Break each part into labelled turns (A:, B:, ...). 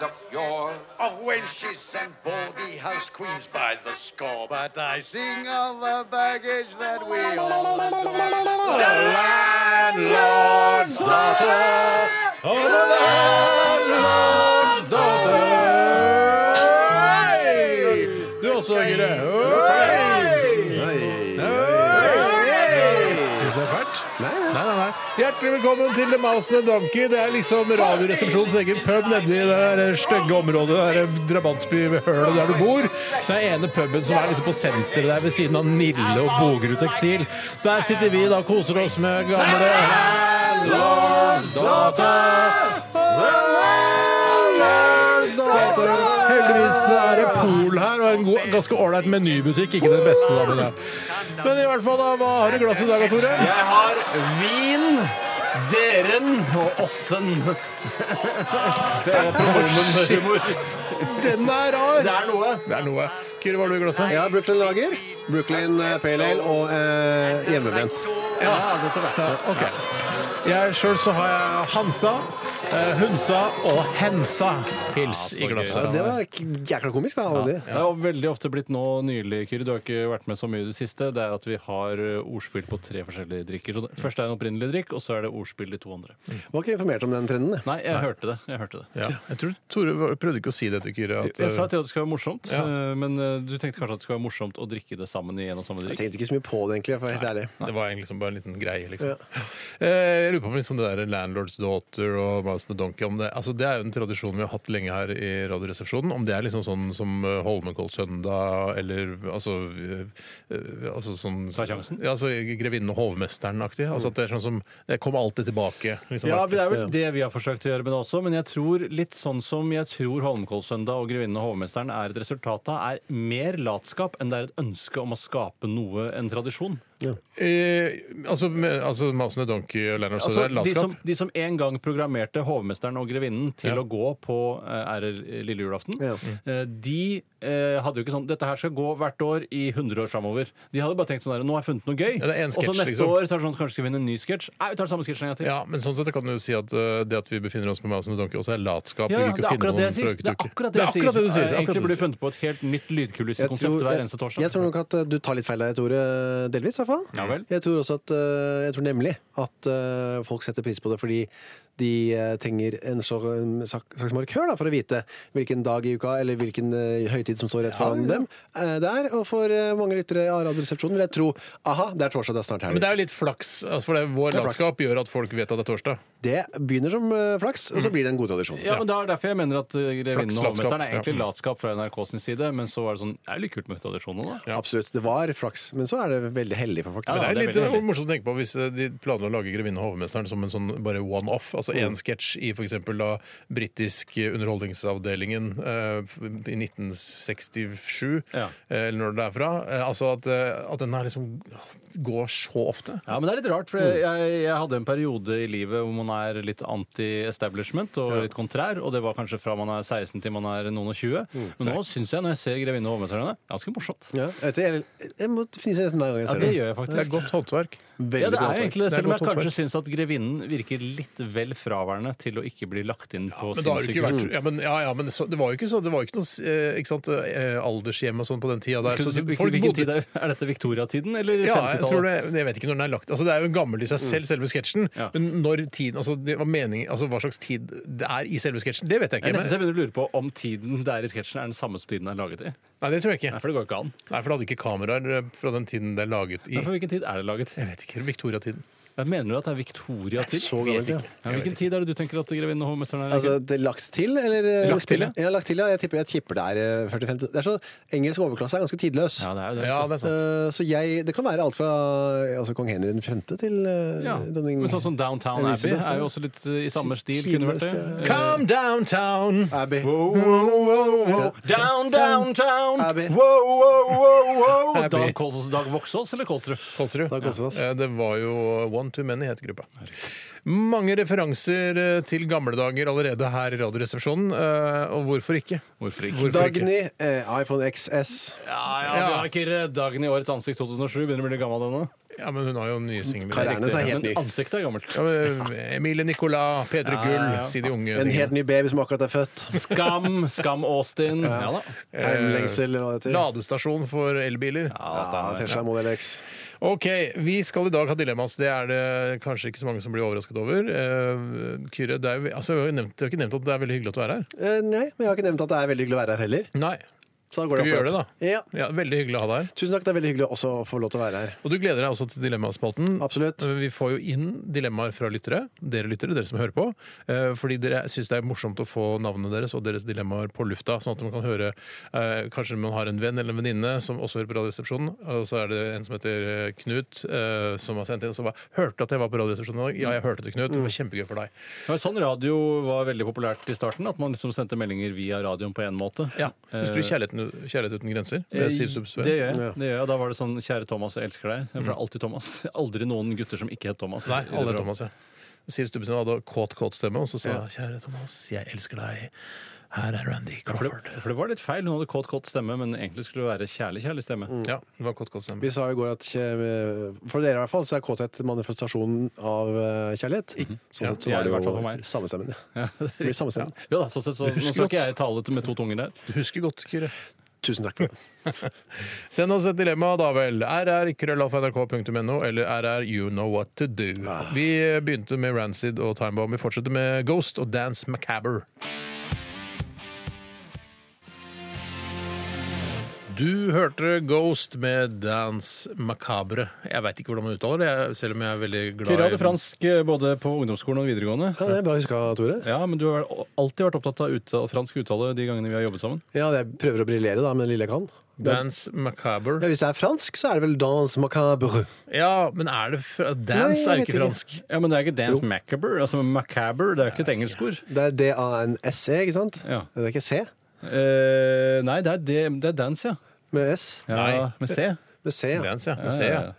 A: of yore,
B: of wenches and baldy house queens by the score. But I sing of the baggage that we all
C: Du også, Gyrre. Syns du det er fælt? Nei, nei, nei. Hjertelig velkommen til The Masende Donkey. Det er liksom Radioresepsjonens egen pub nedi det der stygge området, det der drabantbyhølet der du bor. Det er ene puben som er liksom på senteret der ved siden av Nille og Bogerud Tekstil. Der sitter vi da og koser oss med gamle Heldigvis er det Pol her, og en god, ganske ålreit menybutikk. Ikke den beste, da, men, ja. men i hvert fall, da, hva har du i glasset i dag, Tore?
D: Jeg har vin, deren og åssen. Det er promomenhumor.
C: Den er rar!
D: Det er noe.
C: Det er noe. Kyrre, hva har du i glasset?
E: Jeg har Brooklyn Lager, Brooklyn eh, Pale Ale og eh, hjemmebrent.
D: Ja, dette er det.
C: Ok. Jeg sjøl så har jeg Hansa, eh, Hunsa og Hensa pils i glasset.
E: Altså, Det var k- jækla komisk, da. alle de.
D: Det har veldig ofte blitt nå nylig, Kyrre, du har ikke vært med så mye i det siste, det er at vi har eh, ordspill på tre forskjellige drikker. Så det- først er det en opprinnelig drikk, og så er det ordspill de to andre.
E: Var ikke informert om den trenden. jeg.
D: Nei, jeg hørte det. Jeg hørte det.
C: Ja. Jeg tror Tore prøvde ikke å si det til Kyrre. at,
D: Jeg sa
C: eh,
D: til at det skal være morsomt,
C: Ja.
D: eh, men eh, du tenkte kanskje at det skal være morsomt å drikke det sammen i en og samme
E: Jeg
D: drikk?
E: tenkte ikke så mye på det, egentlig. for å være helt ærlig.
C: Det var egentlig liksom bare en liten greie, liksom. Eh, Jeg lurer på om liksom det der Landlord's Daughter og Mouse the Donkey om det, altså det er jo en tradisjon vi har hatt lenge her i Radioresepsjonen. Om det er liksom sånn som eh, Holmenkoll søndag eller altså, eh, eh, altså sånn
D: Ta sjansen?
C: Ja, altså Grevinnen og hovmesteren-aktig. Altså at det er sånn som Det kommer alltid tilbake. Liksom,
D: Ja,
C: aktig.
D: det er vel det vi har forsøkt å gjøre med det også, men jeg tror litt sånn som jeg tror Holmenkollsøndag og Grevinnen og hovmesteren er et resultat av, er mer latskap enn det er et ønske om å skape noe, en tradisjon.
C: Eh, altså, med, altså Mouse the Donkey og Landlord's
D: Altså,
C: Daughter er
D: de,
C: latskap.
D: som, de som en gang programmerte Hovmesteren og Grevinnen til
C: Ja.
D: å gå på eh, er det lille julaften,
E: Ja.
D: eh, de eh, hadde jo ikke sånn Dette her skal gå hvert år i 100 år framover. De hadde bare tenkt sånn der, Nå har jeg funnet noe gøy.
C: Ja, det er en
D: og så
C: sketsj,
D: neste
C: liksom.
D: år så er det sånn kanskje skal vi finne en ny sketsj. Nei, vi tar den samme sketsjen en gang til.
C: Ja, men sånn sett kan du jo si at eh, det at vi befinner oss på Mouse the Donkey, også er latskap.
D: Ja,
C: Vi liker
D: ja, det
C: å
D: er
C: finne
D: akkurat det
C: noen fra
D: jeg sier.
C: uke
D: Det
C: til
D: er
C: uke.
D: akkurat det jeg sier. Eh,
C: akkurat det du sier. akkurat det
D: Egentlig
C: du
D: burde vi
C: sier.
D: funnet på et helt nytt
E: Jeg
D: lydkulissekonsept
E: tror,
D: hver
E: jeg,
D: eneste torsdag.
E: jeg tror nok at eh, du tar litt feil der, Tore. Delvis, i hvert fall.
D: Ja vel.
E: Jeg tror også at, eh, jeg tror nemlig at eh, folk setter pris på det fordi de eh, trenger en så- en sak- slags markør da, for å vite hvilken dag i uka eller hvilken eh, høytid som står rett foran dem. eh, der, Og for eh, mange lyttere av Radioresepsjonen vil jeg tro aha, det er torsdag, det er snart helg.
C: Men det er jo litt flaks, altså for det er vår
E: Det er flaks.
C: latskap gjør at folk vet at det er torsdag.
E: Det begynner som eh, flaks,
D: Mm.
E: og så blir det en god tradisjon.
D: Ja, men det er derfor jeg mener at eh, Grevinnen og
C: Flakslatskap.
D: hovmesteren er egentlig
C: Ja.
D: latskap fra NRK sin side, men så var det sånn Det er jo litt kult med tradisjonen, da.
E: Absolutt. Det var flaks, men så er det veldig heldig for folk.
C: Men
D: Ja,
C: det er,
D: det er
C: litt
D: veldig heldig.
C: morsomt å tenke på hvis eh, de planla å lage 'Grevinne og hovmesteren' som en sånn bare one-off. Altså én
D: Mm.
C: sketsj i f.eks. da britisk underholdningsavdelingen eh, f- i 1967,
D: Ja.
C: eh, eller når det er fra. Eh, altså at, eh, at den her liksom går så ofte.
D: Ja, men det er litt rart, for
C: Mm.
D: jeg, jeg hadde en periode i livet hvor man er litt anti-establishment og litt kontrær, og det var kanskje fra man er 16 til man er noen og 20.
C: Mm.
D: Men nå syns jeg, når jeg ser Grevinne og hovmesteren, det er ganske morsomt.
E: Ja, jeg, vet, jeg, jeg må fnise nesten hver gang jeg
D: Ja,
E: ser
D: det
E: det.
D: gjør jeg
C: Det er
D: faktisk.
C: godt håndverk.
D: Ja, det
E: bra
D: er
E: håndverk.
D: egentlig det,
C: Det er
D: selv om
C: godt
D: jeg kanskje
C: håndverk.
D: syns at grevinnen virker litt vel fraværende til å ikke bli lagt inn på
C: Men da har det
D: sinnssyke
C: ikke vært Mm. Ja, men, ja, ja, men så, det var jo ikke så Det var jo ikke noe eh, ikke sant, eh, aldershjem og sånn på den tida der. Så,
D: Hvilken-
C: folk
D: Hvilken
C: bodde-
D: tid er, er dette? Viktoriatiden eller
C: Ja, jeg, tror
D: 50-tallet?
C: det, jeg vet ikke når den er lagt Altså Det er jo gammel i seg selv, selve sketsjen.
D: Mm. Ja.
C: Men når tiden, altså, det var meningen, altså hva slags tid det er i selve sketsjen, det vet jeg
D: Jeg
C: ikke.
D: nesten så
C: Men,
D: jeg begynner å lure på om tiden det er i sketsjen, er den samme som tiden den er laget i.
C: nei, det tror jeg ikke.
D: Nei, For det går ikke an.
C: Nei, For det hadde ikke kameraer eh, fra den tiden det er laget i.
D: Men for hvilken tid er det laget?
C: Jeg vet ikke. Viktoriatiden.
D: Jeg mener du at det er Victoria-tid?
E: Så gammelt, ja.
D: Ja, hvilken tid er det du tenker at Grevinnen og hovmesteren er?
E: Altså, det er lagt til, eller?
D: Lagt til, ja.
E: ja. Lagt til, ja. Jeg tipper, jeg tipper det er eh, 40-50. Det er så, engelsk overklasse er ganske tidløs.
D: ja, det er jo det.
C: Ja, det er sant.
E: Eh, så jeg, det kan være alt fra eh, altså, kong Henry 5. til eh,
D: Ja.
E: dronning
D: Men sånn som Downtown Abbey
E: Elizabeth,
D: er
E: ja.
D: jo også litt eh, i samme stil. Kunne vært
E: Tidløst,
D: det.
C: Come downtown!
E: Abbey.
D: Wow, wow, wow, wow. Down, downtown!
E: Abbey.
D: Wow, wow, wow, wow.
E: jeg
D: Dag,
E: blir.
D: Kols- Dag Voksås eller Kolsrud?
C: Kolsrud.
E: Dag Kolsås.
C: Ja. Eh, Det var jo One Too Many het gruppa. Mange referanser eh, til gamle dager allerede her i Radioresepsjonen, eh, og hvorfor ikke?
D: Hvorfor ikke?
C: Hvorfor ikke?
E: Dagny, eh, iPhone XS.
D: Ja, ja, du har ikke redd dagen i årets ansikt 2007. Begynner å bli gammel ennå.
C: Ja, men hun har jo nye
E: Kar
C: singler.
E: Ernes er helt ny.
D: Men ansiktet er gammelt.
C: Ja, men, eh, Emilie Nicolas, P3
D: Ja,
C: Gull,
D: ja, ja.
C: si de unge.
E: En helt ny baby som akkurat er født.
D: Skam, Skam Austin. Ja da.
E: Heimlengsel, eller hva det heter.
C: Ladestasjon for elbiler.
E: Ja, Tesla Model X.
C: Ok, vi skal i dag ha dilemmas. Det er det kanskje ikke så mange som blir overrasket over. Eh, Kyrre, det er jo, altså, vi har jo nevnt, vi har ikke nevnt at det er veldig hyggelig at du er her.
E: Eh, nei, men jeg har ikke nevnt at det er veldig hyggelig å være her heller.
C: Nei.
E: Så da går
C: Skal vi
E: opp og
C: gjøre
E: opp.
C: det,
E: Ja.
C: Ja, veldig hyggelig å ha deg her.
E: Tusen takk, det er veldig hyggelig også å få lov til å være her.
C: Og du gleder deg også til Dilemmaspalten.
E: Absolutt.
C: Eh, Vi får jo inn dilemmaer fra lyttere, dere lyttere, dere som hører på. eh, Fordi dere syns det er morsomt å få navnene deres og deres dilemmaer på lufta, sånn at man kan høre eh, Kanskje man har en venn eller en venninne som også hører på Radioresepsjonen, og så er det en som heter eh, Knut, eh, som har sendt inn og så bare 'Hørte at jeg var på Radioresepsjonen i dag?' Ja, jeg hørte det, Knut. Det var kjempegøy for deg.
D: Det var sånn radio var veldig populært i starten. At man liksom sendte meldinger via radioen på én måte.
C: Ja, Husker du Kjærligheten, 'Kjærlighet uten grenser'?
D: Eh,
C: Med Siv Subsve.
D: Det gjør jeg. Det gjør jeg. Da var det sånn 'Kjære Thomas, jeg elsker deg'. For det er alltid Thomas. Aldri noen gutter som ikke het Thomas.
C: Nei,
D: i det
C: alle er
D: programmet.
C: Thomas, ja. Siv Stubbesen hadde kåt-kåt stemme, og så sa hun 'Kjære Thomas, jeg elsker deg'. Her er Randy
D: For
C: Crawford.
D: det, for det var litt feil. Hun hadde kåt, kåt stemme, men egentlig skulle det være kjærlig, kjærlig stemme.
C: Ja, det var kort, kort stemme.
E: Vi sa i går at eh, for dere i hvert fall så er kåthet manifestasjonen av eh, kjærlighet. Sånn
C: Ja,
E: sett så
D: ja,
E: var
D: i
E: det
D: hvert fall for
E: jo
D: meg.
E: sammenstemmen. Ja. Det blir sammenstemmen.
D: Jo da, så, så, så, Nå skal ikke jeg tale til- med to tunger der.
C: Du husker godt, Kyrre.
E: Tusen takk for det.
C: Send oss et dilemma, da vel. rrkrøllalfa.nrk.no eller rr you know what to do. Vi begynte med Rancid og Timebomb. Vi fortsetter med Ghost og Dance Macabre. Du hørte Ghost med Dance Macabre. Jeg veit ikke hvordan man uttaler det, jeg- selv om jeg er veldig glad
D: Kyrre hadde fransk eh, både på ungdomsskolen og videregående.
E: Ja, det er bra huska, Tore.
D: Ja, men du har vel alltid vært opptatt av uttale, fransk uttale de gangene vi har jobbet sammen.
E: Ja, jeg prøver å briljere da, med det lille jeg kan.
C: Dance
E: Ja,
C: Macabre.
E: hvis det er fransk, så er det vel dans macabre.
C: Ja, men er det fra Dance
E: Nei,
C: er jo
E: jeg
C: ikke
E: vet ikke.
C: fransk.
D: Ja, men det er ikke dance macabre. Altså macabre, det er jo ikke et engelsk ord.
E: Det er D-A-N-S-E, E, ikke sant?
D: Ja.
E: Det er ikke C,
D: Eh, nei, det er, det, det er dance, ja.
E: med S.
D: ja
C: Nei.
D: Med C.
E: Med C, ja.
C: Dance, ja.
D: Ja,
C: Med C,
D: ja,
C: ja.
D: ja.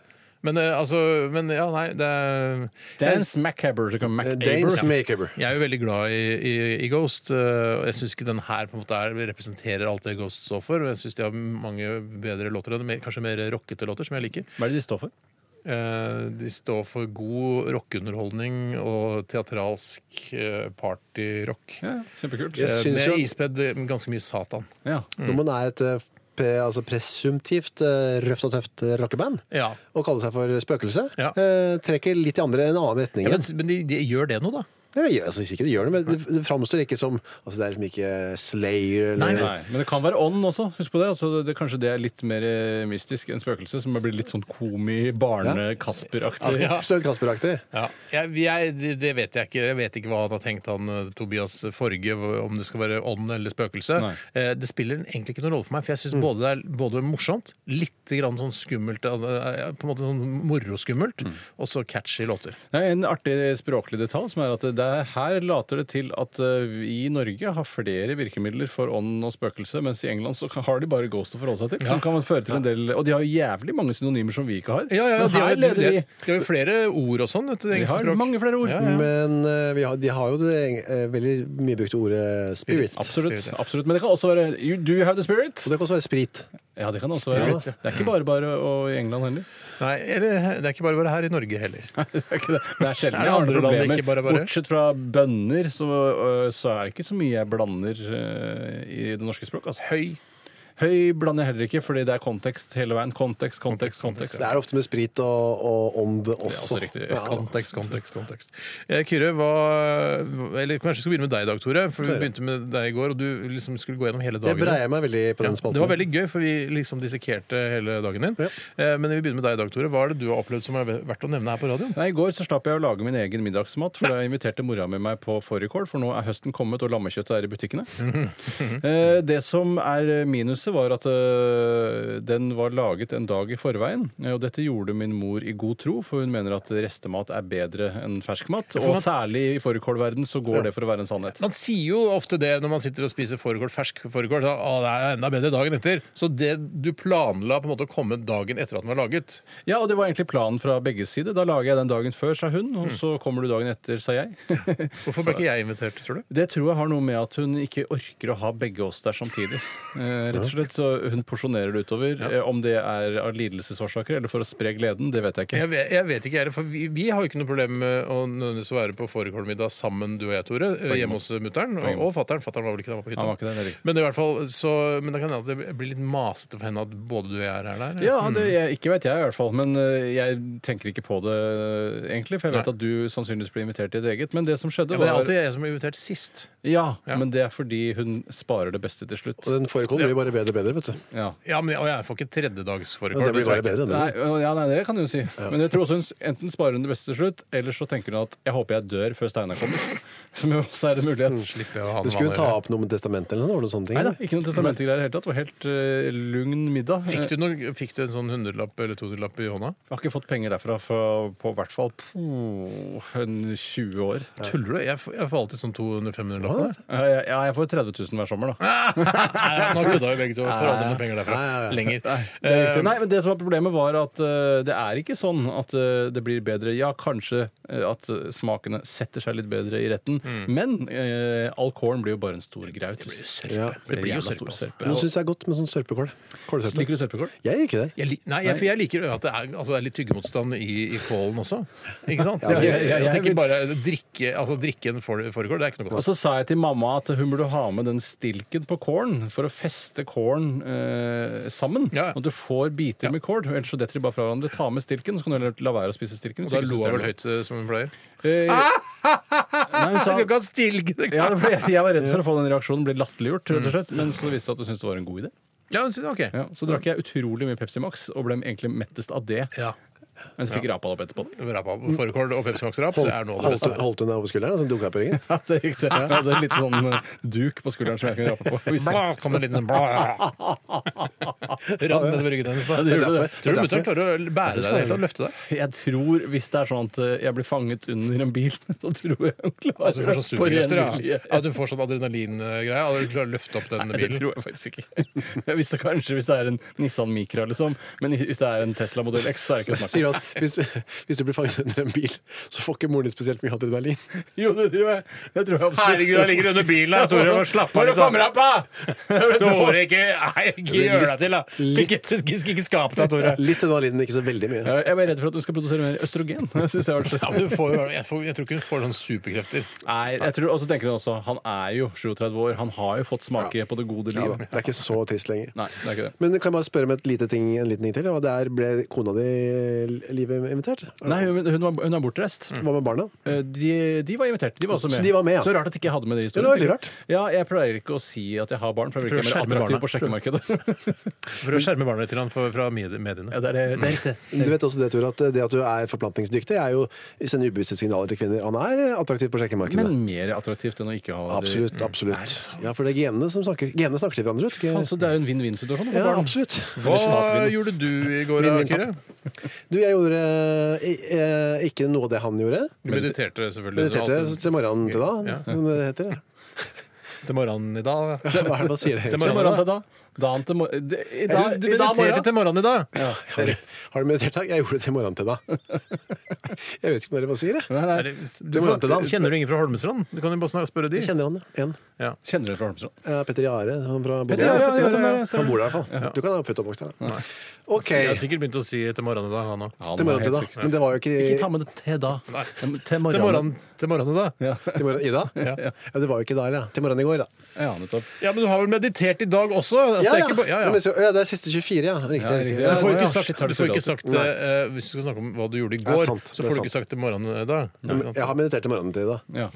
C: Men eh, altså men, Ja, nei, det er
D: Dance macabre. Så kan
E: Eh,
D: macabre.
E: Dance macabre.
C: Jeg er jo veldig glad i, i, i Ghost, eh, og jeg syns ikke den her på en måte er, representerer alt det Ghost står for. og Jeg syns de har mange bedre låter, enn mer- kanskje mer rockete låter, som jeg liker.
D: Hva er det de står for?
C: Eh, De står for god rockeunderholdning og teatralsk eh, partyrock.
D: Ja, kjempekult.
E: Jeg
C: Eh,
E: syns
C: Med
E: jo at
C: ispedd ganske mye Satan.
D: Ja.
C: Mm.
E: når man er et eh, p- altså presumptivt eh, røft og tøft eh, rockeband,
C: Ja.
E: og kalle seg for spøkelse,
C: Ja.
E: eh, trekker litt i andre, en annen retning.
C: Ja, men men de, de gjør det nå, da.
E: Ja, det gjør- altså, sikkert det gjør det, men det, det framstår ikke som altså, Det er liksom ikke Slayer eller
D: Nei, men det kan være ånd også. Husk på det. Altså, det, det Kanskje det er litt mer eh, mystisk enn spøkelse, som blir litt sånn komi-barne-Kasper-aktig.
E: Absolutt Kasper-aktig.
C: Ja, jeg, jeg, det- det vet jeg ikke. Jeg vet ikke hva han har tenkt, han eh, Tobias Forge, hva- om det skal være ånd eller spøkelse.
D: Nei.
C: Eh, Det spiller egentlig ikke noen rolle for meg, for jeg syns både det er både morsomt, litt grann sånn skummelt, eh, på en måte sånn moroskummelt, og så catchy låter.
D: Det er en artig språklig detalj som er at det er, her later det til at eh, vi i Norge har flere virkemidler for ånd og spøkelse, mens i England så kan- har de bare ghost å forholde seg til. Som kan føre til en del, og de har jo jævlig mange synonymer som vi ikke har.
C: Men
D: Men her
C: de, har,
D: leder
C: de,
D: vi.
C: de har jo flere ord og sånn. vet du, det
D: Vi
C: engelske
D: har
C: språk.
D: mange flere ord.
C: Ja, ja.
E: Men eh, vi har, de har jo det eh, veldig mye brukte ordet spirit.
D: Absolutt,
C: Spirit, ja.
D: absolutt. Men det kan også være you, Do you have the spirit?
E: Og det kan også være sprit.
D: Ja, det kan også være.
E: Spirit,
D: Det er ikke bare bare og i England heller.
C: Nei, eller, det er ikke bare bare her i Norge heller.
D: Det er ikke det. Men det er sjelden
C: Er det
D: jeg har
C: andre land det
D: problemer.
C: ikke bare bare?
D: Bortsett fra bønner, så, øh, så er det ikke så mye jeg blander øh, i det norske språket. Altså.
C: Høy.
D: Høy blander jeg heller ikke, fordi det er kontekst hele veien. Kontekst, kontekst, kontekst.
E: Det er ofte med sprit og, og ånd også.
D: også riktig.
E: Ja.
C: altså Kontekst, kontekst, kontekst. Eh, Kyrre, hva Eller kanskje vi skal begynne med deg i dag, Tore. For vi
E: Tore.
C: begynte med deg i går, og du liksom skulle gå gjennom hele
E: Jeg
C: dagen. din.
E: breia meg veldig på
C: Ja,
E: den spalten.
C: det var veldig gøy, for vi liksom dissekerte hele dagen din.
E: Ja.
C: Eh, Men vi begynner med deg i dag, Tore. Hva er det du har opplevd som er verdt å nevne her på radioen?
D: Nei, I går så slapp jeg å lage min egen middagsmat, for jeg inviterte mora mi meg på fårikål, for nå er høsten kommet og lammekjøttet er i butikkene. Eh, Det som er minus tipset var at eh, den var laget en dag i forveien. Eh, Og dette gjorde min mor i god tro, for hun mener at restemat er bedre enn ferskmat.
C: for
D: Og
C: man-
D: særlig i fårikålverden så går det for å være en sannhet.
C: Man sier jo ofte det når man sitter og spiser fårikål, fersk fårikål. da, Å, det er enda bedre dagen etter. Så det du planla på en måte å komme dagen etter at den var laget
D: Ja, og det var egentlig planen fra begges side. Da lager jeg den dagen før, sa hun, og
C: Mm.
D: så kommer du dagen etter, sa jeg.
C: Hvorfor ble ikke jeg invitert, tror du?
D: Det tror jeg har noe med at hun ikke orker å ha begge oss der samtidig. Eh, rett og slett, så Hun porsjonerer det utover. Eh, om det er av lidelsesårsaker eller for å spre gleden, det vet jeg ikke.
C: Jeg vet, jeg vet ikke, jeg, for vi, vi har jo ikke noe problem med å nødvendigvis være på fårikålmiddag sammen, du og jeg, Tore, hjemme hos mutter'n og, og fatter'n. Fatter'n var vel ikke der, han var på hytta.
D: Han var ikke der, det er riktig.
C: men, det er i hvert fall, så, men da kan det hende at det blir litt masete for henne at både du og jeg er her der.
D: Ja, det, jeg, Ikke vet jeg, i hvert fall. Men eh, jeg tenker ikke på det, eh, egentlig. For jeg vet
C: Nei.
D: at du sannsynligvis blir invitert til et eget. Men det som skjedde,
C: Ja, men det er
D: var
C: alltid jeg som blir invitert sist.
D: Ja,
C: Ja.
D: men det er fordi hun sparer det beste til slutt.
E: Og den fårikålen blir bare bedre og bedre, vet du.
D: Ja.
C: Ja, men jeg, og jeg får ikke tredjedagsfårikål.
E: Og det
C: det
E: blir
C: tror jeg
E: bare
C: ikke.
E: bedre.
D: Nei,
E: Det.
D: øh, ja, nei, det kan du jo si. Men jeg tror også hun s- enten sparer hun det beste til slutt, eller så tenker hun at jeg håper jeg dør før Steinar kommer. Som jo også er en mulighet.
C: Slipper jeg å ha
E: Du
C: noe
E: skulle
C: annet
E: jo
C: å
E: ta
C: gjøre.
E: opp noe med testamentet eller noe sånt. var det
D: Nei
E: noen
D: da,
E: sånne ting?
D: ikke noe testamentgreier i det hele tatt. Det var helt øh, lugn middag.
C: Fikk
D: Jeg
C: du, noe, fikk du en sånn hundrelapp eller totilapp i hånda?
D: har ikke fått penger derfra for, på hvert fall puh, en 20 år.
C: Tuller du? Jeg, f- jeg får alltid sånn 200-500-lapp.
D: Ja, jeg- ja, jeg får 30 000 hver sommer, da.
C: Nå kødda vi begge to. Får aldri noe penger derfra lenger. Eh,
D: Det er riktig. Nei, men det som var problemet, var at øh, det er ikke sånn at øh, det blir bedre. Ja, kanskje øh, at øh, smakene setter seg litt bedre i retten, men øh, all corn blir jo bare en stor graut. Mm. Det blir sørpe.
E: Ja.
D: Det blir jo
C: Jævla stor
D: sørpe. altså.
E: Noen syns det er godt med sånn sørpekål. Kålsørpe.
D: Liker du sørpekål?
E: Jeg gjør ikke det.
C: Jeg, li- nei, jeg, for jeg liker at det er, altså, det er litt tyggemotstand i, i kålen også. Ikke sant?
D: Ja,
C: Jeg,
D: jeg-
C: jeg,
D: jeg- jeg-
C: tenker bare drikke, altså, drikke en får- fårikål, det er ikke noe
D: Og
C: godt.
D: så sa jeg til mamma at hun burde ha med den stilken på kålen for å feste kålen eh, sammen.
C: Ja.
D: Og du får biter med kål, ellers så detter de bare fra hverandre. Ta med stilken, så kan du heller la være å spise stilken.
C: Og da lo jeg vel høyt eh, som hun pleier.
D: Eh, nei, hun sa,
C: ha stilke
D: ja, for jeg, jeg var redd for å få den reaksjonen, bli latterliggjort, rett og slett. Men så viste det seg at hun syntes det var en god idé.
C: Mm. Ja, men så- ok.
D: Ja, så drakk jeg utrolig mye Pepsi Max, og ble egentlig mettest av det.
C: Ja.
D: Men så fikk jeg rapa det opp etterpå.
C: Rapa, fårikål og Pepsi Max-rap, det er noe av det
E: Holdt,
C: beste.
E: holdt hun deg over skulderen? Altså, dukka opp i ryggen?
D: Ja, det gikk det. Jeg hadde en liten sånn eh, duk på skulderen som jeg kunne rape på. Hvis
C: Bla, kom det en liten bla. Rant nedover ryggen hennes. da.
D: det
C: Tror
D: gjorde det.
C: du mutter'n klarer å bære deg i det hele tatt? Løfte deg?
D: Jeg tror, hvis det er sånn at eh, jeg blir fanget under en bil, så tror jeg hun klarer
C: At du får sånn
D: på ren
C: sugekrefter? Ja.
D: vilje.
C: At du får sånn adrenalingreie? At du klarer å løfte opp den
D: Nei, det
C: bilen?
D: tror jeg faktisk ikke. Jeg visste kanskje hvis det er en Nissan Micra, liksom. Men i- hvis det er en Tesla modell X, så er det ikke snakk
E: Sier du
D: om.
E: at hvis, hvis du blir fanget under en bil, så får ikke moren din spesielt mye adrenalin?
D: Jo, det tror jeg. Det tror jeg absolutt.
C: Herregud, jeg ligger under bilen her, Tore. Slapp av litt.
D: Kommer
C: da.
D: opp, da!
C: Tore, ikke, nei, ikke gjør deg til, da.
E: litt-
C: Ikke, ikke, ikke skap deg, Tore.
E: Litt adrenalin, men ikke så veldig mye.
D: Jeg er redd for at hun skal produsere mer østrogen. Jeg synes det har vært
C: Ja,
D: så-
C: men du får, jo- jeg, får, jeg tror ikke hun får sånne superkrefter.
D: Nei, jeg tror, og så tenker hun også han er jo 37 år, han har jo fått smake på det gode
E: Ja, da.
D: liv.
E: Det er ikke så trist lenger.
D: Nei, det er ikke det.
E: Men kan jeg bare spørre om et lite ting, en liten ting til? Og det er, ble kona di eh, livet invitert?
D: Nei, hun, hun, var, hun er bortreist.
E: Hva med barna?
D: Eh, De, de var invitert. De var også
E: Mm.
D: med.
E: Så de var med, ja.
D: Så rart at ikke jeg hadde med det i
E: Ja,
D: historien.
E: det var veldig rart.
D: Ja, jeg pleier ikke å si at jeg har barn, for jeg
C: Prøv å
D: blir ikke mer
C: skjerme
D: attraktiv
C: barna.
D: på sjekkemarkedet.
C: For å skjerme barna litt grann fra fra medie- mediene.
D: ja, det er det. Det er riktig.
E: Du vet også det, Tor, at det at du er forplantningsdyktig, er jo sender ubevisste signaler til kvinner. Han er attraktiv på sjekkemarkedet.
D: Men mer attraktivt enn å ikke ha
C: Mm.
E: Absolutt.
D: Er
E: absolutt.
D: det sant?
E: Ja, for det er genene som snakker. Genene snakker til hverandre. vet du
D: Faen,
E: ikke?
D: så det er jo en vinn-vinn-situasjon for
E: Ja,
D: barn.
E: absolutt.
C: Hva gjorde du i går, da,
E: Min- min
C: Kyrre?
E: Du, jeg gjorde eh, eh, ikke noe av det han gjorde.
C: Du mediterte selvfølgelig. Du
E: Mediterte
C: alltid-
E: til morgenen til da,
C: Ja.
E: som det heter. ja.
C: Til morgenen i dag. da.
E: Hva er det man sier?
C: Til
D: Til
C: morgenen
D: morgenen
C: i
D: til da. Dagen til mor... de- i dag-
C: dag. Du, du
D: i dag
C: mediterte
D: morgen.
C: til morgenen i dag.
E: Har, har du meditert i dag? Jeg gjorde det til morgenen til da. Jeg vet ikke om dere hva sier, jeg.
D: Nei, nei.
C: Er det-
E: Til morgenen til da.
C: Kjenner du ingen fra Holmestrand? Du kan jo bare snak- spørre de.
E: Jeg kjenner han, ja. En.
D: Kjenner du fra Holmestrand?
E: Eh, Petter Jare han fra Bodø.
D: Petter Jahre, ja, ja, ja, ja.
E: Han bor der i hvert fall. Du kan ha født og oppvokst der. OK.
C: Jeg har sikkert begynt å si til morgenen i dag, han òg.
D: Ja,
E: Til morgenen til da. Men det var jo
D: Ikke ta
E: ikke
D: med det til da.
C: Nei.
D: Men Til
C: Til
D: morgenen.
C: morgenen, til morgenen i dag.
E: til morgenen i dag?
C: Ja.
E: Ja, det var jo ikke i dag, ja. Til morgenen i går, da.
D: Ja, nettopp.
C: Ja, men du har vel meditert i dag også? Altså,
E: Ja,
C: det er
E: ja.
C: ikke bare- ja, ja.
E: men så- ja, det er siste 24, ja. Riktig.
D: Ja,
E: riktig.
D: riktig.
C: Du får
D: Ja,
C: ikke
D: shit,
C: sagt,
D: har du
C: du får ikke
D: full
C: sagt eh, Hvis du skal snakke om hva du gjorde i
E: er
C: går,
E: sant,
C: så
E: det
C: får
E: er
C: du
E: sant.
C: ikke sagt til morgenen i dag.
E: Men Jeg har meditert til morgenen til i dag.
D: Ja.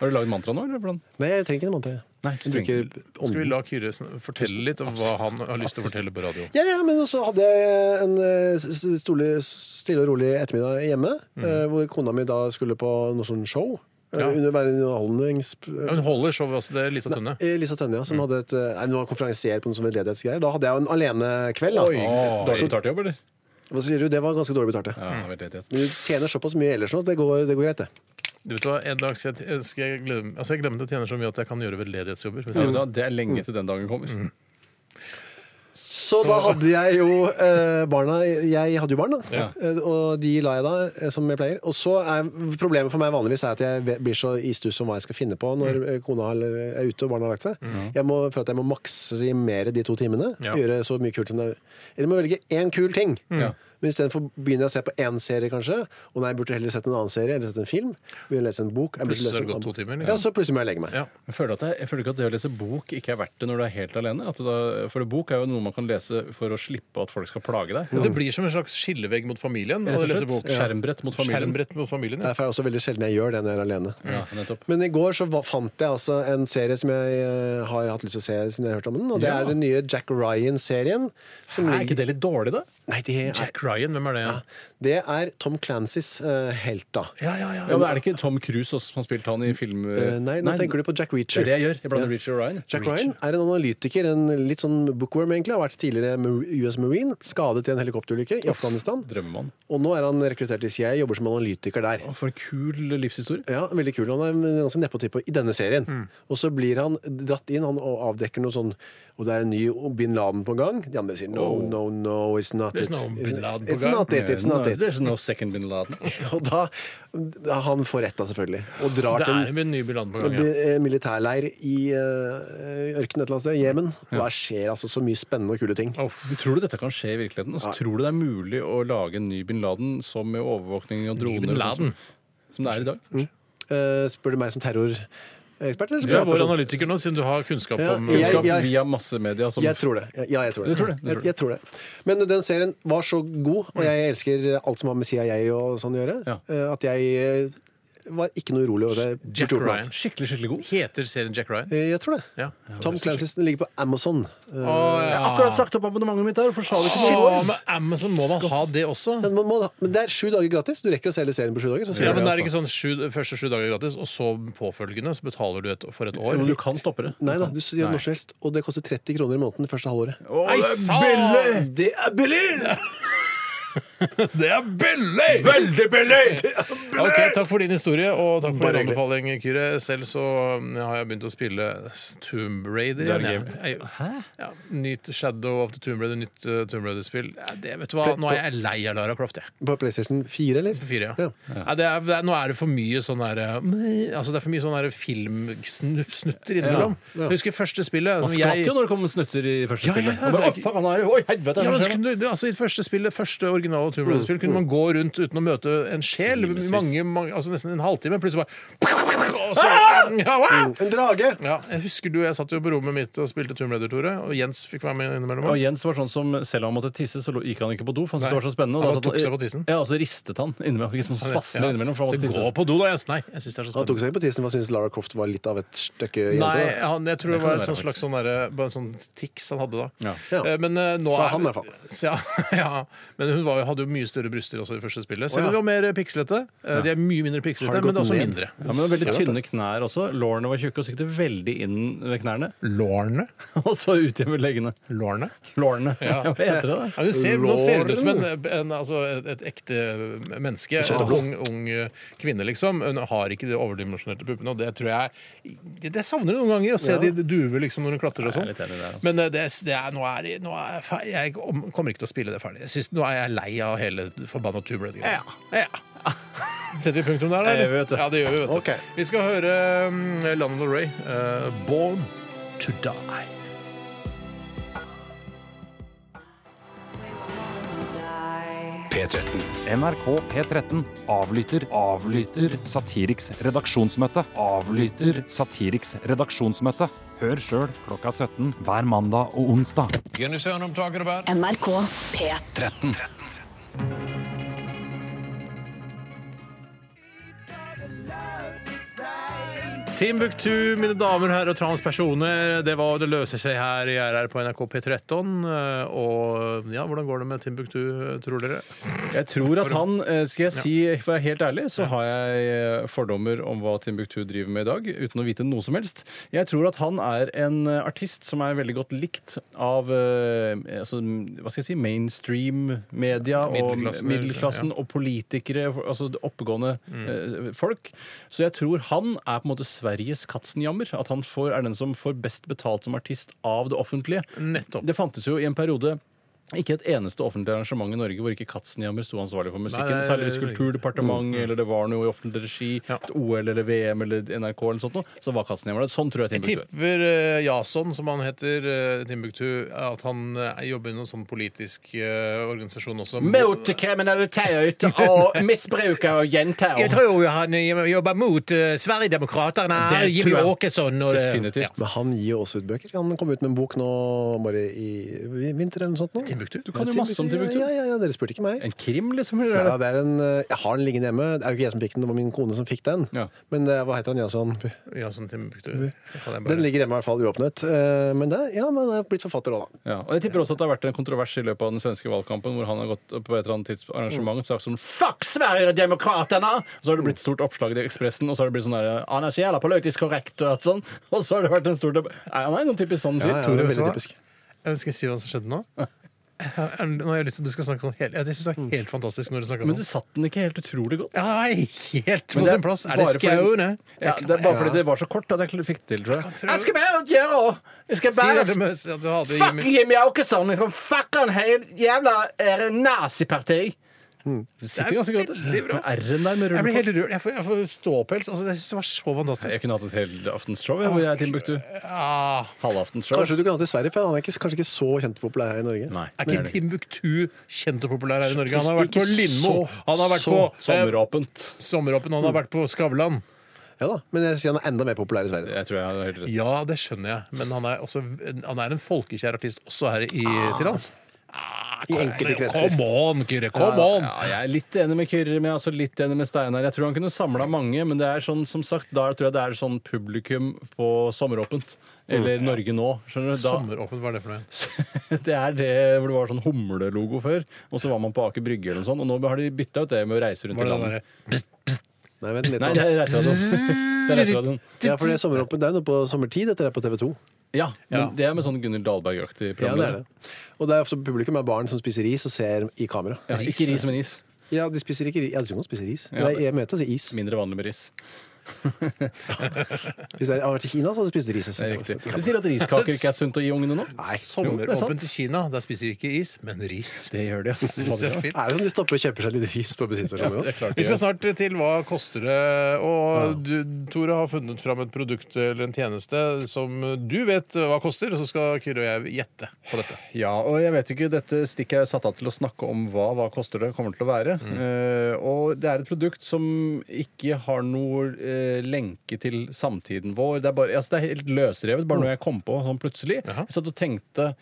D: Har du lagd mantra nå, eller hvordan?
E: Nei, jeg trenger ikke en mantra. jeg.
D: Nei,
E: Jeg bruker
C: Skal vi
E: ånden.
C: la Kyrre sn- fortelle litt om hva han har lyst til å fortelle på radio?
E: Ja, ja, men så hadde jeg en eh, s- s- stole- stille og rolig ettermiddag hjemme, eh, hvor kona mi da skulle på noe sånn show. Ja. Under, være underholdnings...
C: Ja, hun holder showet også, det er Lisa Tønne.
E: Eh, Lisa Tønne, ja, som hadde et, eh, nei, hun var konferansier på noen sånne veldedighetsgreier. Da hadde jeg jo en alenekveld.
C: Oi,
E: da.
C: Dårlig betalt jobb, eller?
E: Hva sier du? Det var ganske dårlig betalt. det.
C: Ja, veldedighet.
E: Men du tjener såpass mye ellers nå at det går, det går greit, det.
C: Du vet hva, En dag skal jeg, skal jeg glemme altså jeg glemmer å tjene så mye at jeg kan gjøre veldedighetsjobber. Hvis
D: Så
C: jeg,
E: Mm.
D: vet du hva, Det er lenge til den dagen kommer.
E: Så, da hadde jeg jo eh, barna Jeg hadde jo barn, da.
D: Ja.
E: Eh, og de la jeg da, eh, som jeg pleier. Og så er problemet for meg vanligvis er at jeg ve- blir så i stuss om hva jeg skal finne på
C: Mm.
E: når eh, kona har- er ute og barna har lagt seg. Jeg må, for at jeg må makse i mer de to timene.
C: Ja. Mm.
E: Gjøre så mye kult som det er. Eller jeg må velge én kul ting.
D: Ja.
E: Men istedenfor begynner jeg å se på én serie, kanskje. Og nei, jeg burde heller sett en annen serie eller sett en film. Begynner å lese en bok. Jeg burde
C: Plutselig
E: lese
C: har det
E: en
C: gått
E: annen-
C: to timer, liksom.
E: Ja, så plutselig må jeg legge meg.
C: Ja.
D: Jeg føler, at jeg, jeg føler ikke at det å lese bok ikke er verdt det når du er helt alene. At det da, for det bok er jo noe man kan lese for å slippe at folk skal plage deg.
C: det blir som en slags skillevegg mot familien.
D: Rett
C: Når
D: og
C: jeg leser
D: slett.
C: bok.
D: Skjermbrett mot familien.
C: Skjermbrett mot familien, ja.
E: Det er også veldig sjelden jeg gjør det når jeg er alene.
D: Ja, nettopp.
E: Men i går så va- fant jeg altså en serie som jeg eh, har hatt lyst til å se siden jeg har hørt om den. Og det
D: Ja.
E: er den nye Jack Ryan-serien. som
D: Er
E: ligger-
D: ikke det litt dårlig, da?
E: Nei, det er,
C: Jack Ryan, hvem er det?
E: det er Tom Clancys eh, helt, da.
C: Ja, ja, ja.
D: Ja, men Er det ikke Tom Cruise også, som har spilt han i film...
E: Eh, nei, nå tenker du på Jack Reacher.
D: Det er det jeg gjør. Jeg blander
E: Ja.
D: Richard og Ryan.
E: Jack Ryan er en analytiker, en litt sånn bookworm egentlig, har vært tidligere Mar- US Marine, skadet i en helikopterulykke i Afghanistan.
D: Drømmemann.
E: Og nå er han rekruttert til CIA, jobber som analytiker der.
D: Å, For en kul livshistorie.
E: Ja, veldig kul. Han er ganske nedpå type i denne serien.
C: Mm.
E: Og så blir han dratt inn han og avdekker noe sånn Og det er en ny bin Laden på gang. De andre sier no,
D: Oh.
E: no, no, it's not
C: There's
E: it.
C: no
E: It's-
C: Bin Laden på
E: it's
C: gang.
E: Not it, it's not it.
D: There's no sånn second bin Laden.
E: Og da da Han får rett da, selvfølgelig. Og drar
C: Det
E: til
C: er
E: en
C: med en ny bilan på gang, ja.
E: bi- eh, militærleir i eh, ørkenen et eller annet sted, Jemen. Og Der skjer altså så mye spennende og kule ting.
D: Men Tror du dette kan skje i virkeligheten? Altså, Tror du det er mulig å lage en ny bin Laden som med overvåkning og droner?
C: bin Mm.
D: og sånn Som, som det er i dag?
E: Eh, spør du meg som terrorekspert, eller?
C: Du er sånn-
E: spør
C: vår
E: du-
C: analytiker nå, siden du har kunnskap
E: Ja,
C: om
E: jeg-
D: Kunnskap
E: jeg-
D: via massemedia som
E: Jeg tror det. Ja, ja, jeg tror det.
D: Du tror det, du
E: Jeg,
D: tror det. Mm.
E: jeg tror det. Men den serien var så god, og jeg elsker alt som har med CIA og sånn å gjøre,
D: Ja.
E: eh, at jeg eh, var ikke noe urolig over det.
C: Jack
E: Burde gjort noe
C: Ryan.
E: annet.
D: Skikkelig, skikkelig god.
C: Heter serien Jack Ryan?
E: Eh, Jeg tror det.
C: Ja.
E: Tom Clancy's den ligger på Amazon. Eh,
C: Å, ja.
D: Akkurat sagt opp abonnementet mitt der, hvorfor sa du ikke
C: Å,
D: det?
C: men Amazon må man ha det også.
E: Men, man må, da- men det er sju dager gratis. Du rekker å se hele serien på sju dager. Så altså. ser
C: Ja,
E: du
C: men
E: det.
C: det er ikke sånn sju, første sju dager gratis, og så påfølgende så betaler du et, for et år.
D: Men du kan stoppe det.
E: Nei da, du sier når som helst. Og det koster 30 kroner i måneden det første halvåret.
C: Nei, billig!
E: Det er billig!
C: Det er billig! Veldig billig! Ok, Takk for din historie, og takk for din anbefaling, Kyrre. Selv så um, har jeg begynt å spille Tomb Raider.
D: Det er
C: igjen,
D: en
C: jeg. Jeg- Ja, nytt Shadow of the Tomb Raider, nytt uh, Tomb Raider-spill. Ja, det vet du hva, Nå er jeg lei av Lara Croft, jeg.
E: På PlayStation 4, eller?
C: På Fire, ja.
E: Ja.
C: Nei, det er, det er, nå er det for mye sånn der eh, altså Det er for mye sånn der filmsnutter innimellom.
E: Ja.
C: Jeg husker første spillet.
D: Man
C: som
D: skvatt
C: jeg-
D: jo når det kom snutter i første
C: Ja, ja, ja,
D: spillet. Og bare, «Å, faen, han er- Oi, helvete!
C: Ja,
D: hva
C: men
D: skjer nå?»
C: skulle, det, altså, I det første spillet, første originale Tomb Raider-spill kunne man gå rundt uten å møte en sjel.
D: Timesvis.
C: Mange, mange, altså Nesten en halvtime. Plutselig bare og så, ja, wow!
E: En drage!
C: ja, Jeg husker du og jeg satt jo på rommet mitt og spilte Tomb Raider, Tore. Og Jens fikk være med innimellom.
D: Og Jens var sånn som selv om han måtte tisse, så lo- gikk han ikke på do. For han syntes det var så spennende.
C: Han
D: da satt
C: tok seg på tissen.
D: Ja, og så ristet han innimellom. Han Fikk sånn spasme
C: Ja.
D: innimellom. For han
C: Så
D: måtte
C: gå
D: tisse.
C: på do, da, Jens. Nei, jeg syns det er så
E: Han tok
C: spennende.
E: seg ikke på tissen, for han syntes Lara Croft var litt av et stykke jente.
C: Nei,
E: da.
C: han, jeg tror
D: Det
C: det
D: kan
C: var
D: det
C: en sånn
D: være,
C: slags sånn, derre- bare en sånn tics han hadde da.
D: Ja.
E: Ja.
C: Eh, Men, eh, nå
E: Sa
C: er-
E: han i hvert fall.
C: Ja, ja. Men hun var, jo- hadde jo mye større bryster også i det første spillet. Selv om
E: Å, ja.
C: de var mer pikslete. Eh, De er mye mindre pikslete,
E: Har det
C: men det er
E: gått
C: også
E: ned?
C: mindre.
D: Ja, men det var Veldig tynne knær også. Lårene var tjukke og siktet veldig inn ved knærne.
C: Lårene?
D: Og så utjevnet leggene.
C: Lårene?
D: Lårene. Hva heter det? da?
C: Ja, du ser, nå ser hun ut som en, en, altså et, et ekte menneske. En ung, ung kvinne, liksom. Hun har ikke de overdimensjonerte puppene. Og det tror jeg Det, det savner du noen ganger, å se de duve liksom, når hun klatrer og
D: Jeg
C: sånn.
D: er litt enig der. Altså.
C: Men eh, det, det er, nå er, nå er jeg fer- jeg om- kommer ikke til å spille det ferdig. Jeg synes, nå er jeg lei av hele forbanna Tube Red. Ja. Setter vi punktum der, da?
D: Det gjør vi,
C: eller?
D: vet du.
C: Ja, det gjør vi, vet du.
E: Ok.
C: Vi skal høre um, Lana Del Rey, eh, 'Born to Die'.
F: P13.
G: NRK P13 avlytter, avlytter Satiriks redaksjonsmøte. Avlytter Satiriks redaksjonsmøte. Hør sjøl klokka 17 hver mandag og onsdag.
H: NRK P13.
C: Timbuktu, mine damer og herrer og transpersoner. Det var Det løser seg her i RR på NRK P13. eh, Og ja, hvordan går det med Timbuktu, eh, tror dere?
D: Jeg tror at han, eh, skal jeg si, for å være helt ærlig, så har jeg eh, fordommer om hva Timbuktu driver med i dag, uten å vite noe som helst. Jeg tror at han er en eh, artist som er veldig godt likt av eh, altså, hva skal jeg si, mainstream-media og
C: Middelklassen,
D: middelklassen og politikere, altså oppegående eh, folk. Så jeg tror han er på en måte Sveriges Katzenjammer. At han får, er den som får best betalt som artist av det offentlige.
C: Nettopp.
D: Det fantes jo i en periode ikke et eneste offentlig arrangement i Norge hvor ikke Katzenjammer sto ansvarlig for musikken.
C: Nei, nei,
D: særlig hvis
C: det er riktig.
D: Kulturdepartementet eller det var noe i offentlig regi,
C: Ja.
D: et OL eller VM eller NRK eller noe sånt, noe, så var Katzenjammer der. Sånn tror jeg
C: Jeg
D: Timbuktu er.
C: tipper eh, Jason, som han heter, eh, Timbuktu, at han eh, jobber i noen sånn politisk eh, organisasjon også.
D: kriminalitet og misbruk og jenter.
C: Jeg tror jo han eh, jobber mot uh, Sverigedemokraterna,
D: Det
C: Jimmy
D: tror jeg
C: Åkesson og det-
D: Definitivt.
E: Men han gir jo også ut bøker. Han kom ut med en bok nå bare i vinter eller noe sånt. Nå.
C: Timbuktu? Du
D: kan jo masse om Timbuktu.
E: Ja, ja, ja, dere spurte ikke meg.
D: En krim, liksom? Eller?
E: Ja,
D: er det?
E: det er en, eh, jeg har den liggende hjemme. Det er jo ikke jeg som fikk den, det var min kone som fikk den.
D: Ja.
E: Men eh, hva heter han? Jason?
C: Jason Timbuktu. Det kan jeg bare-
E: Den ligger hjemme i hvert fall uåpnet. Eh, Men det, er- ja, men det er blitt forfatter òg, da.
D: Ja. Og jeg tipper også at det har vært en kontrovers i løpet av den svenske valgkampen hvor han har gått på et eller annet tidsarrangement og sagt sånn Fuck Sverigedemokraterna! Og så har det blitt stort oppslag i Ekspressen, og så har det blitt sånn der Han er så jævla politisk korrekt og alt sånn. Og så har det vært en stor debatt. Er han er noen typisk sånn fyr?
E: Ja, ja,
C: Tore,
E: det er
C: vet du hva?
E: veldig typisk.
C: Jeg skal jeg si hva som skjedde nå. Nå har jeg lyst til at du skal snakke sånn helt Jeg synes det var helt fantastisk når du snakker
D: Mm. Men
C: sånn.
D: du satt den ikke helt utrolig godt.
C: Ja, det er helt
D: Men
C: på
D: det er
C: sin plass. Er det
D: bare fordi-
C: skauene?
D: Ja, det er bare fordi det var så kort at jeg fikk det til, tror jeg. Jeg skal bare gjøre Jeg skal
C: Si det med at du hadde
D: Fuck
C: Jimmy.
D: Jimmy Åkesson! Liksom, fuck han hele jævla eh, naziparti! Det sitter ganske godt.
C: veldig bra.
D: Men R-en der med
C: Jeg ble
D: rullekort
C: helt rørt. Jeg får, jeg får ståpels. Altså, jeg synes det var så
D: Jeg
C: fantastisk.
D: kunne hatt et helt aftensshow jeg, hvor jeg er Timbuktu.
C: Ah,
D: Halvaftenshow.
E: Kanskje du kan ha til Sverige, for han er ikke, kanskje ikke så kjent og populær her i Norge.
D: Nei.
C: er
D: det er
C: ikke
D: det ikke.
C: Timbuktu kjent og populær her i Norge? Han har vært
E: Ikke
C: på Lindmo.
E: så-
C: Han har vært
E: så
C: på eh,
D: Sommeråpent.
C: Sommeråpen. Han har
D: Mm.
C: vært på Skavlan.
E: Ja da, Men jeg sier han er enda mer populær i Sverige.
D: Jeg tror jeg hadde helt rett.
C: Ja, det skjønner jeg. Men han er, også, han er en folkekjær artist også her i,
D: Ah,
C: til lands.
E: I enkelte kretser.
C: Come on, Kyrre! Come on!
D: Ja, jeg er litt enig med Kyrre, men jeg er også litt enig med Steinar. Jeg tror han kunne samla mange, men det er sånn, som sagt, da tror jeg det er sånn publikum på Sommeråpent. Eller Norge nå. skjønner du? Da,
C: Sommeråpent, hva er det for noe?
D: Det er det hvor det var sånn humlelogo før, og så var man på Aker Brygge eller noe sånt, og nå har de bytta ut det med å reise rundt i
C: Var det den
D: landet.
C: derre-
E: Nei, vent litt
D: Nei,
E: nå.
D: det er reiseradioen. Det er reiseradioen.
E: Ja, for det er sommeråpent. Det er jo noe på sommertid. Dette er på TV 2.
D: Ja,
C: Ja.
D: men det er med sånn Gunhild Dahlberg-aktig
E: Ja, det er
D: program.
E: det. Og det er også publikum er barn som spiser is og ser i kamera.
D: Ja, ikke ris, men is.
E: Ja, de spiser ikke ris. Ja, de skal jo spise ris.
D: Ja.
E: Nei, jeg mente å si is.
D: Mindre vanlig med ris.
E: Hvis jeg hadde vært i Kina, så hadde de spist ris.
D: Det er riktig. Du sier at riskaker ikke er sunt å gi ungene nå?
C: Nei,
D: Jo, det er sant.
C: Sommeråpent i Kina. Der spiser de ikke is, men ris.
D: Det gjør de, ass.
C: Så det er fint.
E: Er det sånn de stopper og kjøper seg litt ris på bensinstasjonen? Ja,
C: Vi skal snart til hva koster det. Og du, Tore har funnet fram et produkt eller en tjeneste som du vet hva koster, og så skal Kyrre og jeg gjette på dette.
D: Ja, og jeg vet ikke, dette stikket er jo satt av til å snakke om hva hva koster det kommer til å være.
E: Mm.
D: Eh, og det er et produkt som ikke har noe eh, lenke til samtiden vår. Det er, bare, altså det er helt løsrevet, bare
E: Oh.
D: noe jeg kom på sånn plutselig. Jeg satt og tenkte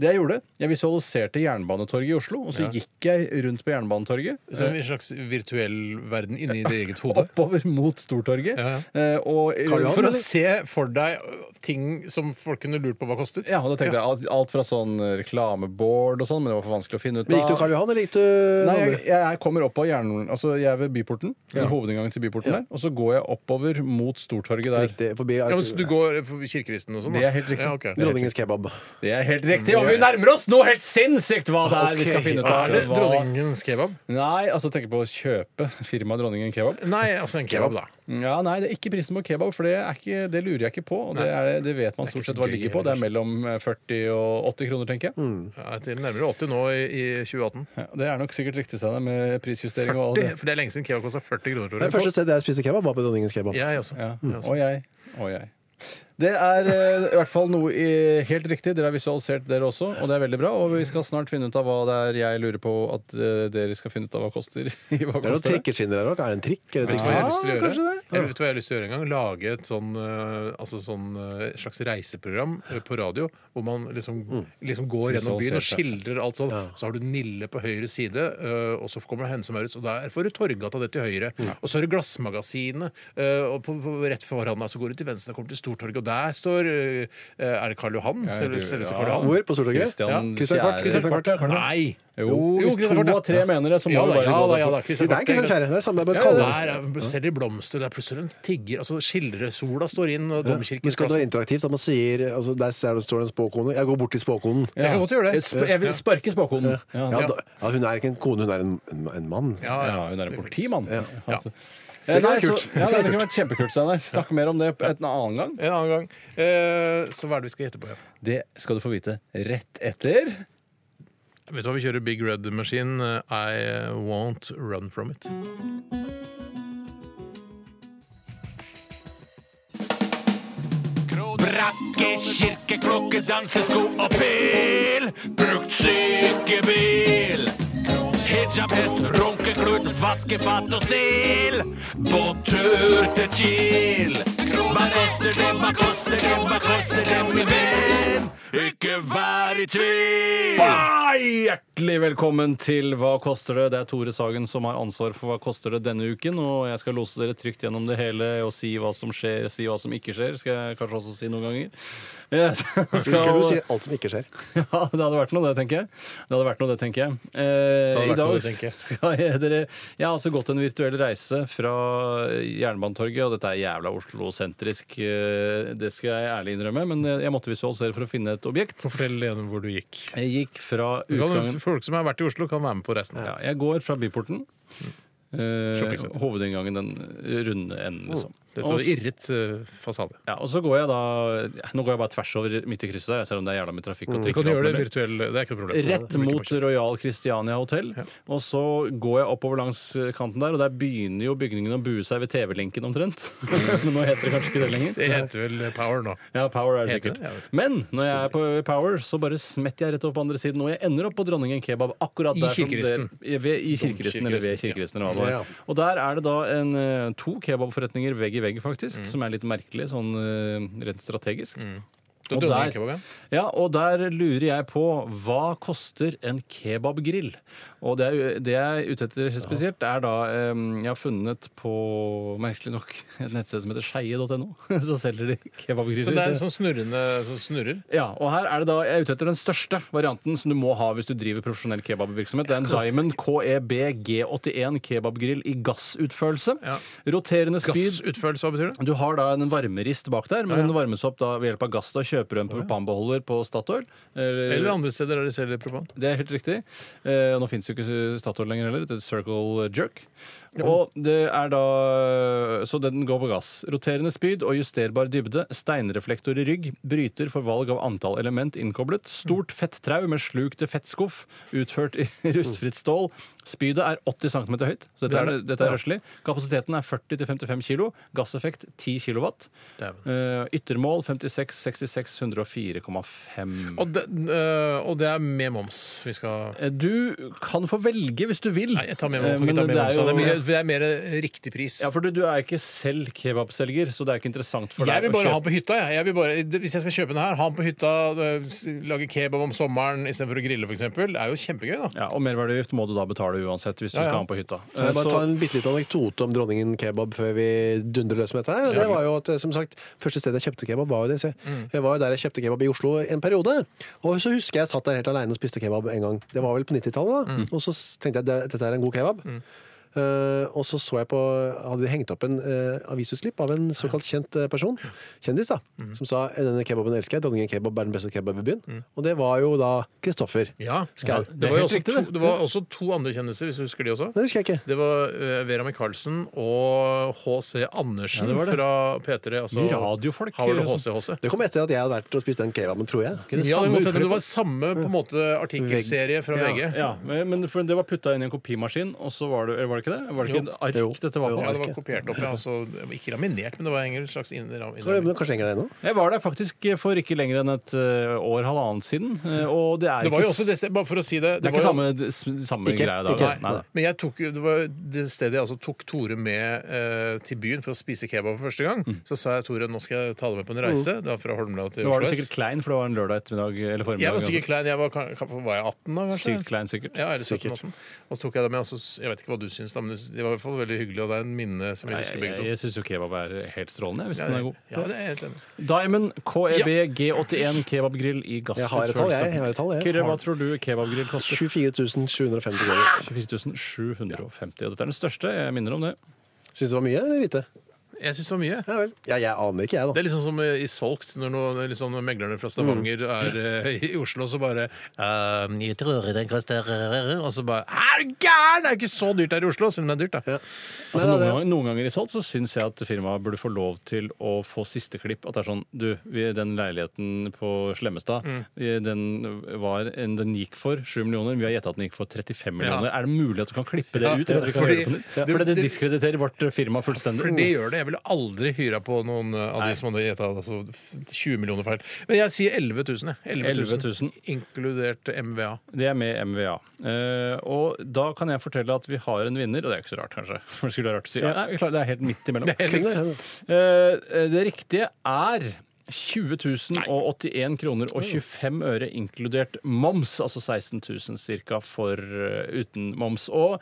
D: det jeg gjorde, jeg visualiserte Jernbanetorget i Oslo, og så gikk jeg rundt på Jernbanetorget.
C: Så en slags virtuell verden inni ditt eget hode.
D: Oppover mot Stortorget.
C: Ja,
D: eh, og,
C: For å se for deg ting som folk kunne lurt på hva koster.
D: ja, og da tenkte jeg alt- alt fra sånn reklameboard og sånn, men det var for vanskelig å finne ut
E: Men Gikk du
D: av.
E: Karl Johan, eller gikk du
D: Nei, jeg,
E: andre?
D: jeg kommer opp av Jernbanen. Altså, jeg er ved Byporten. eller Hovedinngangen til Byporten der. Og så går jeg oppover mot Stortorget der.
E: Riktig, forbi
C: Ja, men så du
E: Ark-
C: går på kirkeristen og sånn? da?
D: Det er helt riktig.
C: Ja, ok.
E: Dronningens kebab.
D: Det er helt riktig! Og vi nærmer oss noe helt sinnssykt hva det er vi skal
E: Ok,
D: finne ut
C: Er det
D: av. Hva-
C: dronningens kebab?
D: Nei, altså tenk på å kjøpe firmaet Dronningen kebab.
C: Nei, altså en kebab, da.
D: Ja, nei, det er ikke prisen på kebab, for det, er ikke, det lurer jeg ikke på. Og det, er, det vet man
C: Det er ikke
D: stort
C: så
D: sett hva
C: gøy
D: ligger på. Det er mellom eh, 40 og 80 kroner, tenker jeg.
C: Ja, til nærmere 80 nå i, i 2018.
D: Ja, det er nok sikkert riktig, Steinar, med prisjustering og alt
C: Det,
D: det.
C: for det er lenge siden kebab kosta 40 kroner.
E: Det
C: Tore.
E: første stedet jeg spiste kebab, var på Dronningens kebab.
C: Jeg også.
D: Ja.
C: Jeg også.
D: Og jeg. Og jeg. Det er eh, i hvert fall noe i, helt riktig. Dere har visualisert dere også, og det er veldig bra. Og vi skal snart finne ut av hva det er jeg lurer på at eh, dere skal finne ut av hva koster. i
E: Det er
D: hva
E: noen
D: koster det.
E: trikkeskinner her òg. Er det en trikk? Er det
C: Vet du hva jeg
E: trikk?
C: har lyst til å gjøre?
D: kanskje det.
C: Jeg vet hva jeg har lyst til å gjøre en gang? Lage et sånn, eh, altså sånn eh, slags reiseprogram eh, på radio, hvor man liksom, liksom går gjennom byen og skildrer alt sånn. Så har du Nille på høyre side, eh, og så kommer det Hennes og Maurits, og der får du Torgata det til høyre. Og så har du Glassmagasinet, eh, og på, på, rett foran deg så går du til venstre og kommer til Stortorget, og der står eh, Er det Karl Johan? Selv- Selveste Karl Johan?
E: Hvor? På Stortorget?
D: Christian
C: Ja.
E: Kristian Kvart?
D: Kjære-
E: Kristian Kvart, ja.
C: Nei!
D: Jo, hvis
C: Christian
D: to
C: Kvart, ja.
D: av tre mener det, så må
C: ja,
D: vi
C: da,
D: bare
C: ja,
D: gå
C: da,
D: der
C: ja,
D: for-
C: da,
E: Det
C: Christian
E: er
C: Kvart,
E: ikke sånn kjære. Det er samme, bare
C: Ja,
E: kall det
C: der er- selger de blomster, det er plutselig en tigger altså Skildresola står inn, og
E: Men
C: domkirkens
E: skal det
C: plass
E: være interaktivt? At man sier altså, Der ser du står en spåkone. Jeg går bort til spåkonen. Ja,
C: Jeg kan godt gjøre det.
D: Jeg sp- Jeg vil sparke spåkonen. Ja, ja.
E: da, ja, hun er ikke en kone, hun er en, en, en mann.
D: hun er en politimann. Ja. Eh,
E: Det kan
D: Nei,
E: være
D: så,
E: kult.
D: ja, det kunne vært kjempekult. Steinar. Snakke mer om det en annen gang.
C: En annen gang. Eh, så hva er det vi skal gjette på? Ja?
D: Det skal du få vite rett etter.
C: Vet du hva vi kjører Big Red Machine? eh, I won't run from it.
I: Brakke, kirke, klokke, dansesko og pil. Brukt sykebil. Hijab, hest, runkeklut, vaskefat og stil. Båttur til Kiel. Hva koster det, hva koster det, hva koster det, min venn? Ikke vær i tvil.
D: Hjertelig velkommen til Hva koster det? Det er Tore Sagen som har ansvar for Hva koster det denne uken. Og jeg skal lose dere trygt gjennom det hele og si hva som skjer, si hva som ikke skjer. Skal jeg kanskje også si noen ganger. Jeg
E: Skal
D: Skal,
E: du sier alt som ikke skjer.
D: ja, det hadde vært noe, det, tenker jeg. Det hadde vært noe, det, tenker jeg. Eh,
C: hadde
D: I
C: vært
D: dag
C: noe, det, tenker jeg.
D: skal jeg dere Jeg har altså gått en virtuell reise fra Jernbanetorget, og dette er jævla Oslo-sentrisk, eh, det skal jeg ærlig innrømme, men jeg jeg måtte visualisere for å finne et objekt.
C: Så fortell igjen hvor du gikk.
D: Jeg gikk fra
C: Du Kan,
D: utgangen
C: folk som har vært i Oslo, kan være med på reisen.
D: ja, Jeg går fra Byporten.
C: Mm.
D: Eh,
C: Shoppingsenter.
D: hovedinngangen, den runde enden,
C: Oh.
D: liksom.
C: Det står
D: Og
C: irret eh, fasade.
D: ja, og så går jeg da Nå går jeg bare tvers over midt i krysset, der, selv om det er jævla mye trafikk. og
C: Du Mm. kan
D: trikker og alt
C: gjøre det
D: mulig.
C: virtuell, det er ikke noe problem.
D: Rett mot Royal Christiania Hotel. Og så går jeg oppover langs eh, kanten der, og der begynner jo bygningen å bue seg ved TV-linken omtrent. Men nå heter det kanskje ikke det lenger.
C: Det heter vel Power nå.
D: Ja, Power er det
C: Heter det?
D: sikkert.
C: Jeg vet ikke.
D: Men når jeg er på Power, så bare smetter jeg rett opp på andre siden, og jeg ender opp på Dronningen kebab akkurat
C: I
D: der. som
C: kirkeristen.
D: det- ved- I kirkeristen, eller ved kirkeristen. Eller hva det var. Og der er det da en, eh, to kebabforretninger vegg i vegg,
C: Mm.
D: faktisk, som er litt merkelig sånn eh, rent strategisk.
C: Da
D: Og
C: døde
D: der-
C: en Mm. kebab igjen.
D: ja, og der lurer jeg på hva koster en kebabgrill? Og det, er, det jeg er ute etter helt spesielt, er da eh, Jeg har funnet på, merkelig nok, et nettsted som heter skeie.no. Så selger de kebabgriller.
C: Så det er en sånn snurrende som snurrer.
D: Ja, og her er det da, Jeg er ute etter den største varianten som du må ha hvis du driver profesjonell kebabvirksomhet. Det er en Diamond E KEB G81 kebabgrill i gassutførelse.
C: Ja.
D: Roterende speed.
C: Gassutførelse, hva betyr det?
D: Du har da en varmerist bak der, men den varmes opp da ved hjelp av gass. Da kjøper du en propanbeholder på Statoil.
C: Eller andre steder der de selger propan.
D: Det er helt riktig. Eh, nå fins jo ikke Statoil lenger heller. Det er Circle Jerk. Og det er da Så den går på gass. Roterende spyd og justerbar dybde. Steinreflektor i rygg. Bryter for valg av antall element innkoblet. Stort fettrau med sluk til fettskuff. Utført i rustfritt stål. Spydet er 80 cm høyt, så dette er, dette er røslig. Kapasiteten er 40-55 kg. Gasseffekt 10 kW. Eh, yttermål 56 66 104,5.
C: Og det, øh, og det er med moms vi skal
D: Eh, Du kan få velge hvis du vil.
C: Nei, jeg tar med
D: Eh,
C: moms.
D: men
C: Jeg tar med
D: det
C: moms. Det,
D: er
C: er mer,
D: jo-
C: det er mer riktig pris.
D: Ja, for du, du er ikke selv kebabselger, så det er ikke interessant for
C: Jeg
D: deg
C: vil bare ha den på hytta. Jeg. Jeg vil bare, det- hvis jeg skal kjøpe den her, ha den på hytta, øh, s- lage kebab om sommeren istedenfor å grille, f.eks. Det er jo kjempegøy, da.
D: ja, Og merverdiavgift må du da betale uansett hvis du
C: ja.
D: skal ha den på hytta.
E: Kan
D: Eh,
E: jeg bare
D: så-
E: ta en bitte liten anekdote om dronningen kebab før vi dundrer løs med dette her. Og Det var jo at, eh, som sagt, Første stedet jeg kjøpte kebab, var jo det. Så
D: Mm.
E: jeg var jo der jeg kjøpte kebab i Oslo en periode. Og så husker jeg jeg satt der helt alene og spiste kebab en gang. Det var vel på 90-tallet. da.
D: Mm.
E: Og så tenkte jeg at dette er en god kebab. Eh, og så så jeg på hadde de hengt opp en eh, avisutklipp av en såkalt kjent eh, person, kjendis, da,
D: Mm.
E: som sa "Eh, denne kebaben elsker jeg, dronningen kebab er den beste kebab i byen. Og det var jo da Kristoffer.
C: Ja.
E: Skau.
C: Det, var jo også
D: helt riktig,
C: to, det var også to andre kjendiser, hvis du husker de også.
E: Det husker jeg ikke.
C: Det var øh, Vera Michaelsen og HC Andersen
D: Ja, det var det.
C: fra P3. Altså,
D: Mye radiofolk,
C: Har vel
D: liksom.
C: HC, HC.
E: Det kom etter at jeg hadde vært og spist den kebaben, tror jeg.
D: det
C: Ja, det,
D: samme
C: måtte, det
D: utklippet.
C: var samme på en måte artikkelserie fra
E: Ja.
C: VG.
D: ja, men for Det var putta inn i en kopimaskin, og så var det, eller var det var det ikke det? Var det ikke
C: Jo.
D: et ark
E: Jo.
D: dette var
E: Jo,
D: på?
C: Ja, det var kopiert opp, ja. Altså, det var ikke laminert, men det var en slags innram-
E: Så jobber
C: innramming.
E: du kanskje lenger ennå?
D: Jeg var der faktisk for ikke lenger enn et eh, år, halvannet siden. eh, Og det er
C: Det var jo
D: ikke,
C: også det stedet, bare for å si det
D: det er
C: var
D: ikke
C: jo-
D: samme, s- samme
E: Ikke-
D: greia da.
E: ikke-
D: nei, nei.
C: Men jeg tok, jo- det var det stedet jeg altså tok Tore med eh, til byen for å spise kebab for første gang. Så sa jeg Tore, nå skal jeg ta deg med på en reise. Det var fra Holmdal til
D: Nå Mm. var du
C: Oslo S.
D: sikkert klein, for det var en lørdag ettermiddag eller formiddag.
C: Jeg var
D: altså.
C: sikkert klein. Jeg var, kan- kan- var jeg 18 da, kanskje?
D: Sykt klein, sikkert.
C: Ja, eller
E: Sikkert.
C: 17-18. Og så tok jeg det med. Og så, s- jeg vet ikke hva du syns, da, men det var i hvert fall veldig hyggelig, og det er en minne som vi
D: Nei,
C: husker
D: jeg
E: sånn.
C: begge to.
D: jeg syns jo kebab er helt strålende, jeg, hvis den er god.
C: Ja, det er jeg helt enig. i.
D: Diamond E KEB G81 kebabgrill i gassutførelse.
E: Jeg har et tall, jeg. Jeg har et tall, jeg.
D: Kyrre, hva tror du kebabgrill koster?
E: 24 750 kroner.
D: 24 750. Og dette er den største, jeg minner om det.
E: Syns du det var mye eller lite?
C: Jeg syns det var mye.
E: Ja vel. Ja, jeg aner ikke,
C: Det
E: jeg, da.
C: er liksom som eh, i Solgt, når noen, det er liksom når meglerne fra Stavanger er eh, i Oslo, så bare «Ehm, jeg tror den koster eh, Og så bare Er du gæren! Det er jo ikke så dyrt her i Oslo! Selv om det er dyrt, da.
E: Nei,
D: Altså, noen,
E: det er
D: ganger, noen ganger i Salt så syns jeg at firmaet burde få lov til å få siste klipp. At det er sånn Du, vi, den leiligheten på Slemmestad,
E: Mm.
D: vi, den, var en, den gikk for 7 millioner. Vi har gjetta at den gikk for 35 millioner. Er det mulig at du kan klippe det
C: Ja,
D: ut? eller at vi kan
C: fordi-
D: høre på nytt? Fordi det diskrediterer vårt eh, firma fullstendig.
C: For det gjør det. Jeg ville aldri hyra på noen eh, av
D: Nei.
C: de som hadde gjetta altså, f- 20 millioner feil. Men jeg sier 11 000, jeg. 11 000.
D: 11 000.
C: Inkludert MVA.
D: Det er med MVA. Eh, og da kan jeg fortelle at vi har en vinner, og det er ikke så rart, kanskje. For det skulle være rart å si. Nei, vi klarer, det er helt midt imellom.
C: Det er helt likt.
D: Eh, det riktige er 20 081 kroner og 25 øre inkludert moms, altså 16 000 cirka for eh, uten moms. Og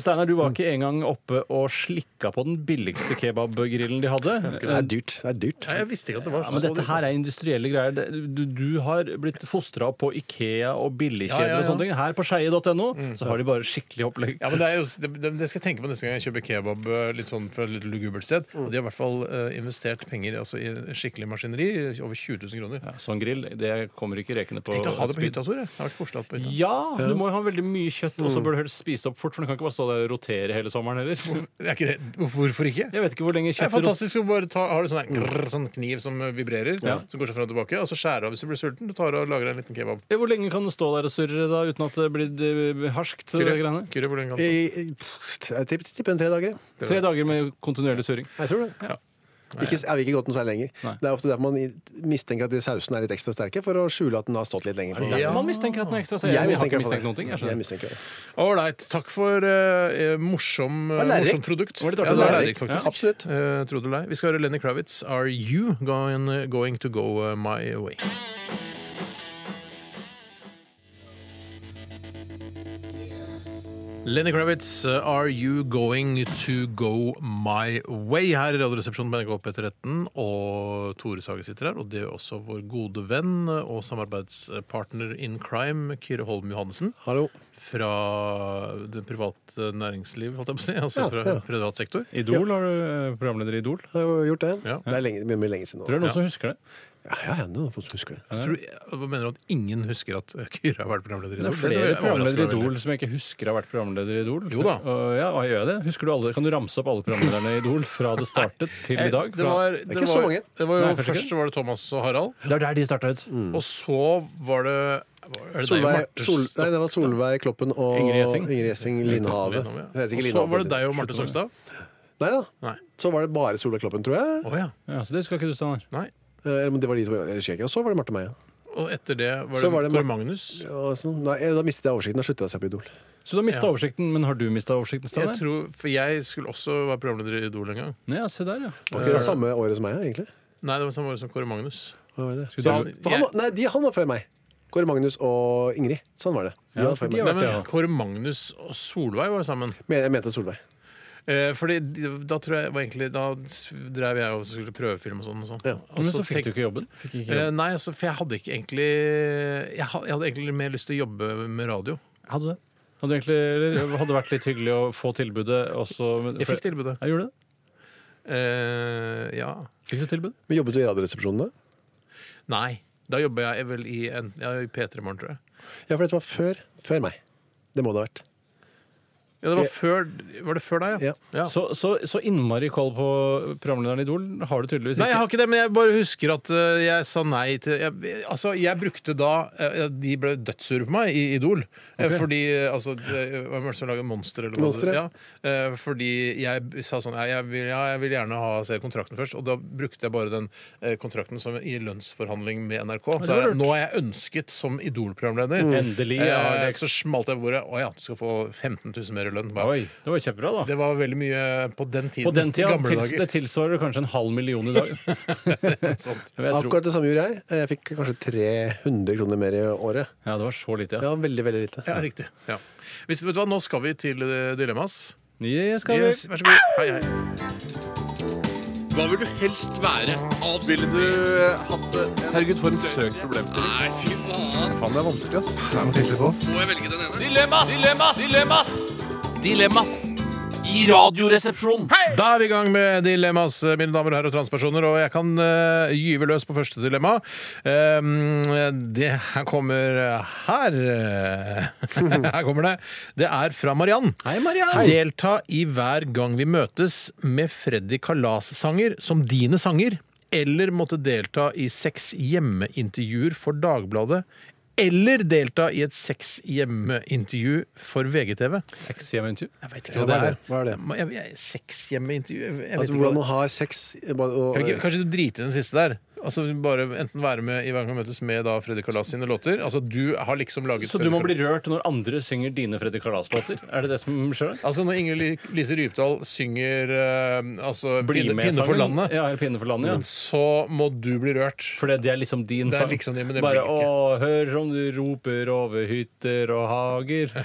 D: Steinar, du var ikke engang oppe og slikka på den billigste kebabgrillen de hadde.
E: Det er dyrt. Det er dyrt.
C: Nei, jeg visste ikke at det var
D: Ja, men dette her er industrielle greier. Det- Du, du har blitt fostra opp på Ikea og billigkjeder
C: Ja, ja,
D: og
C: ja. Mm,
D: sånne ting. Her på skeie.no så har de bare skikkelig opplegg.
C: Ja, men det, er jo, det, det det skal jeg tenke på neste gang jeg kjøper kebab eh, litt sånn fra et litt lugubert sted.
D: Mm.
C: Og de har i hvert fall eh, investert penger altså, i skikkelig maskineri. Over 20 000 kroner.
D: Ja, sånn grill, det kommer ikke rekende på.
C: Tenk å ha det på
D: spyd.
C: hytta, Tore. Det har vært koselig å ha det på hytta.
D: Ja, du må jo ha veldig mye kjøtt,
C: Mm.
D: og så bør du helst spise opp fort, for du kan ikke bare stå der og rotere hele sommeren heller.
C: Det er ikke det. Hvorfor- Hvorfor ikke?
D: Jeg vet ikke hvor lenge
C: Det er
D: kjøtt
C: fantastisk å bare ta Har du sånn, her grrr, sånn kniv som vibrerer,
D: Mm. Ja.
C: som går seg fram og tilbake, og så skjærer av hvis du blir sulten. Du tar og lager deg en liten kebab.
D: Hvor lenge kan du stå der og surre da, uten at det blir eh, harskt? det greiene?
C: Kyrre, hvor lenge kan du
E: Jeg- jeg- pff, Jeg tipper tipper en tre dager. jeg.
D: Tre dager med kontinuerlig surring.
E: Jeg tror det. Ikke, jeg vil ikke gått noe særlig lenger.
D: Nei.
E: Det er ofte derfor man i- mistenker at de sausene er litt ekstra sterke, for å skjule at den har stått litt lenger. på.
D: Derfor man mistenker at den er ekstra. Så jeg,
E: Jeg
D: har ikke
E: mistenker i hvert fall
D: mistenkt noen ting.
E: det.
D: Jeg
E: Jeg
D: skjønner.
E: mistenker det.
C: Ålreit. Takk for eh, eh, morsom, eh,
E: Det var lærerikt.
C: morsomt produkt.
D: Det var litt artig.
C: Ja, det var lærerikt,
D: Lærerikt,
C: faktisk.
E: Absolutt.
C: Eh, tro det eller ei. Vi skal høre Lenny Kravitz. Are you going, going to go eh, my way? Lenny Kravitz, eh, Are You Going To Go My Way? Her i Radioresepsjonen på NRK P13. Og Tore Sagen sitter her, og det er også vår gode venn og samarbeidspartner in crime, Kyrre Holm Johannessen
E: Hallo.
C: fra det private næringsliv, holdt jeg på å si. Altså
E: Ja,
C: fra
E: ja.
C: privat sektor.
D: Idol, har du eh, programleder i Idol?
E: Jeg har jo gjort det.
C: Ja.
E: Det er lenge, mye, mye lenge siden nå.
D: Tror det er noen som husker det.
E: Ja, ja, ja, nå får du huske det.
C: Tror du, hva mener du at ingen husker at Kyrre har vært programleder i
D: Det
C: Idol?
D: er
C: Det
D: flere
C: overrasker
D: programledere i
C: meg veldig.
D: Idol som jeg ikke husker har vært programleder i Idol.
C: Jo da.
D: Øh, ja, og jeg gjør det. Husker du alle, Kan du ramse opp alle programlederne i Idol fra det startet til i dag?
C: Eh, Det
D: Fra,
C: var, det
E: ikke så
C: var,
E: mange.
C: Det var jo,
D: Nei, kanskje
C: først var det Thomas og Harald,
D: det er der de starta ut.
C: og så var det er det deg og
E: Mm. Solveig,
C: Marte
E: Sol, nei, det var Solveig Kloppen og
D: Ingrid Gjessing.
E: Ingrid Gjessing
C: Stokstad?
E: Lindhave.
C: Lindhave, ja.
E: Det heter
C: Og så
E: ikke Lindhave.
C: var det deg og Marte Stokstad?
E: Nei da.
C: Nei.
E: Så var det bare Solveig Kloppen, tror jeg.
C: Å ja.
D: Ja, så det husker ikke du, Steinar.
C: Nei.
E: Eh, Eller om det var de to, jeg husker ikke. Og så var det Marte Meia.
C: Og etter det var det,
E: Så var det
C: Kåre
E: Mar-
C: Magnus.
E: Ja, sånn. Nei, Da mistet jeg oversikten. Da slutta jeg seg på Idol.
D: Så du har mista
C: Ja.
D: oversikten, men har du mista oversikten,
C: Jeg
D: Steinar?
C: tror, for jeg skulle også være programleder i Idol en gang.
D: Ja, se der, ja.
E: Var ikke det samme året som meg, egentlig?
C: Nei, det var samme år som Kåre Magnus.
E: Hva var det?
D: Skulle
E: Så,
D: du-
E: for han, var- nei, de, han var før meg. Kåre Magnus og Ingrid. Sånn var det. De
D: Ja,
E: var
D: for
E: før
D: de
E: meg.
D: har
C: Nei,
D: vært det, ja.
C: men Kåre Magnus og Solveig var jo sammen.
E: Men jeg mente Solveig.
C: Eh, fordi de- da tror jeg var egentlig Da s- drev jeg og skulle prøvefilm og sånn. Og sånn.
E: Ja.
C: Og
D: Men
C: så
D: så fikk du
C: tenk-
D: ikke jobben. Fikk ikke
C: Eh,
D: jobben.
C: nei, altså, for jeg hadde ikke egentlig jeg, ha- jeg hadde egentlig mer lyst til å jobbe med radio.
D: Eh, Hadde det. Hadde det egentlig, eller hadde det vært litt hyggelig å få tilbudet også men-
C: Jeg
D: for-
C: fikk tilbudet.
D: Jeg gjorde det.
C: Eh, ja.
D: Fikk du tilbud?
E: Men jobbet du i Radioresepsjonen da?
C: Nei. Da jobber jeg vel i, en, ja, i P3 Morgen, tror jeg.
E: Ja, for dette var før, før meg. Det må det ha vært.
C: Ja, det var før Var det før deg, ja?
E: Ja.
C: ja.
D: Så, så, så innmari koll på programlederen Idol har du tydeligvis
C: Nei, jeg
D: ikke.
C: har ikke det, men jeg bare husker at eh, jeg sa nei til jeg, Altså, jeg brukte da eh, De ble dødssure på meg i Idol. eh, Fordi eh, altså det- Hvem var det som laga Monster? Eller hva det-
E: Monster, ja.
C: Ja, eh, fordi jeg b- sa sånn «Nei, jeg vil, ja, jeg vil gjerne ha se kontrakten først. Og da brukte jeg bare den eh, kontrakten som i lønnsforhandling med NRK. Så jeg, nå er jeg ønsket som Idol-programleder.
D: Mm. Endelig, ja,
C: Eh,
D: det-
C: Så smalt jeg på bordet. Å ja, du skal få 15 000 mer i lønn. Bare,
D: Oi, det var jo kjempebra, da.
C: Det var veldig mye på den tiden.
D: På den tida
C: gamle
D: tils,
C: dager.
D: det tilsvarer kanskje en halv million i dag.
C: Sånt.
D: Vil jeg tro.
E: Akkurat det samme gjorde jeg. Eh, Jeg fikk kanskje 300 kroner mer i året.
D: Ja, det var så lite,
E: Det
D: ja.
E: var veldig, veldig lite.
C: Ja, riktig. Ja. Hvis, vet du hva, nå skal vi til eh, dilemmas.
D: Yes, skal vi.
C: Yes, vær så god. Hei, hei.
I: Hva vil du helst være? Ville du eh, hatt det? Herregud, for en søk problemstilling. Nei, fy faen. Faen, det er vanskelig, ass. Må jeg velge den ene?
J: Dilemmas, dilemmas, dilemmas! Dilemmas i Radioresepsjonen.
C: Da er vi i gang med dilemmas, eh, mine damer og herrer og transpersoner. Og jeg kan eh, gyve løs på første dilemma. Ehm, det her kommer eh, her. eh, her kommer det. Det er fra Mariann.
D: Hei, Mariann.
C: Delta i Hver gang vi møtes med Freddy Kalas-sanger som dine sanger. Eller måtte delta i seks hjemmeintervjuer for Dagbladet. Eller delta i et seks hjemmeintervju for VGTV.
D: Seks hjemmeintervju.
C: Jeg veit ikke
E: Ja,
C: hva det
E: hva er
C: er.
E: det? Hva er det?
C: Jeg- jeg- Seks hjemmeintervju? Jeg vet ikke
E: Altså,
C: hva
E: hvordan
C: det-
E: man har sex eh, bare- og,
C: kan vi ikke, kanskje du driter i den siste der? Altså bare Enten være med i Hver gang vi møtes med da Freddy Kalas sine låter. Altså Du har liksom laget
D: Så du
C: Freddy
D: må
C: Kalas-
D: bli rørt når andre synger dine Freddy Kalas-låter? Er det det som skjer?
C: Altså Når Inger Lise Rypdal synger eh, altså,
D: Bli
C: pinne,
D: med
C: pinne for
D: sangen.
C: landet,
D: Ja, eller Pinne for landet, ja.
C: så må du bli rørt.
D: For det, det er liksom din
C: Det er
D: sang.
C: liksom din, men det
D: Bare
C: blir ikke.
D: å, hør om du roper over hytter og hager.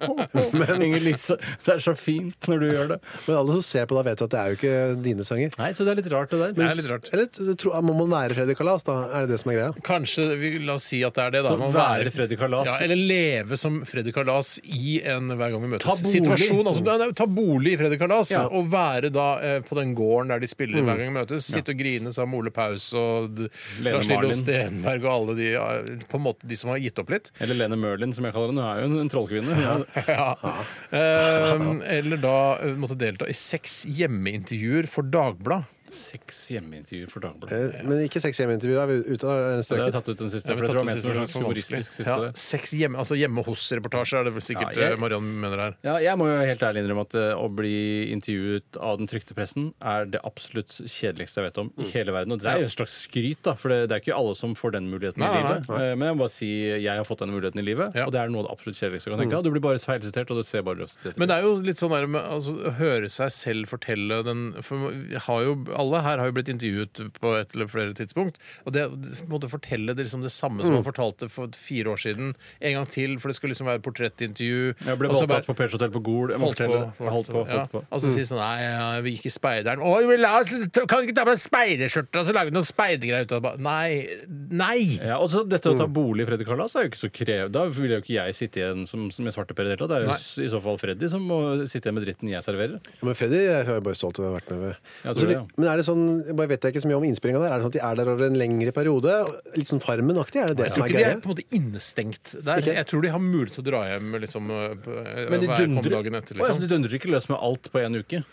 D: Inger-Lise, det er så fint når du gjør det.
E: Men alle som ser på da, vet jo at det er jo ikke dine sanger.
D: Nei, så det er litt rart, det der.
C: Det er litt rart.
E: Eller t- tro, må man være Freddy Kalas, da? Er det det som er greia?
C: Kanskje vi, La oss si at det er det, da.
D: Så
C: Man må
D: sånn være Freddy Kalas.
C: Ja, eller leve som Freddy Kalas i en Hver gang vi møtes.
D: Ta bolig.
C: Situasjon, altså, nei, nei, ta bolig i Freddy Kalas, og være da eh, på den gården der de
D: Mm.
C: spiller Hver gang vi møtes. Sitte og grine sammen med Ole Paus og d-
D: Lene
C: Lars Lillo
D: Marlin.
C: Stenberg og alle de, eh, på en måte, de som har gitt opp litt.
D: Eller Lene Mørlin, som jeg kaller henne. Hun er jo en, en trollkvinne.
C: Ja. Eh, eller da eh, måtte delta i seks hjemmeintervjuer for Dagbladet.
D: Seks hjemmeintervjuer for Dagbladet.
E: Eh, Men ikke seks hjemmeintervju. Er vi ute av en
D: Det har jeg
E: strøket?
D: tatt ut den siste.
C: Ja,
D: for
C: vi
D: det tror jeg
C: tatt
D: mente
C: det
D: var en
C: siste, for
D: slags
C: det
D: humoristisk
C: var vanskelig.
D: siste.
C: Ja, seks hjemme, altså hjemme hos-reportasjer er det vel sikkert
D: Ja, jeg-
C: eh, Mariann mener her.
D: Ja, jeg må jo helt ærlig innrømme at eh, å bli intervjuet av den trykte pressen er det absolutt kjedeligste jeg vet om
C: Mm.
D: i hele verden. Og det er jo et slags skryt, da, for det, det er ikke alle som får den muligheten
C: Nei,
D: i
C: nei,
D: livet. Eh, Men jeg må bare si jeg har fått den muligheten i livet,
C: Ja. Mm.
D: og det er noe av det absolutt kjedeligste jeg kan tenke. meg. Du blir bare feilsitert, og det ser bare røft ut.
C: Men det er jo litt sånn der med altså, å høre seg selv fortelle den for vi har jo, Alle her har jo blitt intervjuet på et eller flere tidspunkt. Og det på en måte fortelle det, liksom det samme som man
D: Mm.
C: fortalte for fire år siden, en gang til, for det skulle liksom være portrettintervju.
D: Jeg ble
C: og så
D: voldtatt på Pers Hotel på Gol. Jeg må
C: Holdt på,
D: fortelle det. Holdt på.
C: ja.
D: Holdt på. Mm.
C: Og så si sånn Nei, ja, vi gikk i speideren. Å, men la oss, kan du ikke ta på deg speiderskjørte og så lage noen speidergreier ut av det? Bare, Nei! Nei!
D: Ja, og så Dette å ta
C: Mm.
D: bolig i Freddy Kalas er jo ikke så krevende. Da vil jo ikke jeg sitte igjen som, som en svarte per i det hele tatt. Det er jo
C: Nei.
D: s- i så fall Freddy som må sitte igjen med dritten jeg serverer.
E: Ja, Men Freddy jeg er jo bare stolt over å ha vært med. ved.
D: Jeg tror
E: Altså, vi-
D: det, ja.
E: Men er det sånn, jeg bare vet jeg ikke så mye om innspillinga der. Er det sånn at de er der over en lengre periode? Litt sånn Farmen-aktig? Er det det
C: Jeg
E: som
C: tror
E: er
C: ikke de er
E: greia?
C: på en måte innestengt der.
E: Ikke?
C: Jeg tror de har mulighet til å dra hjem liksom, på-
D: Men de
C: være- komme
D: dundrer,
C: dagen etter.
D: Å, ja, så
C: Liksom.
D: de dundrer ikke løs med alt på én uke?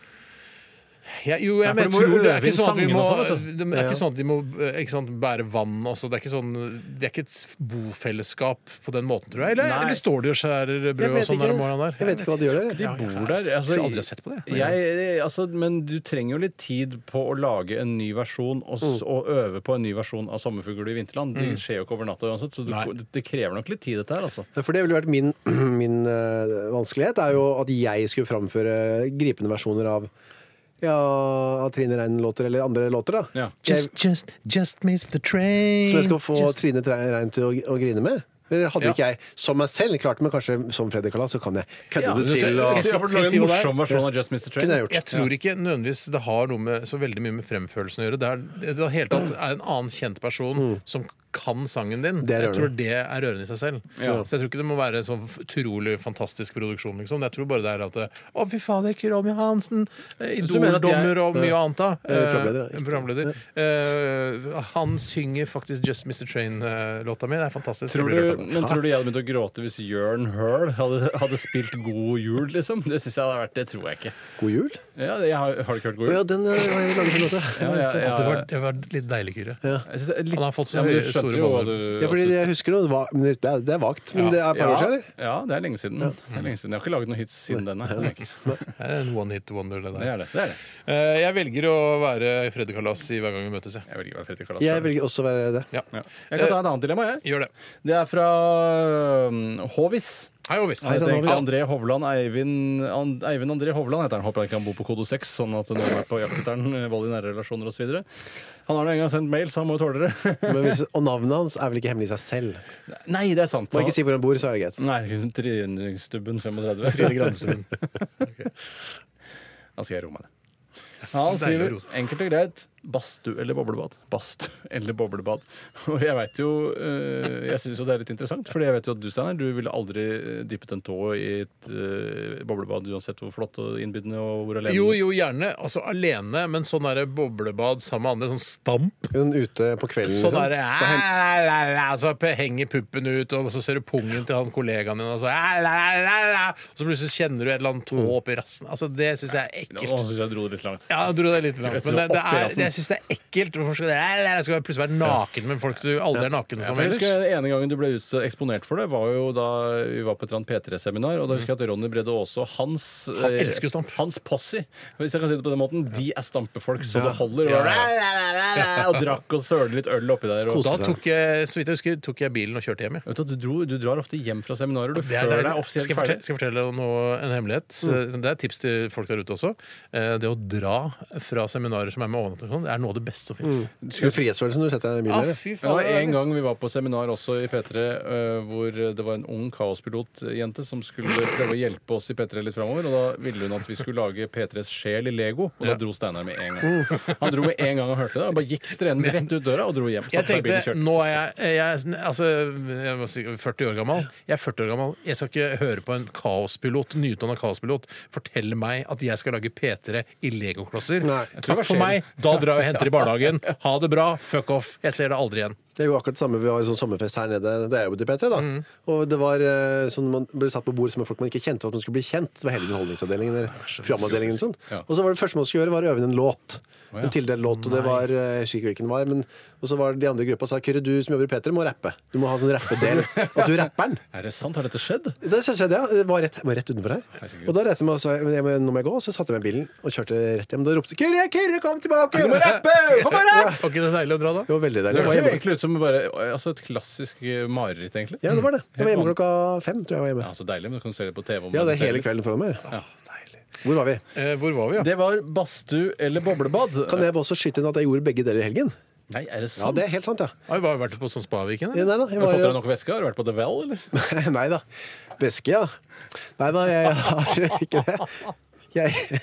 C: Ja, jo, jeg
D: Nei,
C: mener,
D: for de må jo
C: tror det er
D: øve
C: ikke
D: inn
C: sånn at vi
D: sangene
C: må
D: og sånn, vet
C: Det er ikke sånn at de må eh, ikke sant, bære vann også. Det er ikke, sånn, det er ikke et bofellesskap på den måten, tror jeg. Eller,
D: Nei.
C: eller står de og skjærer
E: Jeg
C: brød og
E: vet
C: sånn der om
E: ikke,
C: morgenen der?
E: jeg vet ikke hva de gjør der.
D: De
C: jeg
D: bor
C: har-
D: der. Altså,
C: jeg tror aldri Altså, jeg har sett på det.
D: jeg- altså, men du trenger jo litt tid på å lage en ny versjon og,
C: Mm.
D: s- og øve på en ny versjon av 'Sommerfugler i vinterland'. Det skjer jo ikke over natta uansett, så du, det, det krever nok litt tid, dette her. altså.
E: Ja, For det ville vært min, min eh, vanskelighet, er jo at jeg skulle framføre gripende versjoner av ja, av Trine Rein-låter eller andre låter, da.
D: Ja.
E: Jeg,
C: Just, just, just miss the train.
E: som jeg skal få Trine Tre- Rein til å, å grine med. Det hadde
C: Ja.
E: ikke jeg som meg selv klart, men kanskje som Freddy Kalas, så kan jeg kødde
D: Ja,
E: det til.
C: skal
E: Og,
C: jeg si-
D: Ja, for å
C: skal jeg
D: lage
C: si
D: en
C: hva det er?
D: morsom versjon av Just Mr. Train.
E: kunne jeg gjort.
C: Jeg tror ikke nødvendigvis det har noe med, så veldig mye med fremførelsen å gjøre. Det er det er i det hele tatt er en annen kjent person som kan sangen din.
E: Mm. Det er
C: Jeg tror
E: rørende.
C: det er rørende i seg selv.
E: Ja.
C: Så jeg tror ikke det må være sånn utrolig fantastisk produksjon, liksom. Jeg tror bare det er at det- Å, fy fader, Kyrolm Johansen! eh,
D: du mener at jeg-
C: Idol-dommer og mye annet, da.
E: Eh, programleder,
C: Eh,
E: ikke-
C: programleder. Eh, han synger faktisk Just Mr. Train-låta mi. Det er fantastisk. Jeg
D: Tror
C: blir rørt
D: du,
C: av det.
D: men tror du jeg hadde begynt å gråte hvis Jørn Høl hadde, hadde spilt God jul, liksom? Det synes jeg hadde vært, det tror jeg ikke.
E: God jul?
D: Ja, det- jeg har, har du ikke hørt
E: Å
D: God jul?
E: ja, den eh, har jeg laget en låt til.
D: Ja, ja, ja.
C: det, var, det var litt deilig, Kyrre.
D: Jeg synes det er litt-
C: Han har fått så
D: Ja, men du
C: høye,
D: skjønte
C: store
D: jo hva
C: baller.
D: du-
E: Ja, fordi jeg husker det, det, var, men det, er, det er vagt. Men det er et par år siden, eller?
D: Ja, det er lenge siden. Det er lenge siden. Jeg har ikke laget noen hits siden den. nei. Det er ikke-
C: Det er en one hit wonder, det der.
D: Det er det. det, er det.
C: Eh, jeg velger å være Freddy Kalas i Hver gang vi møtes, jeg.
D: Jeg velger å være Fredrik Kalas.
E: Jeg velger også å være det.
C: Ja.
D: Ja. Jeg kan ta et annet dilemma, jeg.
C: Gjør det.
D: Det er fra um, Håvis.
C: Hei, Ovis.
E: Hei, sann,
D: Det er
E: Håvis.
D: André Hovland, Eivind, An- Eivind André Hovland heter han. Håper han ikke han bor på kode 6, sånn at når han er på jakt etter han, eh, vold i nære relasjoner og så videre Han har nå engang sendt mail, så han må jo tåle det.
E: Men hvis, og navnet hans er vel ikke hemmelig i seg selv?
D: Nei, det er sant.
E: Må ikke si hvor han bor, så er det greit.
D: Nei, Trynestubben 35.
E: Fride Grandestuen.
D: Da skal jeg roe meg ned. Han
C: Deilig å
D: skriver
C: roe seg.
D: enkelt og greit badstue eller boblebad. Badstue eller boblebad. Og jeg vet jo eh, Jeg syns jo det er litt interessant, Fordi jeg vet jo at du, Steinar, du ville aldri eh, dyppet en tå i et eh, boblebad uansett hvor flott og innbydende og hvor alene
C: Jo, jo, gjerne. Altså alene, men sånn derre boblebad sammen med andre. Sånn stamp.
E: Hun ute på kvelden,
C: Sånn
E: liksom.
C: derre "Æ, la, la, la", Så pe- henger puppen ut, og så ser du pungen til han kollegaen din, og så "Æ, la, la, la", og så plutselig kjenner du et eller annet tå oppi rassen. Altså, det syns jeg er
D: Nå altså.
C: ekkelt.
D: syns jeg dro det litt langt.
C: Ja, jeg dro det litt langt, men det, det er, jeg syns det er ekkelt. Hvorfor skal det, "Æ, la, la", jeg skal plutselig være naken med folk du aldri er naken som
D: Jeg
C: ellers?
D: husker Den ene gangen du ble ut- eksponert for det, var jo da vi var på et eller annet P3-seminar. Og da husker jeg at Ronny Brede Aase og hans
C: Han
D: eh,
C: elsker stamp.
D: Hans posse, hvis jeg kan si det på den måten, de er stampefolk så det holder.
C: Ja,
D: Og, og drakk og sølte litt øl oppi der. Og,
C: Da tok jeg, så vidt jeg husker, tok jeg bilen og kjørte hjem. jeg.
D: Vet du, at du, dro, du drar ofte hjem fra seminarer du,
C: Det er
D: før det
C: deilig.
D: er offisielt
C: skal, jeg fortelle,
D: ferdig. Mm.
C: skal jeg fortelle noe, en hemmelighet? Det er et tips til folk der ute også. Eh, Det å dra fra seminarer som er med overnatting, og sånn, det er noe av det beste som
D: Mm.
C: fins.
E: Den frihetsfølelsen du setter deg i bilen
C: Ah,
E: der.
C: fy
D: Ja,
C: faen,
D: det var en gang vi var på seminar også i P3, eh, hvor det var en ung kaospilotjente som skulle prøve å hjelpe oss i P3 litt framover. Og da ville hun at vi skulle lage P3s sjel i Lego, og da dro Steinar med en gang.
E: Uh.
D: Han dro med en gang og hørte det, og bare gikk strenende rett ut døra og dro hjem.
C: Jeg
D: Satte seg i bilen og
C: tenkte,
D: kjørte.
C: nå er jeg, jeg altså, jeg var sikkert 40 år gammel. Jeg er 40 år gammel. Jeg skal ikke høre på en kaospilot, nyutdanna kaospilot fortelle meg at jeg skal lage P3 i legoklosser.
E: Nei.
C: Takk for meg. Da drar jeg og henter i barnehagen. Ha det bra. Fuck off. Jeg ser det aldri igjen.
E: Det er jo akkurat det samme, Vi har jo sånn sommerfest her nede. Det er jo til P3, da. Og det var eh, sånn Man ble satt på bord som folk man ikke kjente for at man skulle bli kjent. Det var hele underholdningsavdelingen eller programavdelingen. og Sånn.
D: Ja.
E: Og så var det første man skulle gjøre, var å øve inn en låt. En tildelt låt. Og det var, eh, jeg husker ikke hvilken det var, men og så var de andre i gruppa og sa Kyrre, du som jobber i P3, må rappe. Du må ha sånn rappedel. At du rapper den.
D: Er det sant? Har dette skjedd?
E: Da synes jeg det, ja. det var rett, var rett utenfor her. Og da reiste jeg meg og sa "Men jeg må, nå må jeg gå, og så satte jeg meg i bilen og kjørte rett hjem. Da ropte Kyrre, Kyrre, kom tilbake! Du må rappe! Kom og rapp!
C: Var ikke det deilig å dra da?
E: Det var veldig
D: Det
E: deilig. Jeg var
D: høres jo
E: hjemme-
D: egentlig ut som bare, altså et klassisk eh, mareritt, egentlig.
E: Ja, det var det. Jeg var hjemme klokka fem, tror jeg. jeg var hjemme.
D: Ja, Så deilig, men du kan se det på TV. om
E: Ja,
D: du
E: det er
D: ser
E: hele
D: litt.
E: kvelden foran meg. Hvor var vi?
C: Eh, Hvor var vi, ja?
D: Det var badstue eller boblebad.
E: Kan jeg også skyte inn at jeg gjorde begge deler i helgen?
D: Nei, er det
E: Ja,
D: sant?
E: det er helt sant, ja.
C: Har vi bare vært på sånn Spaviken?
E: Nei
C: eller?
E: da. Jeg
D: Har du fått deg
E: var,
D: nok væske? Har du vært på The Well, eller?
E: nei da. Væske, ja. Nei da, jeg har ikke det. Jeg,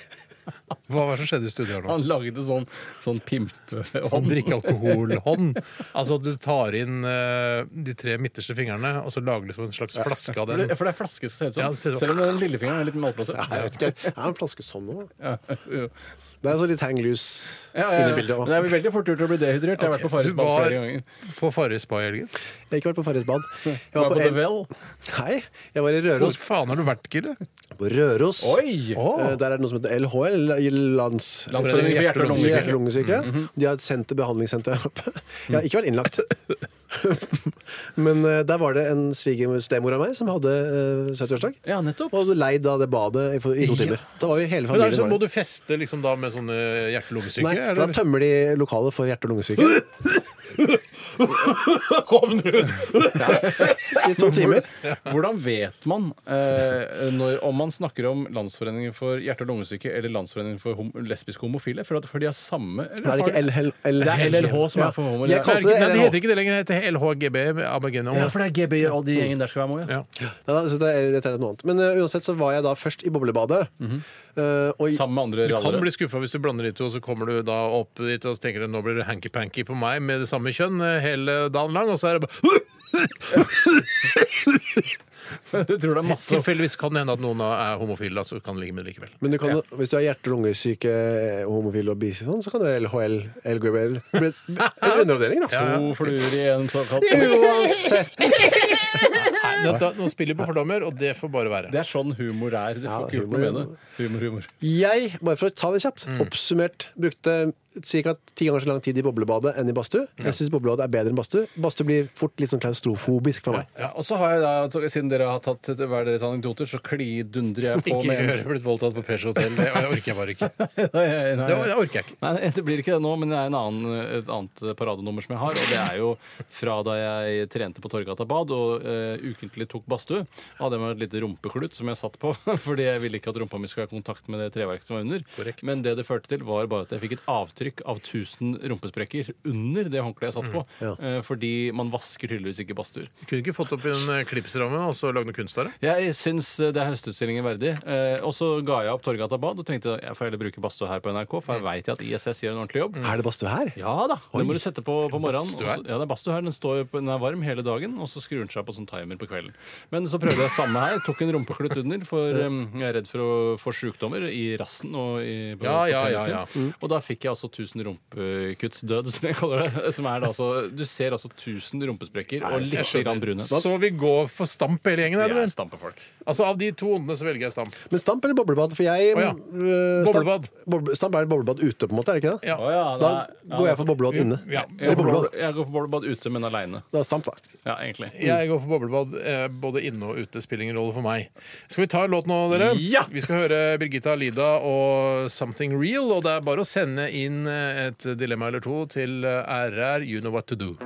C: Hva var det som skjedde i studio her nå?
D: Han lagde sånn, sånn
C: Han
D: pimpehånd.
C: drikker alkoholhånd. Altså at du tar inn eh, de tre midterste fingrene, og så lager du som en slags flaske av
D: For
C: den.
D: det for det er flaske som ser ut
C: Ja, det
D: sånn.
C: ser ut som-
D: Selv om den lillefingeren er litt malplassert.
E: jeg vet ikke. Jeg har en flaske sånn nå.
D: Ja, ja.
E: Det er så litt hang loose
D: Ja, ja,
E: inne i
D: ja.
E: bildet.
D: Men
E: også.
D: Det er veldig fort gjort å bli dehydrert. Jeg har vært på Farris
C: Du
D: bad
C: var
D: flere ganger.
C: på Farris spa i helgen.
E: Jeg har ikke vært på Farris bad. Jeg
D: Var på The
E: El-
D: Well.
E: Nei, jeg var i
C: Hvor
E: Røros.
C: faen har du vært, Kyrre?
E: På Røros.
D: Oi!
C: Å,
E: Eh, Der er det noe som heter LHL, lands...
D: Landsforeningen for hjerte- og
E: Hjerte-
D: lungesyke.
E: og lungesyke. De har et senter, behandlingssenter her oppe. Jeg har ikke vært innlagt. Men eh, der var det en svigerstemor av meg som hadde eh, 70-årsdag.
D: Ja, nettopp.
E: Og leid av det badet i, for, i to timer. Da var vi hele
C: Men
E: familien.
C: altså, Må
E: var der.
C: du feste liksom da med sånne hjerte-lungesyke?
E: Nei,
C: er
E: da
C: det-
E: tømmer de lokalet for hjerte- og lungesyke
C: Kom du ut!
E: i to timer.
D: Hvordan vet man eh, når, om man snakker om Landsforeningen for hjerte- og lungesyke eller Landsforeningen for hom lesbisk homofile? For, at, for de har samme eller
E: Da er det
D: har de-
E: ikke LHL.
D: Det er LLH som er for homo.
E: Jeg
C: Nei,
E: kalte
C: det
E: det
C: heter
E: LLH.
C: ikke det lenger. Det heter LHGB med Abergeno.
D: Ja, for det er GB og de gjengen der skal være med òg, ja.
C: Ja.
E: Ja, så det er, dette er noe annet. Men eh, uansett så var jeg da først i boblebadet. Eh, og i-
D: Sammen med andre
C: Du kan
D: rallere.
C: bli skuffa hvis du blander de to, og så kommer du da opp dit og så tenker du nå blir det hanky-panky på meg med det samme kjønn eh, hele dagen lang, og så er det bare
D: Du tror det er masse
C: Tilfeldigvis kan det hende at noen er homofile, altså kan ligge med det likevel.
E: men du kan, jo- hvis du er hjerte-lungesyke, homofil og bisi sånn, så kan du være LHL, LGBL bli En underavdeling, da.
D: to fluer i en såkalt
E: Uansett.
C: Nei, nå, da, nå spiller vi på fordommer, og det får bare være.
D: Det er sånn humor er. Du får ikke gjort noe med det. Humor, humor.
E: Jeg, bare for å ta det kjapt,
C: Mm.
E: oppsummert brukte ca. ti ganger så lang tid i boblebadet enn i badstue. Jeg syns boblebadet er bedre enn badstue. Badstue blir fort litt sånn klaustrofobisk for meg.
D: Ja, og så har jeg da, altså, Siden dere har tatt hver deres anekdoter, så klidundrer jeg på
C: Ikke
D: med
C: gjøre blitt voldtatt på Peugeot hotell. Det det orker jeg bare ikke.
D: Nei,
C: Det,
D: nei, nei.
C: det orker jeg ikke.
D: Nei, det blir ikke det nå, men det er en annen, et annet paradenummer som jeg har. Og det er jo fra da jeg trente på Torgata bad og eh, ukentlig tok badstue. Hadde jeg med et lite rumpeklut som jeg satt på, fordi jeg ville ikke at rumpa mi skulle ha kontakt med det treverket som var under. Men det det førte til, var bare at jeg fikk et avtrykk av 1000 rumpesprekker under det håndkleet jeg satt på. eh, fordi man vasker tydeligvis ikke badstuer.
C: Kunne ikke fått opp i en eh, klipsramme og så lagd noe kunst av det?
D: Jeg syns det er høstutstillingen verdig. Eh, og så ga jeg opp Torgata bad og tenkte jeg får heller bruke badstue her på NRK, for her veit jeg at ISS gjør en ordentlig jobb.
C: Mm.
E: Er det badstue her?
D: Ja da. Den må du sette på på morgenen.
C: Badstue her?
D: og så- Ja, det er badstue her. Den, står, jo på- den er varm hele dagen, og så skrur den seg på sånn timer på kvelden. Men så prøvde jeg samme her. Tok en rumpeklutt under, for em, jeg er redd for å få sjukdommer i rassen og i, på,
C: Ja, ja,
D: på
C: ja,
D: penisen
C: ja.
D: min. Og da fikk jeg altså 1000 rumpekuttsdød, som jeg kaller det. Som er da altså Du ser altså 1000 rumpesprekker og litt grann brune.
C: Så vi går for stamp hele gjengen, er
D: Det
C: det
D: er
C: det?
D: stampefolk.
C: Altså av de to ondene så velger jeg stamp.
E: Men stamp eller boblebad? For jeg
C: Å ja.
E: øh,
C: Boblebad.
E: Stamp, boble, stamp er boblebad ute, på en måte, er det ikke det?
C: Ja.
D: Å ja,
E: Da
D: da- ja,
E: går jeg
D: da-
E: for boblebad inne.
C: Ja.
D: Jeg
E: Eller
D: går for
E: boblebad.
D: boble- jeg går for boblebad ute, men aleine.
E: Da er stamp, da.
D: Ja, egentlig.
C: Jeg går for boblebad. eh, Både inne og ute spiller ingen rolle for meg. Skal vi ta en låt nå, dere?
D: Ja!
C: Vi skal høre Birgitta Lida og 'Something Real'. Og det er bare å sende inn eh, et dilemma eller to til eh, RR You Know What To Do.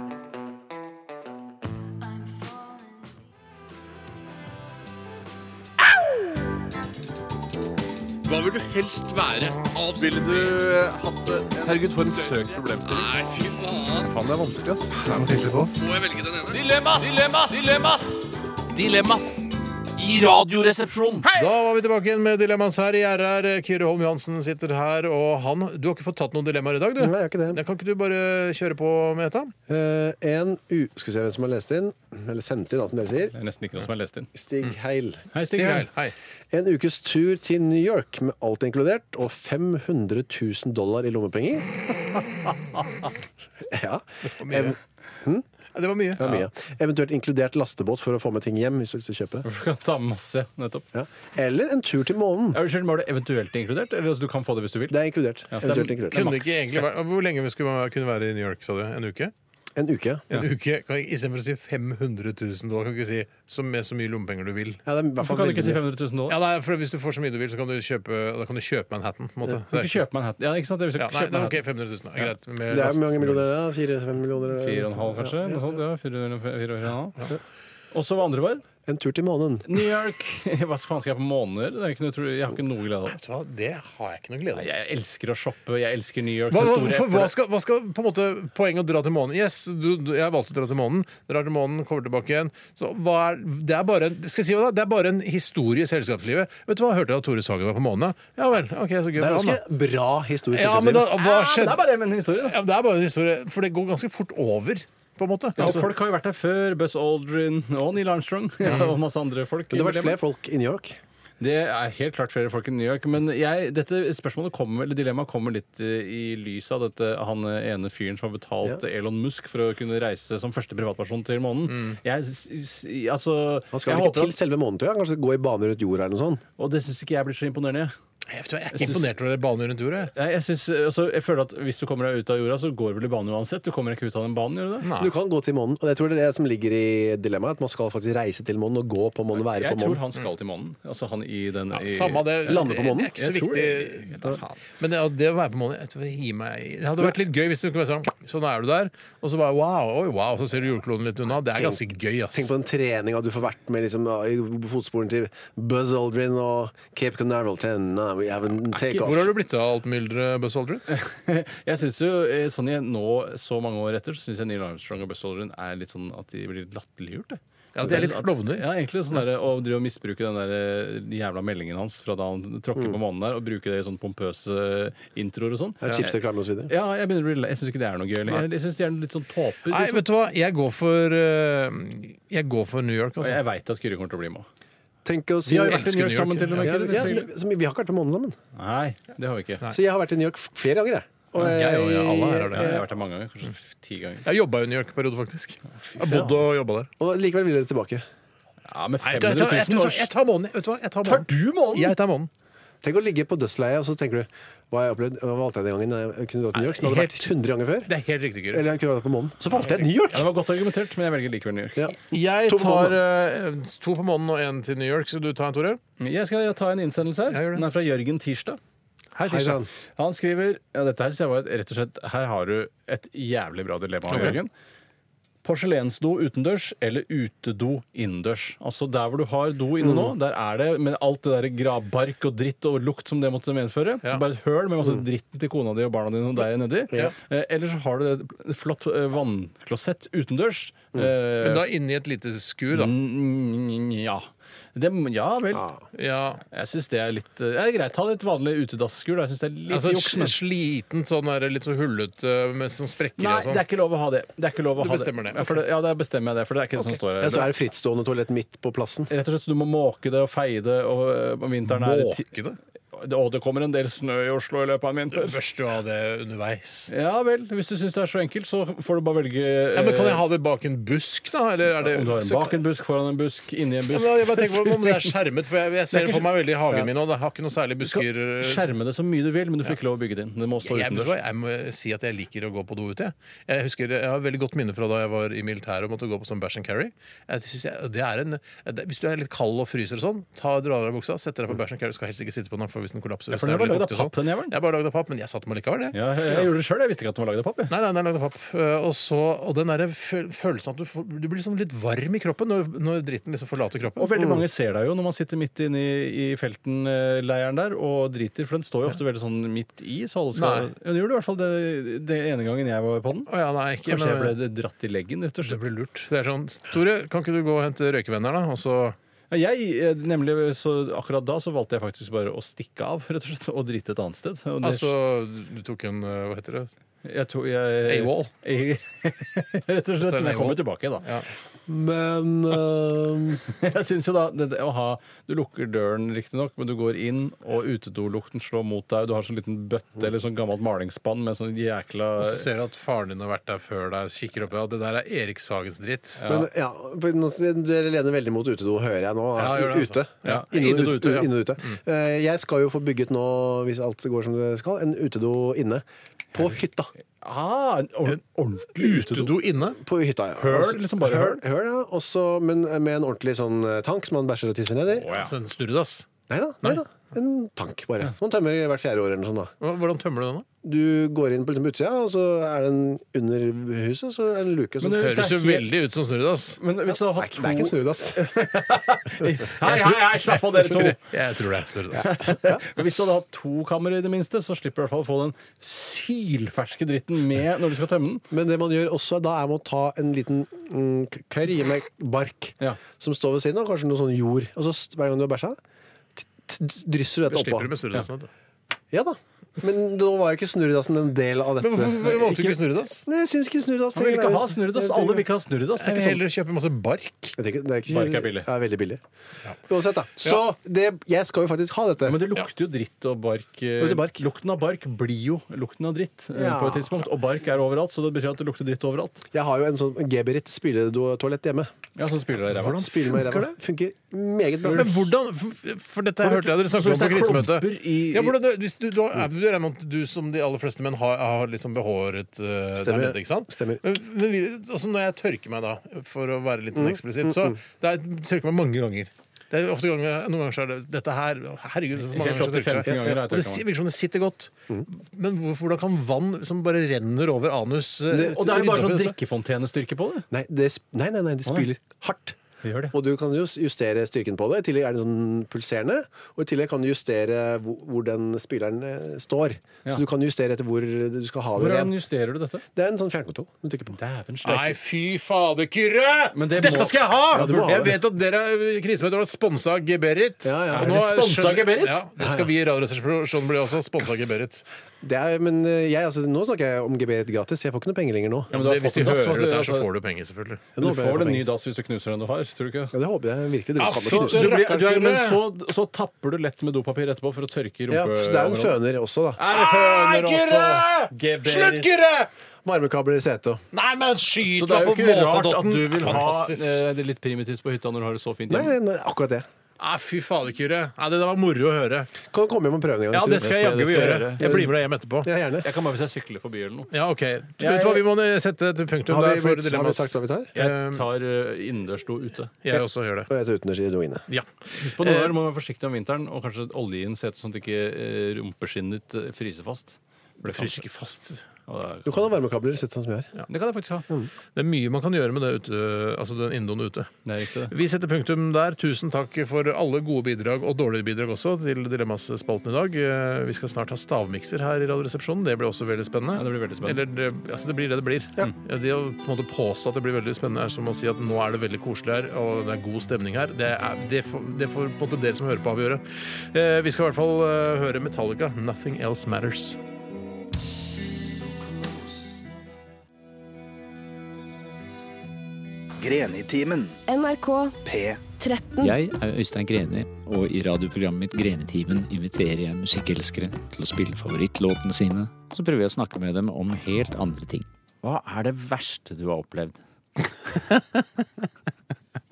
J: Hva vil du helst være? Ville du hatt det? Herregud, for en søk problemstilling. Nei, fy faen. Faen, det er vanskelig, ass. Må jeg velge den ene? Dilemmas! Dilemmas! Dilemmas! Dilemmas! I radioresepsjonen.
C: Da var vi tilbake igjen med dilemmas her i RR. Kyrre Holm Johansen sitter her, og han Du har ikke fått tatt noen dilemmaer i dag, du?
E: Nei, jeg har ikke det.
C: Ja, Kan ikke du bare kjøre på med dette?
E: Eh, en u... Skal vi se hvem som har lest inn. Eller sendt inn, da, som dere sier.
D: Det er nesten ikke noe som er lest inn.
E: Stig Heil.
D: Hei, Stig.
C: Stig
D: Heil.
C: Heil, Hei.
E: En ukes tur til New York med alt inkludert og 500 000 dollar i lommepenger. ja. Ev
C: Ja, Det var mye.
E: det er mye. Eventuelt inkludert lastebåt for å få med ting hjem. hvis du vil kjøpe.
D: Du kan ta masse, nettopp.
E: Ja. Eller en tur til månen.
D: Ja, Unnskyld, men var det eventuelt inkludert? Eller altså, du kan få det hvis du vil?
E: Det er inkludert.
D: Ja, så det er-
E: Eventuelt inkludert.
C: Kunne det ikke egentlig vært, hvor lenge vi skulle kunne være i New York, sa du? En uke?
E: En uke.
C: En uke, kan jeg, Istedenfor å si 500 000 dollar, kan du ikke si så, med så mye lommepenger du vil.
E: Ja, det er i hvert fall
D: Hvorfor kan du ikke si
E: veldig mye.
D: 500 000
C: Ja,
D: dollar?
C: nei, for Hvis du får så mye du vil, så kan du kjøpe, da kan du kjøpe Manhattan. På en måte.
D: Du kan ikke kjøpe Manhattan. Ja, ikke sant? Det vil si
C: ja,
D: ikke
C: nei,
D: kjøpe
C: det er OK,
D: Manhattan.
C: 500 000. Ja, greit. med
E: Det er
C: last.
E: mange millioner? ja. Fire-fem millioner?
D: Fire og en halv, kanskje? Noe sånt, ja. Fire eller fire- fire og en halv. Og så hva andre var?
E: En tur til månen.
D: New York. Hva faen skal jeg på måneder? Det er ikke noe, tro- jeg har ikke noe glede av det.
C: Vet du hva, det har jeg ikke noe glede
D: Nei,
C: av.
D: Jeg elsker å shoppe, jeg elsker New York.
C: Hva,
D: det
C: hva,
D: store
C: for hva,
D: eplet.
C: skal, hva skal på en måte poenget å dra til månen? Yes, du, du, jeg valgte å dra til månen. Drar til månen, kommer tilbake igjen. Så hva er, det, er bare en, skal jeg si hva da? det er bare en historie i selskapslivet. Vet du hva, hørte jeg at Tore Sagen var på månen? da? Ja vel. ok, så gøy.
E: Det er
C: for han, da.
E: ganske bra historisk
C: Ja, men da, hva
D: Ja, men
C: skjedde?
D: Det er bare en historie, da.
C: Ja, men det er bare en historie, for det går ganske fort over, på en måte.
D: Ja,
C: Altså,
D: folk har jo vært der før. Buzz Aldrin og Neil Armstrong og masse andre folk.
E: Men det har vært flere folk i New York.
D: Det er helt klart flere folk i New York, men jeg, dette spørsmålet kommer, eller dilemmaet kommer litt eh, i lys av dette, han eh, ene fyren som har betalt Elon Musk for å kunne reise som første privatperson til månen. Jeg, s- s- altså,
E: Mm. Han skal
D: jeg
E: vel ikke
D: håper
E: til selve månen, tror jeg. Han Kanskje gå i bane rundt jorda eller noe sånt.
D: at- Og det syns ikke jeg blir så imponerende. jeg.
C: jeg vet hva, jeg er ikke imponert over det banen rundt jordet. jeg.
D: Jeg, jeg, synes, eh, altså, jeg føler at hvis du kommer deg ut av jorda, så går vel i bane uansett. Du kommer ikke ut av den banen, gjør du det?
C: Nei.
E: Du kan gå til månen, og jeg tror det er det som ligger i dilemmaet. At man skal faktisk reise til månen og gå på månen, være
D: Jeg
E: på
D: tror
E: månen.
D: han skal til månen. Altså han i den i,
C: Samme det.
E: Lande på månen?
C: Det er ikke så
D: Jeg tror det.
C: viktig. Men det, det å være på månen jeg tror det gir meg, Det hadde vært litt gøy hvis det kunne være sånn Sånn er du der, og så bare wow, oi, wow, så ser du jordkloden litt unna. Det er ganske gøy, ass.
E: Tenk på den treninga du får vært med liksom, i fotsporene til Buzz Aldrin og Cape Canaveral 10. Na, uh, we haven't take
C: Hvor har
E: off.
C: du blitt av alt mylderet, Buzz Aldrin?
D: Jeg synes jo, eh, sånn jeg nå, så mange år etter, så syns jeg Neil Armstrong og Buzz Aldrin er litt sånn at de blir litt latterliggjort. jeg.
C: Ja, de er litt
D: At-
C: klovner.
D: Ja, egentlig sånn der, Å drive og misbruke den der eh, jævla meldingen hans fra da han tråkker
C: Mm.
D: på månen der, og bruke det i sånn pompøse introer og sånn.
E: Ja, Chipsreklame og så videre.
D: Ja, jeg, begynner å bli, lei- jeg syns ikke det er noe gøy. eller? Jeg, jeg syns de er litt sånn tåper.
C: Nei,
D: de to.
C: vet du hva? Jeg går for, eh, jeg går for New York,
D: Og
C: altså.
D: jeg veit at Kyrre kommer til å bli med.
E: Tenk å si
D: Vi har
E: ja,
D: jo vært i New York sammen til og med.
E: ja,
D: Kyrre,
E: ja,
D: til-
E: som- Vi har ikke vært på månen sammen.
D: Nei, det har vi ikke.
E: Så jeg har vært i New York f- flere ganger, jeg. Og
C: Jeg og jeg, alle her har
D: Jeg
C: det.
D: har vært der mange ganger. Kanskje ti ganger.
C: Jeg jobba i New York-periode, faktisk. Jeg bodde og jobba der.
E: og likevel vil dere tilbake.
D: Ja, med
C: Nei, jeg
D: 500
C: tar, jeg,
D: 000
C: tar,
D: år.
C: jeg tar månen. Vet du hva? Jeg tar månen.
D: du månen?
C: Jeg tar månen.
E: Tenk å ligge på dødsleiet, og så tenker du Hva har jeg opplevd? Hva valgte jeg den gangen? Jeg kunne dratt til New York, som jeg hadde vært 100 ganger før.
C: Det er helt riktig, Kyrre.
E: Eller jeg kunne vært på månen. Så valgte jeg New York!
D: Ja, det var godt argumentert, men jeg velger likevel New York.
E: Ja.
C: Jeg
E: To på
C: tar eh, to på månen og én til New York. Skal du ta en, Tore?
D: Jeg skal ta en innsendelse her.
C: Ja, gjør det.
D: Den er fra Jørgen Tirsdag.
C: Hei,
E: sann.
D: Han skriver ja, dette her synes jeg var et, rett og slett, Her har du et jævlig bra dilemma, Jørgen. Porselensdo utendørs eller utedo innendørs. Altså Der hvor du har do inne
C: Mm.
D: nå, der er det med alt det der gravbark og dritt og lukt som det måtte medføre. Bare et høl med masse
C: Mm.
D: dritten til kona di og barna dine og deg nedi. Eh, eller så har du et flott eh, vannklosett utendørs. Eh,
C: Men da inni et lite skur, da.
D: mm, ja. Det, ja vel.
C: Ja.
D: Jeg syns det er litt eh, det er greit. Ta litt vanlig utedasskur. da. Jeg synes det er litt
C: Altså
D: juks, men-
C: et slitent, sånn der, litt så hullete, med sånn sprekker
D: Nei,
C: og
D: det
C: sånn.
D: er ikke lov å ha det. Det er ikke lov å
C: Du
D: ha
C: bestemmer det.
D: Ja, for det. Ja, da bestemmer jeg det, for det er ikke det som står her.
E: Ja, så er det frittstående toalett midt på plassen.
D: Rett og slett, så Du må måke det og feie det, og øh, om vinteren er det ti-
C: Måke det?
D: det- Og det kommer en del snø i Oslo i løpet av en vinter.
C: Børster du av det underveis?
D: Ja vel, hvis du syns det er så enkelt, så får du bare velge eh,
C: Ja, men Kan jeg ha det bak en busk, da? Eller er det
D: om du har en
C: så-
D: bak en busk, foran en busk, inni en
C: Ja,
D: busk.
C: men jeg bare tenker på om det er skjermet, for jeg, jeg ser det for meg veldig i hagen min, og det har ikke noe særlig
D: Du
C: busker.
D: kan skjerme det så mye du vil, men du får ikke lov å bygge det inn. Det må stå
C: Jeg, vet du hva,
D: utendørs.
C: jeg må si at jeg liker å gå på do ute. Jeg. Jeg husker, jeg har veldig godt minne fra da jeg var i militæret og måtte gå på sånn bæsj and carry. Jeg synes jeg, det er en, det, hvis du er litt kald og fryser og sånn, ta, dra av deg buksa, sett deg på bæsj and carry. Skal helst ikke sitte på den, for hvis den kollapser
D: Ja,
C: hvis
D: for den er
C: det
D: bare
C: veldig
D: laget av
C: fuktig og sånn.
D: papp, den jævelen.
C: Jeg er bare lagd av papp, men jeg satt meg likevel, jeg.
D: Ja, jeg, jeg gjorde det sjøl. Jeg visste ikke at den var lagd av papp. jeg.
C: Nei, nei, den er lagd av papp. Eh, Og, så, og den der føl- følelsen at du, får, du blir liksom litt varm i kroppen når, når dritten liksom forlater kroppen.
D: Og veldig mange ser deg jo når man sitter midt inne i, i felten-leiren der og driter, for den står jo ofte veldig sånn midt i, så alle skal
C: Nei.
D: Ja, Den gjorde det i hvert fall det, det ene gangen jeg var på den.
C: Å ja, nei, ikke,
D: Kanskje jeg
C: men-
D: ble dratt i leggen, rett og
C: Det
D: slett.
C: blir lurt. Det er sånn, Tore, kan ikke du gå og hente røykevenner, da? Og så
D: Ja, Jeg, eh, nemlig, så akkurat da så valgte jeg faktisk bare å stikke av, rett og slett, og drite et annet sted. Og det,
C: Altså, du tok en eh, Hva heter det?
D: jeg tok- jeg-
C: AWOL.
D: Jeg- Rett og slett. Men jeg kommer tilbake, da.
E: Men eh, øhm,
D: Jeg synes jo da, det, det å ha, Du lukker døren riktignok, men du går inn, og utedolukten slår mot deg. Du har sånn liten bøtte eller sånn gammelt malingsspann med sånn jækla
C: Mm. Og så ser du at faren din har vært der før deg, kikker opp, ja, det der er Erik Sagens dritt.
E: Men ja, for nå- Dere lener veldig mot utedo, hører jeg nå.
C: Ja, gjør det, altså.
E: ute.
C: Ja.
E: Inne
C: Inne
E: og
C: og
E: ute.
C: ute, ja.
E: Inne og ute. Eh, Jeg skal jo få bygget nå, hvis alt går som det skal, en utedo inne. På hytta.
D: ah, en ord- ordentlig utedo.
C: Utedo inne.
E: På hytta, ja.
D: Høl,
E: Altså,
D: liksom bare høl?
E: høl ja. Også, men med en ordentlig sånn eh, tank som man bæsjer og tisser ned i.
C: Altså en snurredass.
E: Nei da. Nei da. En tank, bare. Som man tømmer i hvert fjerde år eller noe sånt. da.
C: Hva- Hvordan tømmer du den, da?
E: Du går inn på liksom, utsida, og så er den under huset, så er det en luke. Så
D: Men det-
C: Høres jo veldig ut som snurredass.
D: Men hvis du hadde hatt
E: Det er ikke en snurredass.
D: Hei, hei, hei, slapp av, dere to!
C: Jeg tror det er snurredass.
D: Men hvis du hadde hatt to kammer i det minste, så slipper du i hvert fall å få den sylferske dritten med når du skal tømme den.
E: Men det man gjør også, da er med å ta en liten mm, k- curry med bark
D: Ja.
E: som står ved siden av, kanskje noe sånn jord. Og så st- hver gang du har bæsja, t- t- drysser du
C: Da
E: dette
C: slipper du
E: oppå.
C: med snurredassen. vet du.
E: Ja da. Men nå var jo ikke snurredassen en del av
C: Men
E: dette.
C: hvorfor valgte du ikke snurredass?
E: Nei, jeg syns ikke snurredass
D: Han vil
E: trenger
D: ikke
E: å
D: ha
E: være-
D: snurredass. Alle vil ikke ha snurredass.
C: Jeg
D: Det er
C: vil
D: ikke sånn.
C: heller kjøpe masse bark.
E: Jeg tenker, det er ikke,
D: Bark er billig.
E: Ja, veldig billig. Uansett, da. Så det, jeg skal jo faktisk ha dette.
D: Men det lukter jo dritt og bark. eh,
E: Lukter bark.
D: Lukten av bark blir jo lukten av dritt eh,
E: Ja.
D: på et tidspunkt. Og bark er overalt, så det betyr at det lukter dritt overalt.
E: Jeg har jo en sånn Geberit spyletoalett hjemme.
D: Ja, så spiller det i ræva.
E: Spyler meg i ræva. Funker meget bra.
C: Men hvordan For, for dette her hørte jeg dere snakket om
D: hvis
C: på
D: det er
C: krisemøtet.
D: klumper i-
C: Ja, hvordan, hvis du, du, er, du regner med at du som de aller fleste menn har, har litt sånn behåret eh,
E: Stemmer.
C: der nede, ikke sant?
E: Stemmer.
C: Men, men vil- også når jeg tørker meg, da, for å være litt
D: Mm.
C: sånn eksplisitt, så det er, jeg tørker meg mange ganger. Det er ofte ganger, Noen ganger så er det dette her Herregud, så mange
D: Helt
C: ganger
D: opp
C: så
D: til
C: tørker
D: 15
C: jeg.
D: ganger har jeg
C: Og det
D: tørket
C: si-
D: meg.
C: virker som det sitter godt.
D: Mm.
C: Men hvor- hvordan kan vann som bare renner over anus eh,
D: Og det er
C: rydde opp
D: jo bare
C: i
D: sånn
C: dette?
D: drikkefontenestyrke på det.
E: Nei, det, sp- nei, nei, nei, de spyler hardt.
C: Vi gjør det.
E: Og du kan jo justere styrken på det. I tillegg er den sånn pulserende. Og i tillegg kan du justere hvor hvor den spilleren eh, står.
D: Ja.
E: Så du kan justere etter hvor du skal ha det.
D: Hvordan
E: rent.
D: justerer du dette?
E: Det er en sånn fjernkontroll du trykker på.
D: Dæven steike.
C: fy fader, Kyrre!
D: Men det må-
C: Dette skal jeg ha!
E: Ja, du må ha
C: jeg
E: det.
C: vet at dere eh, krisemøter har sponsa Geberit.
E: Ja, ja.
C: Og
E: Er
C: nå
D: det sponset
C: skjønner-
D: Geberit?
C: Ja, det skal vi i Radioresepsjonen bli også. Sponsa Geberit.
E: Det er, men eh, jeg, altså, nå snakker jeg om geberit gratis. Jeg får ikke noe penger lenger nå.
D: Ja, men du har
C: Hvis
D: fått
C: de
D: en dass,
C: hører
D: altså,
C: dette, her, så
D: altså,
C: får du penger, selvfølgelig.
E: Ja, nå ble
D: Du
E: jeg
D: får en
E: penger.
D: ny dass hvis du knuser den du har, tror du ikke?
E: Ja, det håper jeg virkelig.
C: Ja,
E: Du kan
C: så-
E: ikke knuse
D: Du
E: den.
D: blir, du er, men så, så tapper du lett med dopapir etterpå for å tørke i
E: Ja, så
D: rumpeområdet.
E: det er jo en føner også, da.
D: Er det føner også?
C: Kyrre!
D: Geberit.
C: Slutt, Kyrre!
E: Varmekabler i setet. og-
C: Nei, men
D: Så
C: skyt
D: det er
C: meg
D: jo
C: på
D: ikke rart at
C: måsedotten!
D: du vil ha
C: Fantastisk.
D: eh, det litt primitivt på hytta når du har det så fint
E: Nei,
D: hjemme.
E: nei, nei, akkurat det.
C: Nei, fy fader, Kyrre. Nei, Det der var moro å høre.
E: Kan du komme hjem og prøve en gang?
C: Ja, det
E: hvis du vil?
C: skal jeg
D: det
C: jaggu
D: skal jeg
C: gjøre.
D: gjøre.
C: Jeg blir med deg hjem etterpå.
E: Ja, gjerne.
D: Jeg kan bare hvis jeg sykler forbi eller noe.
C: Ja, OK. Du
D: Jeg-
C: vet hva, vi må sette et punktum
E: Har
C: der
E: vi,
C: for
E: blitt- har vi
C: dilemmas.
E: sagt hva vi tar?
C: Eh,
D: Jeg tar eh, innendørs do ute. Eh,
C: Jeg også gjør det.
E: Og jeg tar utendørs i doene.
C: Ja.
D: Husk på noe der, må være forsiktig om vinteren, og kanskje olje i en sete sånn at ikke eh, rumpeskinnet ditt eh, fryser fast. For
C: Det
D: det kan-
C: fryser ikke fast.
D: Ja,
E: Du
D: det Mm.
E: kan ha varmekabler i setet sånn som jeg har.
D: kan- Det kan jeg faktisk ha.
C: Det er mye man kan gjøre med det ute, altså den inndoen ute.
D: Det er riktig, det.
C: Vi setter punktum der. Tusen takk for alle gode bidrag, og dårlige bidrag også, til Dilemmas-spalten i dag. Eh, Vi skal snart ha stavmikser her i Radioresepsjonen. Det blir også veldig spennende.
D: Ja, det blir veldig spennende.
C: Eller det, altså det blir det det blir. Ja, Det å på en måte påstå at det blir veldig spennende, er som å si at nå er det veldig koselig her, og det er god stemning her. Det, er, det, får, det får på en måte dere som hører på, avgjøre. Eh, Vi skal i hvert fall eh, høre Metallica, 'Nothing Else Matters'.
H: Grenitimen.
K: NRK P13.
L: Jeg er Øystein Greni, og i radioprogrammet mitt Grenetimen inviterer jeg musikkelskere til å spille favorittlåtene sine. Så prøver jeg å snakke med dem om helt andre ting. Hva er det verste du har opplevd?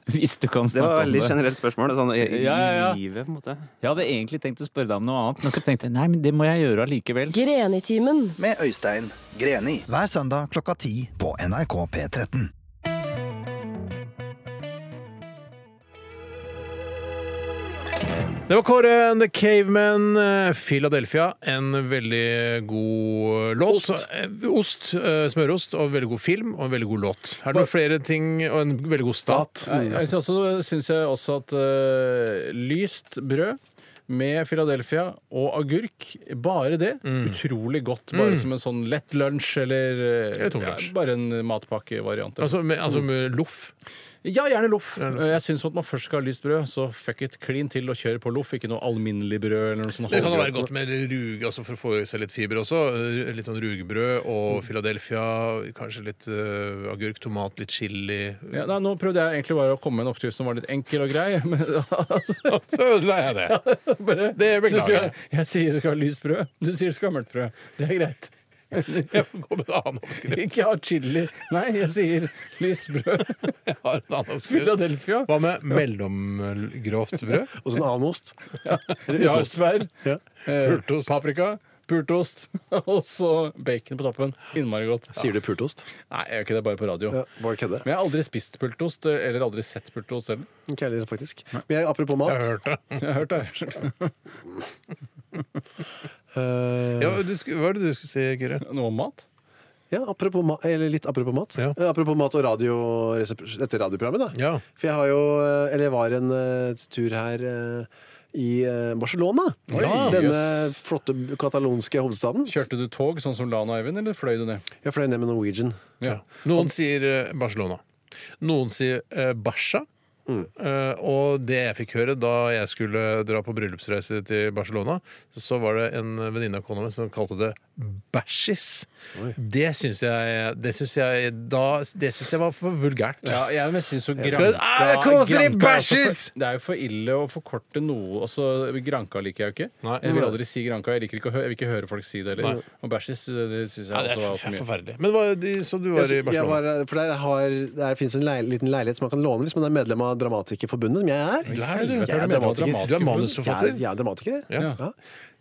L: Hvis du kan
M: Det var
L: snakke om
M: veldig
L: det.
M: generelt spørsmål. Sånn, i, i
L: Ja, ja, ja.
M: livet, på en måte.
L: Jeg hadde egentlig tenkt å spørre deg om noe annet, men så tenkte jeg nei, men det må jeg gjøre allikevel.
K: Grenitimen.
H: Med Øystein Greni. Hver søndag klokka ti på NRK P13.
C: Det var Kåre and The Caveman, eh, Philadelphia. En veldig god låt. Ost. Ost eh, smørost, og en veldig god film, og en veldig god låt. Her er det noen flere ting, og en veldig god stat.
D: Jeg, jeg syns også, synes jeg også at eh, lyst brød med Philadelphia og agurk, bare det. Utrolig godt. Bare som en sånn lett lunsj eller eh,
C: Eller tung lunsj.
D: Ja, bare en matpakkevariant.
C: Altså, med, altså med loff.
D: ja, gjerne loff. Eh, Jeg syns at man først skal ha lyst brød, så fuck it, klin til og kjør på loff. Ikke noe alminnelig brød eller noe sånt.
C: Det kan jo
D: halvbrød.
C: være godt med rug, altså for å få i seg litt fiber også. Eh, Litt sånn rugbrød og Philadelphia, kanskje litt eh, agurk, tomat, litt chili.
D: Ja, nei, nå prøvde jeg egentlig bare å komme med en oppskrift som var litt enkel og grei. Men altså,
C: Så ødela jeg det.
D: bare,
C: Det beklager
D: Du sier- Jeg sier det skal ha lyst brød. Du sier det skal ha mørkt brød. Det er greit.
C: Jeg får gå med en annen oppskrift.
D: Ikke ha chili. Nei, jeg sier lyst brød.
C: Jeg har en annen oppskrift.
D: Philadelphia.
C: Hva med mellomgrovt brød?
E: Og så en annen ost.
D: Jarlsberg.
E: Ja.
D: eh,
C: Pultost.
D: Paprika. Pultost. Og så bacon på toppen. Innmari godt.
E: Sier du pultost?
D: Nei, jeg gjør ikke det bare på radio.
E: Ja, bare kødde.
D: Men jeg har aldri spist pultost, eh, eller aldri sett pultost selv.
E: Ikke jeg heller, faktisk. Men jeg, apropos
C: Jeg har
E: mat.
C: hørt det.
D: Jeg har hørt det.
E: eh,
C: Ja, du skulle, hva er det du skulle si, Kyrre?
D: Noe om mat?
E: Ja, apropos ma eller litt apropos mat.
C: Ja.
E: Eh, Apropos mat og radio, dette radioprogrammet, da.
C: Ja.
E: For jeg har jo, eh, eller jeg var en eh, tur her eh, i eh, Barcelona.
D: Oi,
E: Denne
D: jøss.
E: flotte katalonske hovedstaden.
D: Kjørte du tog, sånn som Lan og Eivind, eller fløy du ned?
E: Jeg fløy ned med Norwegian.
D: Ja.
C: Noen sier eh, Barcelona. Noen sier eh, Barca.
E: Mm.
C: Eh, og det jeg fikk høre da jeg skulle dra på bryllupsreise til Barcelona, så var det en venninne av kona mi som kalte det bæsjis. Det syns jeg, det synes jeg da Det syns jeg var for vulgært.
D: Ja, jeg men synes jo
C: skal-
D: Granca,
C: Ah, det kommer fri
D: Granca er også
C: bæsjis!
D: for- det er jo for ille å forkorte noe. Også, Granca liker jeg jo ikke.
C: Nei.
D: Jeg vil aldri si Granca. Jeg, liker ikke å hø jeg vil ikke høre folk si det heller.
C: Nei.
D: Og bæsjis det syns jeg
C: Ja, det
D: også
C: er
D: var
C: for-
D: for mye.
C: forferdelig. Men hva, de, så du var i
E: altså, Jeg- jeg
C: Barcelona?
E: var, eh, for der, har, der finnes en leil liten leilighet som man kan låne hvis man er medlem av Dramatikerforbundet, som jeg er.
C: Du er, du, du
D: Jeg
C: er
D: er
C: dramatiker.
D: dramatiker.
C: Du er manusforfatter.
E: Jeg er, jeg er dramatiker, jeg.
C: Ja.
E: Ja.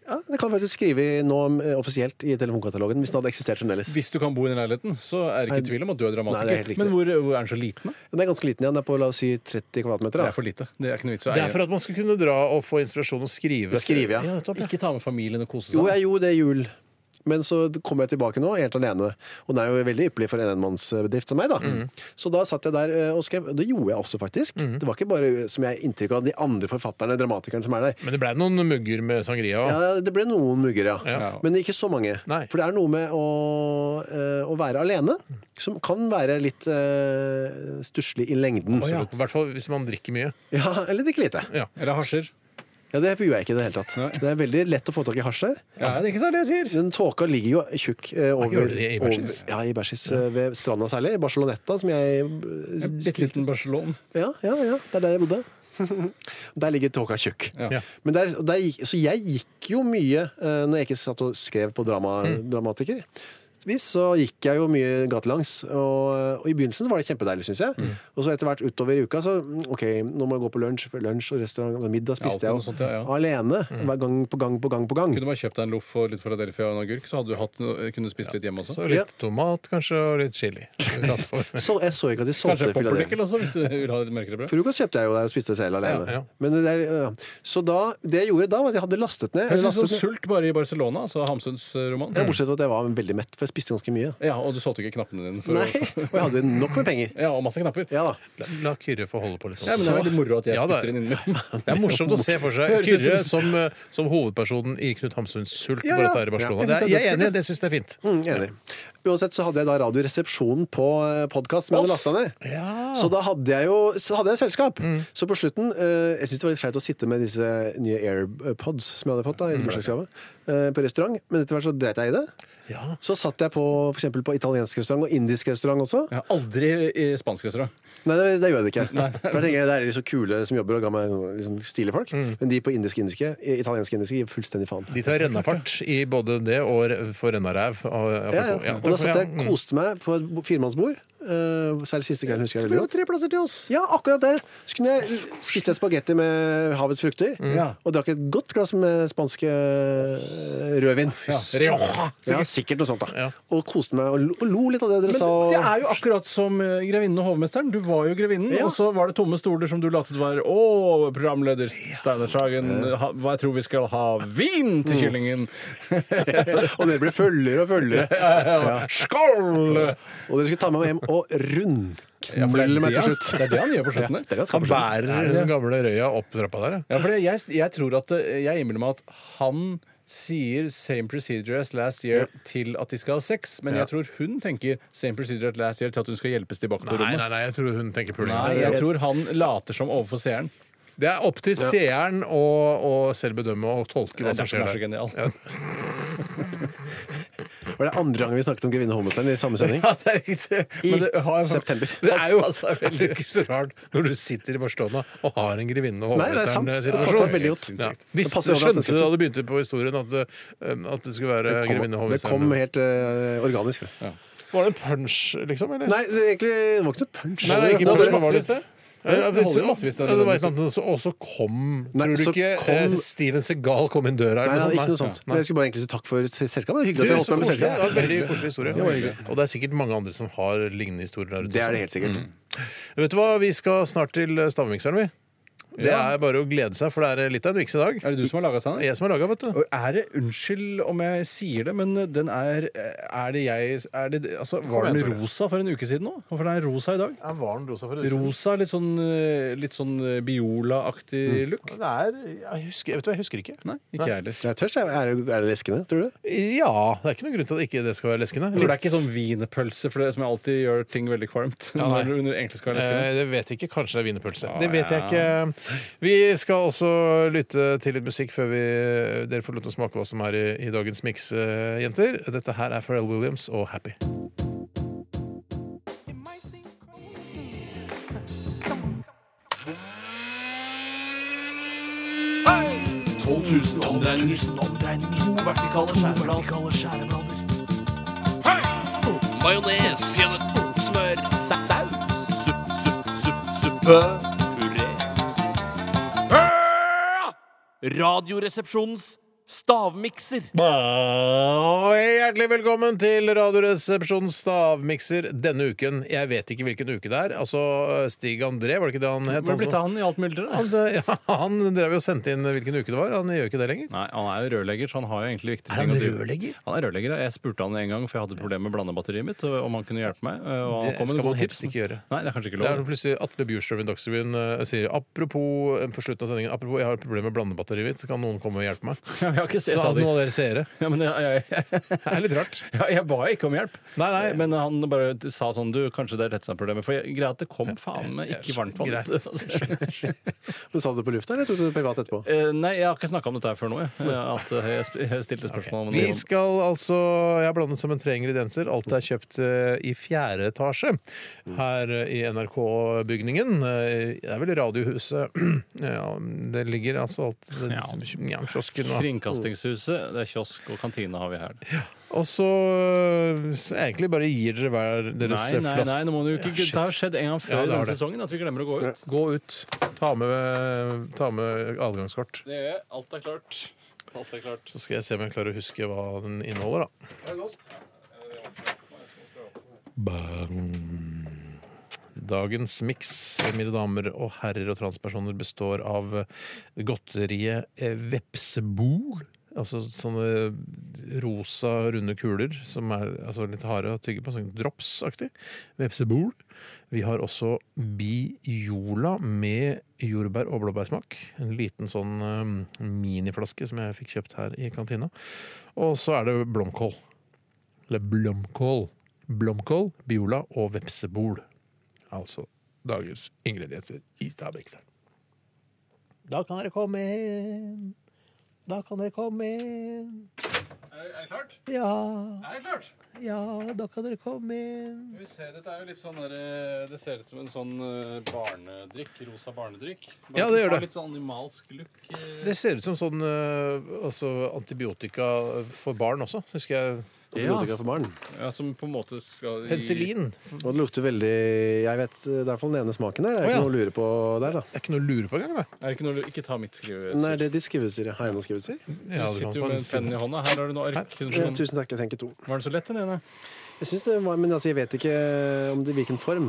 E: Ja. det kan jeg faktisk skrive i- nå eh, offisielt i telefonkatalogen, hvis den hadde eksistert fremdeles.
D: Hvis du kan bo i den leiligheten, så er det ikke
E: Nei,
D: tvil om at du er
E: nei, det er
D: dramatiker.
E: helt riktig.
D: Men hvor, hvor er den så liten, da?
E: Den er ganske liten igjen, den er på la oss si 30 kvadratmeter.
D: Det
E: Da.
D: er for lite. Det er ikke noe vits å
C: Det er for
D: eie.
C: at man skal kunne dra og få inspirasjon og skrive.
E: Skrive, ja.
C: nettopp, ja.
D: Ikke ta med familien og kose seg.
E: Jo, jeg gjorde det i jul. Men så kom jeg tilbake nå, helt alene. Og den er jo veldig ypperlig for en enmannsbedrift som meg, da.
C: Mm.
E: Så da satt jeg der eh, og skrev. Det gjorde jeg også, faktisk. Det var ikke bare eh, som jeg har inntrykk av de andre forfatterne, dramatikerne, som er der.
C: Men det ble noen mugger med sangria. også.
E: Ja, det ble noen mugger, ja.
C: Ja.
E: Men ikke så mange. For det er noe med å, eh, å være alene som kan være litt uh, stusslig i lengden.
C: Å ja. I hvert fall hvis man drikker mye.
E: Ja, eller drikke lite.
D: Eller hasjer.
E: Ja, det gjør jeg ikke i det hele tatt. Det er veldig lett å få tak i hasj der.
D: Ja, det er ikke sant det jeg sier.
E: Den tåka ligger jo tjukk eh, over,
C: gjør det det i Bergis?
E: over Ja, i Bergis. eh, Ved stranda særlig. I Barceloneta, som jeg
D: Bitte liten Barcelona.
E: Ja, ja, ja. Det er der jeg bodde. Der ligger tåka tjukk.
D: Ja.
E: Men der, og der, gikk- så jeg gikk jo mye eh, når jeg ikke satt og skrev på drama,
D: Mm.
E: dramatiker. Vis, Så gikk jeg jo mye gatelangs, og, og i begynnelsen så var det kjempedeilig, syns jeg.
D: Mm.
E: Og så etter hvert utover i uka, så mm, OK, nå må jeg gå på lunsj, for lunsj og restaurant, og middag
D: Ja, alltid
E: spiste jeg
D: noe
E: jo
D: sånt, ja, ja.
E: alene. Hver gang på gang på gang på gang.
D: Kunne bare kjøpt deg en loff og litt Philadelphia og en agurk, så hadde du hatt, noe- kunne spist litt hjemme også.
C: Så litt tomat kanskje, og litt chili.
E: Så jeg så ikke at de solgte
D: Kanskje
E: Philadelphia.
D: popperdekkel også, hvis du vil ha litt mørkere brød.
E: Frokost kjøpte jeg jo der og spiste selv alene.
D: Ja, ja.
E: Men det der, ja. Så da, det jeg gjorde da, var at jeg hadde lastet ned.
D: Høres ut som
E: lastet ned.
D: sult bare i Barcelona, altså Hamsuns roman.
E: Ja, bortsett fra at jeg var veldig mett, for jeg spiste ganske mye.
D: Ja, Og du solgte ikke knappene dine?
E: Nei, og jeg hadde nok med penger.
D: Ja, og masse knapper.
E: Ja,
C: La, la Kyrre få holde på litt.
D: men Det er veldig moro at jeg
C: Ja, det er-
D: spytter inn innimellom.
C: Det er morsomt å se for seg
D: Høres ut
C: Kyrre som, eh, som hovedpersonen i Knut Hamsuns Sult.
E: Ja,
C: Bare
E: ja.
C: tar i Barcelona.
E: Ja,
C: Det er,
E: jeg synes det er
C: jeg er enig,
E: dødskult,
C: det syns jeg er fint.
E: Mm, enig. Uansett så hadde jeg da Radioresepsjonen på eh, podkast som jeg hadde
C: Off.
E: lasta ned. Så da hadde jeg jo så hadde jeg selskap.
D: Mm.
E: Så på slutten eh, Jeg syntes det var litt flaut å sitte med disse nye AirPods som jeg hadde fått da,
D: Mm.
E: i bursdagsgave eh, på restaurant, men etter hvert så dreit jeg i det. Så satt jeg på for eksempel på italiensk restaurant og indisk restaurant også.
D: Jeg har aldri eh, i spansk restaurant.
E: Nei, det, det gjør jeg ikke.
D: Nei.
E: For jeg tenker Det er liksom kule som jobber og ga meg liksom stilige folk.
D: Mm.
E: Men de på indisk-indiske, eh, italiensk-indiske, gir fullstendig faen.
C: De tar rennafart i både det og for rennaræv. Og,
E: Ja, ja. Og da satt jeg
C: Mm.
E: og koste meg på et bo- firmannsbord. Uh, særlig siste kvelden husker jeg veldig godt.
D: tre plasser til oss.
E: Ja, akkurat det. Så kunne jeg spiste jeg spagetti med havets frukter.
D: Ja.
E: Og drakk et godt glass med spansk eh, rødvin.
D: Ja, Rioja.
E: Ja, sikkert noe sånt, da. Og koste meg og lo, og lo litt av det dere
D: Men
E: sa.
D: det er jo akkurat som eh, grevinnen og hovmesteren. Du var jo grevinnen,
E: Ja.
D: og så var det tomme stoler som du latet var Å, programleder Steinar Sagen, ha- hva jeg tror vi skal ha vin til kyllingen!
E: og dere ble følgere og følgere.
D: Ja. Skål!
E: Og dere skulle ta med meg hjem og
D: Ja, for det er
E: rundknulle meg
D: det
E: til
D: han-
E: slutt.
D: det er det han gjør på slutten der.
E: Ja, det er ganske
C: Han
E: på slutten.
C: bærer
D: Er det det?
C: den gamle røya opp trappa der. ja.
D: Ja, for det- jeg, jeg tror at eh, Jeg innbiller meg at han sier 'same procedure as last year' til at de skal ha sex, men
C: Ja.
D: jeg tror hun tenker 'same procedure as last year' til at hun skal hjelpes tilbake på
C: Nei,
D: rommet.
C: nei, nei, jeg tror hun tenker puling.
D: Nei, jeg tror han later som overfor seeren.
C: Det er opp til seeren å, å selv bedømme og tolke hva
D: Det
C: som
D: er derfor
C: skjer
D: den er så
C: der.
D: genial.
E: Var det andre gangen vi snakket om grevinne og hovmesteren i samme sending?
D: Ja, det er riktig. Men det har
E: I september.
C: Det er jo
D: passet seg
C: det er
D: veldig.
C: ikke så rart når du sitter i Barcelona og har en grevinne og
E: Nei, det er sant. Det
C: hovmesteren-situasjon.
E: passer veldig godt.
C: Ja.
E: Det
C: Hvis
E: passer
C: du
E: overalt, den
C: skjønte
E: sketsjen.
C: da du begynte på historien at, eh, at det skulle være
E: Det
C: grevinne og
E: kom, det
C: hovmesteren
E: kom helt eh, organisk. det.
C: Var det en punch, liksom? Eller?
E: Nei, det, egentlig, det var ikke noe punch.
C: Nei, det er ikke punch, men var det
D: det?
C: Ja, ja,
D: Det
C: det
D: holder jo massevis, det.
C: ja, det var et eller annet, så- Og så kom
E: Nei,
C: Tror du
E: så
C: ikke
E: kom-
C: eh, Steven Segal kom inn døra?
E: Nei,
C: eller
E: nei, ikke noe
C: Nei.
E: sånt.
C: Nei.
E: Men jeg skulle bare egentlig si takk for selskapet. Det var
C: Du,
E: hyggelig at dere holdt
C: så
E: meg med
C: koselig. Det var en
E: selskapet.
C: veldig koselig historie.
E: Det var hyggelig.
C: og det er sikkert mange andre som har lignende historier der ute.
E: Det er
C: også.
E: det helt sikkert.
C: Vet du hva, vi skal snart til stavmikseren, Mm. vi. Det
D: Ja.
C: er bare å glede seg, for det er litt av en viks i dag.
D: Er det du som har laga
C: Det
D: Steinar?
C: er Jeg som har laga, vet du.
D: Og Er det, Unnskyld om jeg sier det, men den er Er det jeg er det, altså, Var
C: igjen,
D: den
C: Tore.
D: rosa for en uke siden òg? Hvorfor den er rosa i dag?
C: Er varen rosa for
D: Rosa, litt sånn, eh, litt sånn eh, Biola-aktig look?
C: Det er jeg husker, Vet du hva, jeg husker ikke.
D: Nei, ikke jeg heller.
E: Jeg er tørst. jeg. Er det, er det leskende, tror du?
C: Ja, det er ikke noen grunn til at ikke det skal være leskende.
D: For det er ikke sånn wienerpølse, for det som alltid gjør ting veldig kvalmt.
C: Ja, nei.
D: når du egentlig skal være
C: Eh,
D: leskende.
C: Det vet jeg ikke. Kanskje det er wienerpølse.
D: Ah,
C: Det vet jeg
D: ja.
C: ikke. Vi skal også lytte til litt musikk før vi, dere får lov til å smake hva som er i, i dagens miks, eh, jenter. Dette her er Pharrell Williams og Happy.
L: Majones. Smør. Saus. Supp, supp, supp, suppe. Puré. Radioresepsjonens Stavmikser.
C: Og hjertelig velkommen til Radioresepsjonens stavmikser denne uken. Jeg vet ikke hvilken uke det er. Altså Stig André, var det ikke det han het?
D: Hvor ble det
C: som-
D: av han i alt mylderet?
C: Han sa- ja, han drev jo og sendte inn hvilken uke det var. Han gjør ikke det lenger.
D: Nei, han er jo rørlegger, så han har jo egentlig viktige
C: Er han
D: ting å drive-
C: rørlegger?
D: Han er rørlegger, ja. Jeg spurte han en gang, for jeg hadde problemer med blandebatteriet mitt, og om han kunne hjelpe meg. eh, Og han
C: Det
D: kom med
C: skal man
D: gode
C: helst
D: tips.
C: ikke gjøre.
D: Nei, det er kanskje ikke
C: Det er
D: lov.
C: plutselig Atle Bjurstrøm i Dagsrevyen eh, sier apropos eh, på slutten av sendingen Apropos, jeg har et problem med blandebatteriet mitt, kan noen komme og hjelpe meg?
D: Ja, jeg har ikke sett
C: Så
D: han.
C: noen av dere seere.
D: Ja, men jeg, jeg, det
C: er litt rart.
D: Ja, jeg ba ikke om hjelp, men han bare sa sånn Du, kanskje det er dette som er problemet. For jeg- greia at det kom faen meg ikke varmt vann.
E: Men Sa du det på lufta, eller tok du det privat etterpå?
D: Eh, Nei, jeg har ikke snakka om dette her før nå. Jeg, Eh, at eh, jeg, sp- jeg stilte spørsmål om
C: Vi
D: det.
C: skal altså Jeg har blandet sammen tre ingredienser. Alt er kjøpt eh, i fjerde etasje
D: Mm.
C: her eh, i NRK-bygningen. Eh, Det er vel Radiohuset ja, Det ligger altså alt det, ja, kiosken og
D: Kringkastingshuset, det er kiosk og kantine har vi her.
C: Og så, eh, så egentlig bare gir dere hver deres
D: Nei, nei,
C: flast.
D: nei, nå må du
C: Ja,
D: ikke
C: shit.
D: Det har skjedd en gang før
C: Ja,
D: i
C: det har
D: denne
C: det.
D: sesongen at vi glemmer å gå ut.
C: Gå ut. Ta med, ta med adgangskort.
D: Det gjør jeg. Alt er klart. Alt er klart.
C: Så skal jeg se om jeg klarer å huske hva den inneholder, da. Bang. Dagens miks, mine damer og herrer og transpersoner, består av eh, godteriet eh, vepsebol. Altså sånne rosa, runde kuler som er altså, litt harde å tygge på. Sånn dropsaktig. Vepsebol. Vi har også Biola med jordbær- og blåbærsmak. En liten sånn eh, miniflaske som jeg fikk kjøpt her i kantina. Og så er det blomkål. Eller blomkål. Blomkål, biola og vepsebol. Altså dagens ingredienser i stavmikseren. Da kan dere komme inn. Da kan dere komme inn.
D: Er det klart?
C: Ja.
D: Er det klart?
C: Ja, da kan dere komme inn.
D: Skal vi se, dette er jo litt sånn der, eh, Det ser ut som en sånn eh, barnedrikk. Rosa barnedrikk. Bare
C: Ja, det gjør
D: har
C: det.
D: Litt sånn animalsk look. eh.
C: Det ser ut som sånn eh, altså antibiotika for barn også, husker jeg.
E: Antibiotika for barn.
D: Ja, som på en måte skal i-
E: Og det lukter veldig Jeg vet, det er i hvert fall den ene smaken der. Det er
D: Å, ja.
E: ikke noe å lure på der, da.
C: Det er ikke noe å lure på engang, det.
D: Er det ikke noe du ikke tar mitt skrive?
E: Nei, det er ditt skriveutstyr. Har jeg noe skriveutstyr?
D: du sitter jo med en penn i hånda. Her har du noe ark.
E: Ja, tusen takk. Jeg tenker to.
D: Var den så lett, den ene?
E: Jeg synes det var, Men altså, jeg vet ikke om det, hvilken form.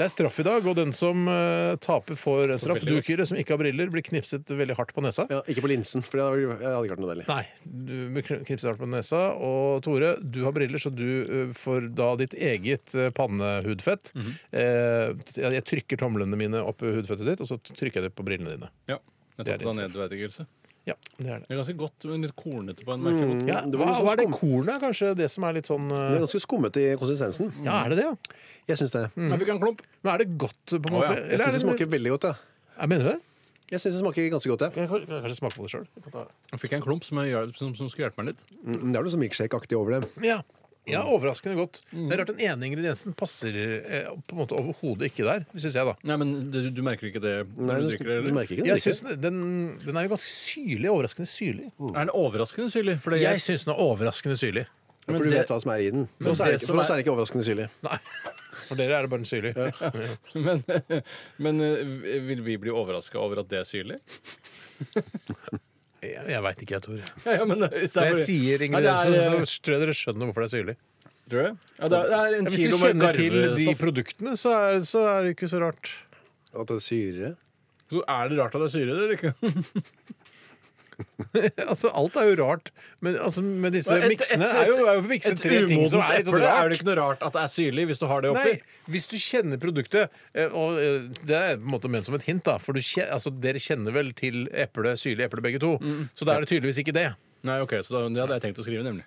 C: Det er straff i dag, og den som eh, taper, får straff.
E: Veldig godt.
C: Dukere som ikke har briller, blir knipset veldig hardt på nesa.
E: Ja, ikke på linsen, for det hadde, vært- det hadde ikke vært noe deilig.
C: Nei, du blir kn- knipset hardt på nesa. Og Tore, du har briller, så du eh, får da ditt eget eh, pannehudfett.
E: Mhm.
C: Eh, t- jeg trykker tomlene mine opp i hudfettet ditt, og så trykker jeg det på brillene dine.
D: Ja. Jeg
C: Det er
D: tok da
C: litt
D: nedverdigelse.
C: Ja, det er det.
D: Det er ganske godt, men litt kornete på en merkelig måte.
C: Ja,
E: det var litt
C: hva,
E: sånn
C: hva er det
E: skum-
C: kornet? er Kanskje det som er litt sånn
E: Det er
C: eh,
E: ganske skummet i konsistensen.
C: Ja, er det det? Ja?
E: Jeg syns det.
D: Jeg fikk en klump.
C: Men er det godt, på en måte?
E: Å, ja. Jeg
C: Eller er
E: syns det
C: det-
E: smaker veldig godt, jeg.
C: Jeg mener du det?
E: Jeg syns det smaker ganske godt,
C: jeg. Kan kanskje smake på det sjøl.
D: Jeg fikk en klump som, jeg, gjør- som, som skulle hjelpe meg litt.
E: Det er noe sånn milkshake-aktig over det.
C: Ja. ja,
D: Mm.
C: overraskende godt. Det er rart den ene ingrediensen passer eh, på en måte overhodet ikke der, syns jeg, da.
D: Nei, men du, du merker ikke det når du drikker det? eller?
C: jeg synes den, den er jo ganske syrlig. Overraskende syrlig.
D: Er den overraskende syrlig? For det-
C: Jeg syns den er overraskende syrlig.
E: For
C: Men
E: du
C: det-
E: vet hva som er i den.
C: Men
E: For oss er
C: det
E: det ikke, for oss
C: som
E: er det ikke overraskende syrlig.
C: Nei. For dere er det bare en syrlig.
D: Men, men eh, vil vi bli overraska over at det er syrlig?
C: Jeg, jeg veit ikke, jeg, Tore.
D: Ja, ja, men hvis det er
C: Når jeg
D: bare-
C: sier
D: Nei, det er,
C: ingredienser,
D: eh,
C: så tror jeg dere skjønner hvorfor det er syrlig.
D: Tror du? Ja, det er, det er en
C: Ja, Hvis
D: kilo
C: du
D: med
C: kjenner til de
D: garvestoff.
C: produktene, så er, så er det ikke så rart.
E: At det er syre?
D: Så er det rart at det er syre i det, eller ikke?
C: altså, alt er jo rart. Men, altså, men disse
D: Et- et-
C: miksene er jo, er jo mikset
D: et
C: tre ting som
D: umodent
C: er litt sånn
D: eple,
C: rart.
D: Er det ikke noe rart at det er syrlig hvis du har det oppi?
C: Nei, hvis du kjenner produktet eh, Og eh, det er på en måte ment som et hint, da. For du kje- altså, dere kjenner vel til eple, syrlig eple, begge to. Så da er det tydeligvis ikke det.
D: Nei, ok, så da, det hadde jeg tenkt å skrive, nemlig.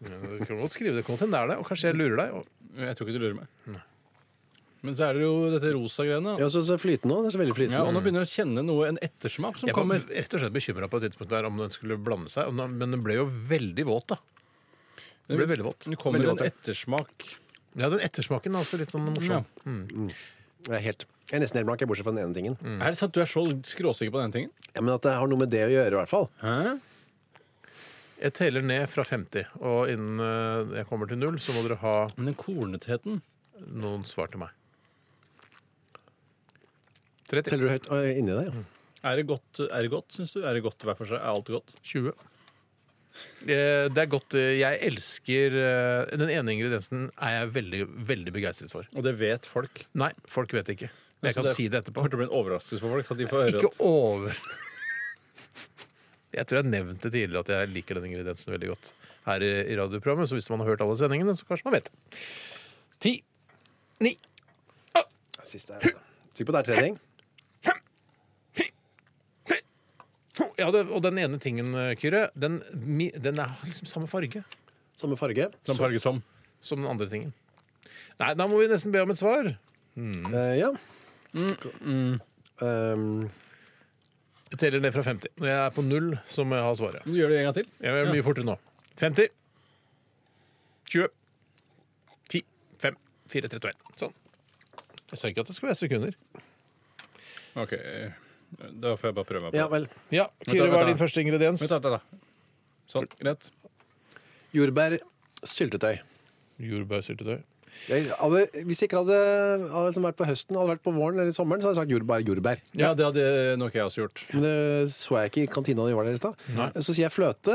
C: Du kan godt skrive det, kan godt hende det er det. Og kanskje jeg lurer deg. Og...
D: Jeg tror ikke du lurer meg. Men så er det jo dette rosa greiene.
E: Ja, så, så flytende òg. Det er så veldig flytende.
D: Ja, og nå begynner jeg å kjenne noe, en ettersmak som
C: Jeg var
D: kommer.
C: rett og slett bekymra på et tidspunkt der om den skulle blande seg. og nå- Men den ble jo veldig våt, da. Den ble veldig våt.
D: Det kommer
C: veldig våt,
D: en
C: ja.
D: ettersmak.
C: Ja, den ettersmaken er også litt sånn morsom.
E: Jeg er, helt, jeg er nesten helt blank, jeg bortsett fra den ene tingen.
C: Mm.
D: Er det sant du er så skråsikker på den tingen?
E: Ja, Men at det har noe med det å gjøre, i hvert fall.
C: Jeg teller ned fra 50, og innen eh, jeg kommer til null, så må dere ha
D: Men den kornetheten
C: noen svar til meg. 30.
E: Teller du høyt øh, inni deg? Ja.
D: Er det godt, er det godt, synes du? Er det godt hver for seg? Er alt godt?
C: 20. Eh, Det er godt. eh, Jeg elsker eh, Den ene ingrediensen er jeg veldig, veldig begeistret for.
D: Og det vet folk?
C: Nei, folk vet ikke. Men jeg
D: Altså,
C: kan
D: det-
C: si det etterpå.
D: kommer til å bli en overraskelse for folk. At de får høre
C: Eh, Ikke
D: at
C: over... Jeg tror jeg nevnte tidligere at jeg liker den ingrediensen veldig godt her i i radioprogrammet, så hvis man har hørt alle sendingene, så kanskje man vet det. Ti, ni,
E: Siste her. Hm. altså. Trykk på der-trening.
C: Ja, det, og den ene tingen, eh, Kyrre, den, mi- den er- har liksom samme farge.
E: Samme farge?
C: Samme farge som? Som den andre tingen. Nei, da må vi nesten be om et svar.
E: Eh, ja.
C: Mm,
E: Um,
C: Jeg teller ned fra 50. Når jeg er på null, så må jeg ha svaret.
D: Du gjør det en gang til.
C: Jeg gjør det mye fortere nå. 50. 20. 10. 5. 4, 3, 2, 1. Sånn. Jeg sa ikke at det skulle være sekunder.
D: OK. eh, Da får jeg bare prøve meg på
C: Ja,
E: vel.
C: Ja, Kyrre, hva er din første ingrediens?
D: Vent, da, da. Sånn, greit.
E: Jordbærsyltetøy.
C: Jordbærsyltetøy.
E: Jeg hadde, hvis jeg ikke hadde, hadde liksom vært på høsten, hadde vært på våren eller sommeren, så hadde jeg sagt jordbær. jordbær.
D: Ja, det hadde nok jeg også gjort.
E: Men det så jeg ikke i kantina da jeg var der i stad.
C: Nei.
E: Så sier jeg fløte.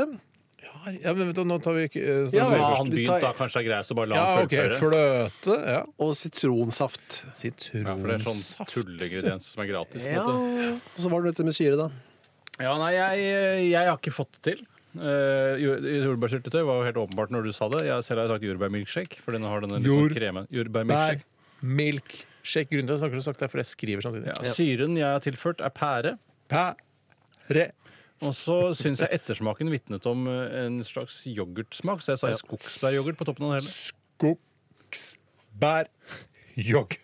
C: Ja, men vent da, nå tar vi ikke eh,
E: Ja,
C: tar vi
E: vel.
C: først.
E: Han
C: Vi
E: begynte
C: tar-
E: da,
D: Kanskje det er greiest å bare la
C: Ja,
D: han
C: ok.
D: fullføre.
C: Fløte. Ja.
E: Og sitronsaft.
C: Sitronsaft.
D: Ja, for det er sånn tulleingrediens som er gratis. på en
E: Ja,
D: måte.
E: og så var det dette med syre, da.
D: Ja, nei, jeg, jeg har ikke fått det til. Uh, Jordbærsyltetøy var jo helt åpenbart når du sa det. Jeg selv har sagt jordbærmilkshake. For den har denne litt
C: Jord-
D: sånn kremen.
C: Eh,
D: Jordbærmilkshake.
C: milk, Sjekk grunnen til at jeg snakker så sakte, er fordi jeg skriver samtidig.
D: Ja, syren jeg har tilført, er pære.
C: Pære.
D: Og så syns jeg ettersmaken vitnet om eh, en slags yoghurtsmak, så jeg sa
C: Ja.
D: skogsbæryoghurt på toppen av det hele.
C: Skogsbær. Jogg.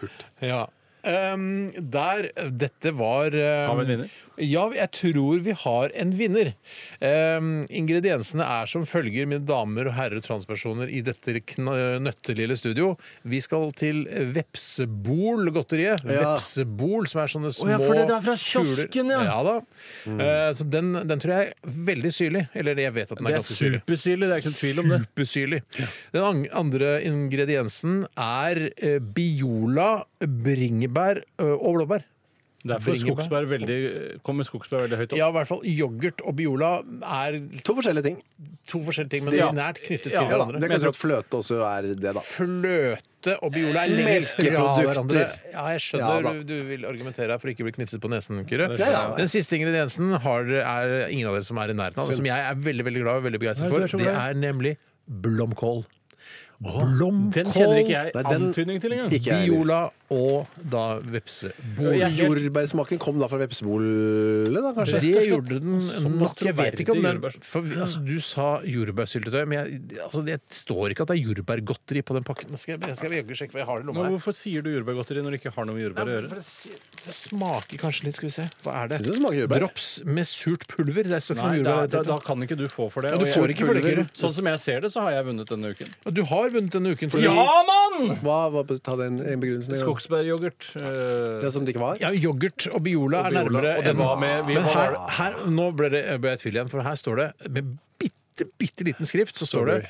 C: Hurt. Ja. Ehm, der Dette var ehm,
D: Har vi en vinner?
C: Ja, jeg tror vi har en vinner. Ehm, ingrediensene er som følger, mine damer og herrer og transpersoner i dette kn- nøttelille studio. Vi skal til Vepsebol-godteriet.
D: Ja.
C: Vepsebol, som er sånne små
D: Å ja, for det er fra
C: kuler.
D: kiosken, ja. Mm.
C: ja da. Eh, så den, den tror jeg er veldig syrlig. Eller jeg vet at den
D: Det
C: er
D: er
C: ganske syrlig.
D: supersyrlig, det er ikke noen tvil om det.
C: Supersyrlig. Den ang- andre ingrediensen er eh, biola, bringebær ø, og blåbær.
D: Derfor
C: Bringebær.
D: skogsbær veldig, kommer skogsbær veldig høyt opp.
C: Ja, i hvert fall yoghurt og biola er
E: To forskjellige ting.
C: To forskjellige ting, men de
E: Ja.
C: er nært knyttet til
E: Ja, da.
C: hverandre.
E: Det kan si at fløte også er det, da.
C: Fløte og biola er lenger fra
E: Melkeprodukter.
C: hverandre. Ja, jeg
E: Ja,
C: skjønner
E: da.
C: du, du vil argumentere her for å ikke bli knipset på nesen, Kyrre.
E: Ja, ja.
C: Den siste ingrediensen har, er ingen av dere som er i nærheten av, og som jeg er veldig veldig glad og veldig
D: Nei,
C: begeistret
D: du er
C: for.
D: så
C: Det
D: glad.
C: er nemlig blomkål. Blomkål.
D: Den kjenner ikke jeg antydning til engang.
C: Biola og da vepsebol.
E: Jordbærsmaken kom da fra vepsebolet, da, kanskje?
C: Det gjorde den nok. Jeg vet ikke om den
E: jordbær.
C: for, vi- altså, Du sa jordbærsyltetøy, men jeg, altså, det står ikke at det er jordbærgodteri på den pakken. Nå skal jeg, jeg skal jaggu sjekke hva jeg har i lomma
D: Men
C: her.
D: hvorfor sier du jordbærgodteri når det ikke har noe med jordbær å
C: for
D: gjøre?
C: det, si- det smaker kanskje litt, skal vi se. Hva er det?
D: Synes det smaker jordbær.
C: Drops med surt pulver. Det står ikke
D: Nei,
C: noe
D: da,
C: jordbær.
D: da, da kan ikke du få for det.
C: Ja, du
D: og jeg-
C: får ikke for det, Kyrre.
D: Sånn som jeg ser det, så har jeg vunnet denne uken.
C: Du har vunnet denne uken.
D: Ja, mann!
E: Hva, hva, ta den en begrunnelsen. en gang.
D: Skogsbæryoghurt. eh,
E: Det som det ikke var?
C: Ja, yoghurt og biola
E: Og
C: er
E: Biola,
C: nærmere.
E: og det
C: enn-
E: var med- vi
C: Men
E: var-
C: her, her, nå ble, det, ble jeg i tvil igjen, for her står det med bitte, bitte liten skrift så står det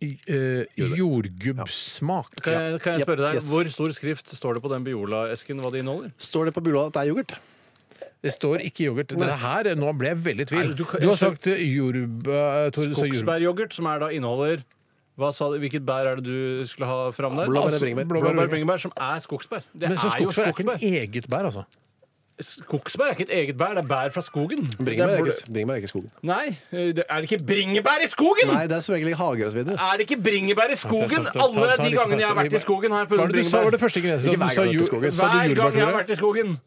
C: eh, jordgubbsmak.
D: Kan jeg, kan jeg
C: Ja.
D: spørre deg,
C: Yes.
D: Hvor stor skrift står det på den Biola-esken hva det inneholder?
E: Står det på bula at det er yoghurt?
C: Det står ikke yoghurt. Det her, Nå ble jeg veldig i tvil.
D: Nei,
C: Du,
D: du kan-
C: har sagt eh, jordbær... Tore, du sa jordbær.
D: Skogsbæryoghurt, som er da inneholder hva sa du, Hvilket bær er det du skulle ha fram der? Altså,
C: Blåbær og bringebær.
D: Blåbær, og bringebær, Som er skogsbær. Det
C: Men så
D: er jo
C: skogsbær er ikke
D: skogsbær.
C: en eget bær, altså?
D: Skogsbær er ikke et eget bær, det er bær fra skogen.
E: Bringebær
D: Det
E: er,
D: er-
E: ikke- bringebær er ikke skogen.
D: Nei, eh, det- er det ikke bringebær i skogen?!
E: Nei, det er som regel i hager og så videre.
D: Er det ikke bringebær i skogen?
E: Ta- ta- ta- ta-
D: Alle
E: ta
D: de
E: litt
D: gangene jeg har
E: plass.
D: vært i skogen, har jeg
E: Hva er det
D: funnet
E: du sa
D: bringebær.
E: var det første grensen? Du sa
D: Ikke hver gang jeg har vært i
E: jord-
D: skogen.
E: sa du
D: Hver
E: jordbær,
D: gang jeg har
E: Tore?
D: vært i skogen!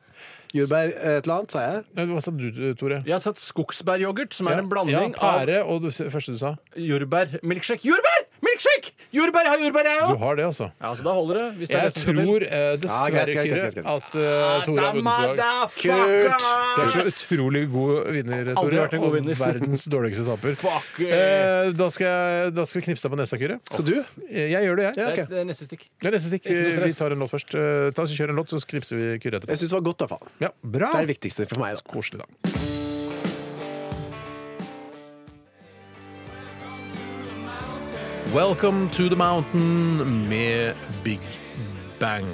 E: Jordbær eh, et eller annet, sa jeg.
C: Hva sa du, Tore?
D: Jeg har satt skogsbæryoghurt, som er en
C: ja,
D: blanding av
C: pære og det første du sa.
D: jordbær, milkshake Jordbær! Milkshake! Jordbær! Jeg har jordbær, jeg
C: Du
D: òg!
C: har det, altså.
D: Ja, så da holder det. Hvis det er
C: Jeg
D: det som skal til.
C: tror eh, dessverre,
D: Ja,
C: Kyrre,
D: greit, greit, greit, greit.
C: at eh, Tore har vunnet i dag.
D: Kult!
C: Du er så utrolig god vinner,
D: Aldri
C: Tore.
D: vært en god vinner.
C: Og verdens dårligste taper.
D: Fuck,
C: Eh, da, skal jeg, da skal vi knipse deg på nesa, Kyrre.
E: Skal du?
C: Eh, Jeg gjør det, jeg.
D: Det er- Det er neste stikk.
C: Det er neste stikk.
D: Ikke noe stress.
C: Vi tar en låt først. Eh, Ta oss og Kjør en låt, så knipser vi Kyrre etterpå.
E: Jeg syns det var godt, i hvert fall.
C: Ja, bra.
E: Det er det viktigste for meg. da.
C: Koselig, da. Welcome to the mountain med Big Bang.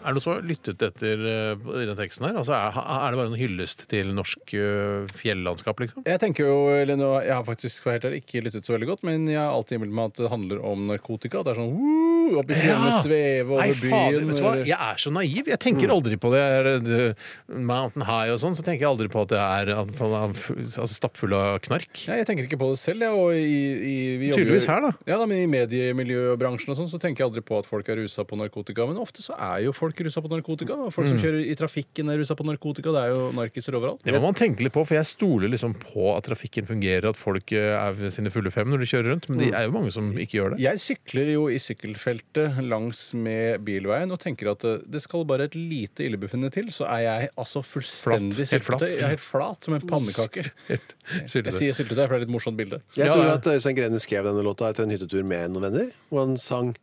C: Er det noen som har lyttet etter eh, i den teksten her? Altså, er, er det bare en hyllest til norsk eh, fjellandskap, liksom?
D: Jeg tenker jo, eller nå, jeg har faktisk for helt ærlig ikke lyttet så veldig godt, men jeg har alltid innbilt meg at det handler om narkotika. At det er sånn woo, opp i fjellene, sveve over
C: Nei,
D: byen.
C: fader, vet du hva?
D: eller-
C: Jeg er så naiv. Jeg tenker aldri på det. her, eh, Mountain High og sånn, så tenker jeg aldri på at det er at man er f- altså, stappfull av knark.
D: Nei, jeg tenker ikke på det selv. Jeg, og i, i, vi jobber jo-
C: Tydeligvis her, da.
D: Ja, da, men I mediemiljøbransjen og sånn, så tenker jeg aldri på at folk er rusa på narkotika. Men ofte så er jo folk rusa på narkotika. da. Folk som
C: Mm.
D: kjører i trafikken er rusa på narkotika. Det er jo narkiser overalt.
C: Det må man tenke litt på, for jeg stoler liksom på at trafikken fungerer, at folk eh, er ved sine fulle fem når de kjører rundt, men det er jo mange som ikke gjør det.
D: Jeg sykler jo i sykkelfeltet langs med bilveien og tenker at eh, det skal bare et lite illebefinnende til, så er jeg altså fullstendig
C: Flatt. Helt flat.
D: syltetøy. Jeg er helt flat som en pannekake. Jeg sier syltetøy, for det er et litt morsomt bilde.
E: Jeg tror at Øystein Grene skrev denne låta etter en hyttetur med noen venner. Hvor han sang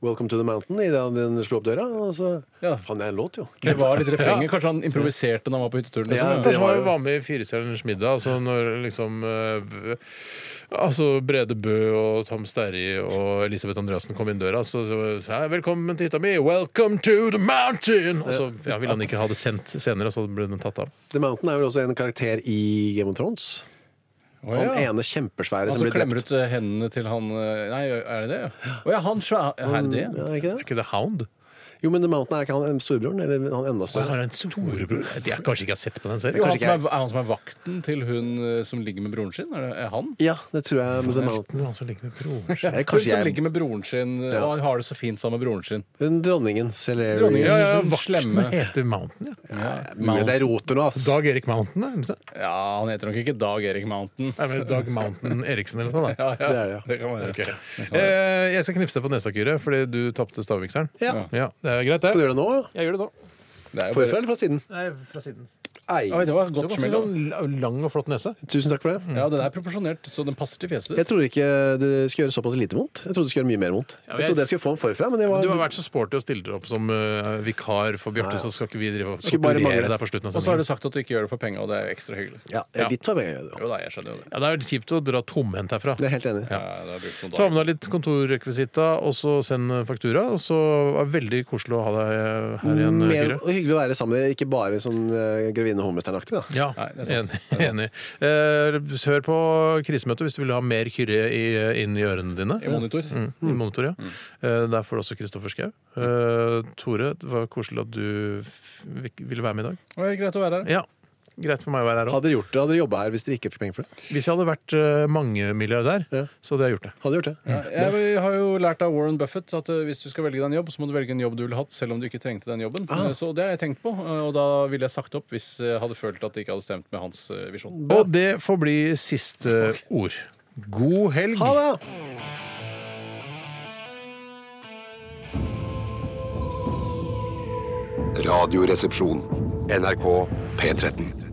E: 'Welcome to the Mountain' idet han den slo opp døra. Og så fant jeg en låt, jo.
D: Det var litt refrenget. Kanskje han improviserte når han var på hytteturen.
C: Ja,
D: liksom.
C: Kanskje han var med i Firestjerners middag, altså når liksom eh, Altså Brede Bø og Tom Sterry og Elisabeth Andreassen kom inn døra, så, så, så «Hei, 'Velkommen til hytta mi! Welcome to the mountain!' Og så ja, ville han ikke ha det sendt senere, så ble den tatt av.
E: The Mountain er vel også en karakter i Game of Thrones.
D: ja.
E: sånn Han ene kjempesvære
D: Han
E: som
D: som
E: blir
D: klemmer
E: drept.
D: ut eh, hendene til han eh, Nei, er det det? ja? Å ja, han svære Er det det?
E: Ja, er ikke det?
C: ikke The Hound?
E: Jo, men The Mountain er ikke han storebroren? Eller han enda
C: Så har
E: større?
C: han en storebror Jeg kanskje ikke har sett på den
D: Jo,
C: serien?
D: han som er, er han som er vakten til hun eh, som ligger med broren sin? Er det er han?
E: Ja, det tror jeg med The Mountain.
C: Han som ligger med broren sin.
E: Jeg,
D: Hun
E: kanskje
D: som
E: jeg
D: ligger med broren sin, eh,
E: Ja.
D: og han har det så fint sammen med broren sin.
E: Hun dronningen. Celerius.
D: Dronningen.
C: Ja, ja,
D: Den
C: Vakten
D: slemme.
C: heter Mountain, ja.
E: Mulig det er roter nå, ass.
C: Dag Erik Mountain, er det ikke det?
D: Ja, han heter nok ikke Dag Erik Mountain.
C: Nei, men Dag Mountain Eriksen eller noe sånt? da.
D: Ja, ja,
E: Det er det, ja.
D: det kan være.
C: Ok. Eh, jeg skal knipse deg på nesa, Kyrre, fordi du tapte stavmikseren.
E: Ja.
C: Det er greit, det.
E: Skal du gjøre det nå? ja?
C: Jeg gjør det nå.
D: Det er jo
E: Forfra eller fra siden?
C: Nei, fra siden.
E: Ei.
D: Oi, det Mm. var
C: Det
D: godt
C: var
D: smell. da.
C: sånn la- lang og flott nese.
E: Tusen takk for det.
D: Ja, den er proporsjonert, så den passer til fjeset
E: Jeg
D: ditt.
E: tror ikke det skal gjøre såpass lite vondt. Jeg trodde det skulle gjøre mye mer vondt.
C: Ja,
E: Jeg
C: jeg-
E: trodde jeg skulle få den forfra, men det var,
C: Du har vært så sporty og stiller opp som eh, vikar for Bjarte,
E: Nei, ja.
C: så skal ikke vi drive og
E: Skulle bare mangle.
C: torturere deg på slutten av
D: Og så har
C: sendingen.
D: du sagt at du ikke gjør det for penga, og det er jo ekstra hyggelig.
E: ja, litt for meg.
D: Jo da, jeg skjønner jo det.
C: Ja, det er kjipt å dra tomhendt herfra.
E: Jeg er helt enig.
D: Ja, det har brukt noen
C: Ta
D: dager.
C: med deg litt kontorrekvisitta, og så send faktura. Og så var det veldig koselig å ha deg eh, her igjen,
E: Mer,
C: Kyrre.
E: og hyggelig å være sammen med dere, ikke bare sånn eh, grevinne Holmestrand-aktig, da.
C: Ja,
D: Nei, det er sant.
C: enig. enig. Eh, hør på krisemøtet hvis du vil ha mer Kyrre i, inn i ørene dine.
D: I monitor.
C: Mm, I monitor, ja. Eh, der får du også Kristoffer Schau. Eh, Tore, det var koselig at du f ville være med i dag.
D: Og det er greit å være her.
C: Ja, Greit for meg å være her òg.
E: Hadde dere gjort det, hadde dere jobba her hvis dere ikke fikk penger for det?
C: Hvis jeg hadde vært uh, mangemilliardær,
E: Ja.
C: så hadde jeg gjort det.
E: Hadde dere gjort det?
D: Ja, jeg har jo lært av Warren Buffett at eh, hvis du skal velge deg en jobb, så må du velge en jobb du ville hatt, selv om du ikke trengte den jobben. Eh, Så det har jeg tenkt på, eh, og da ville jeg sagt opp hvis jeg hadde følt at det ikke hadde stemt med hans eh, visjon.
C: Og det får bli siste ord. God helg.
E: Ha det!
F: Radioresepsjon. NRK P13.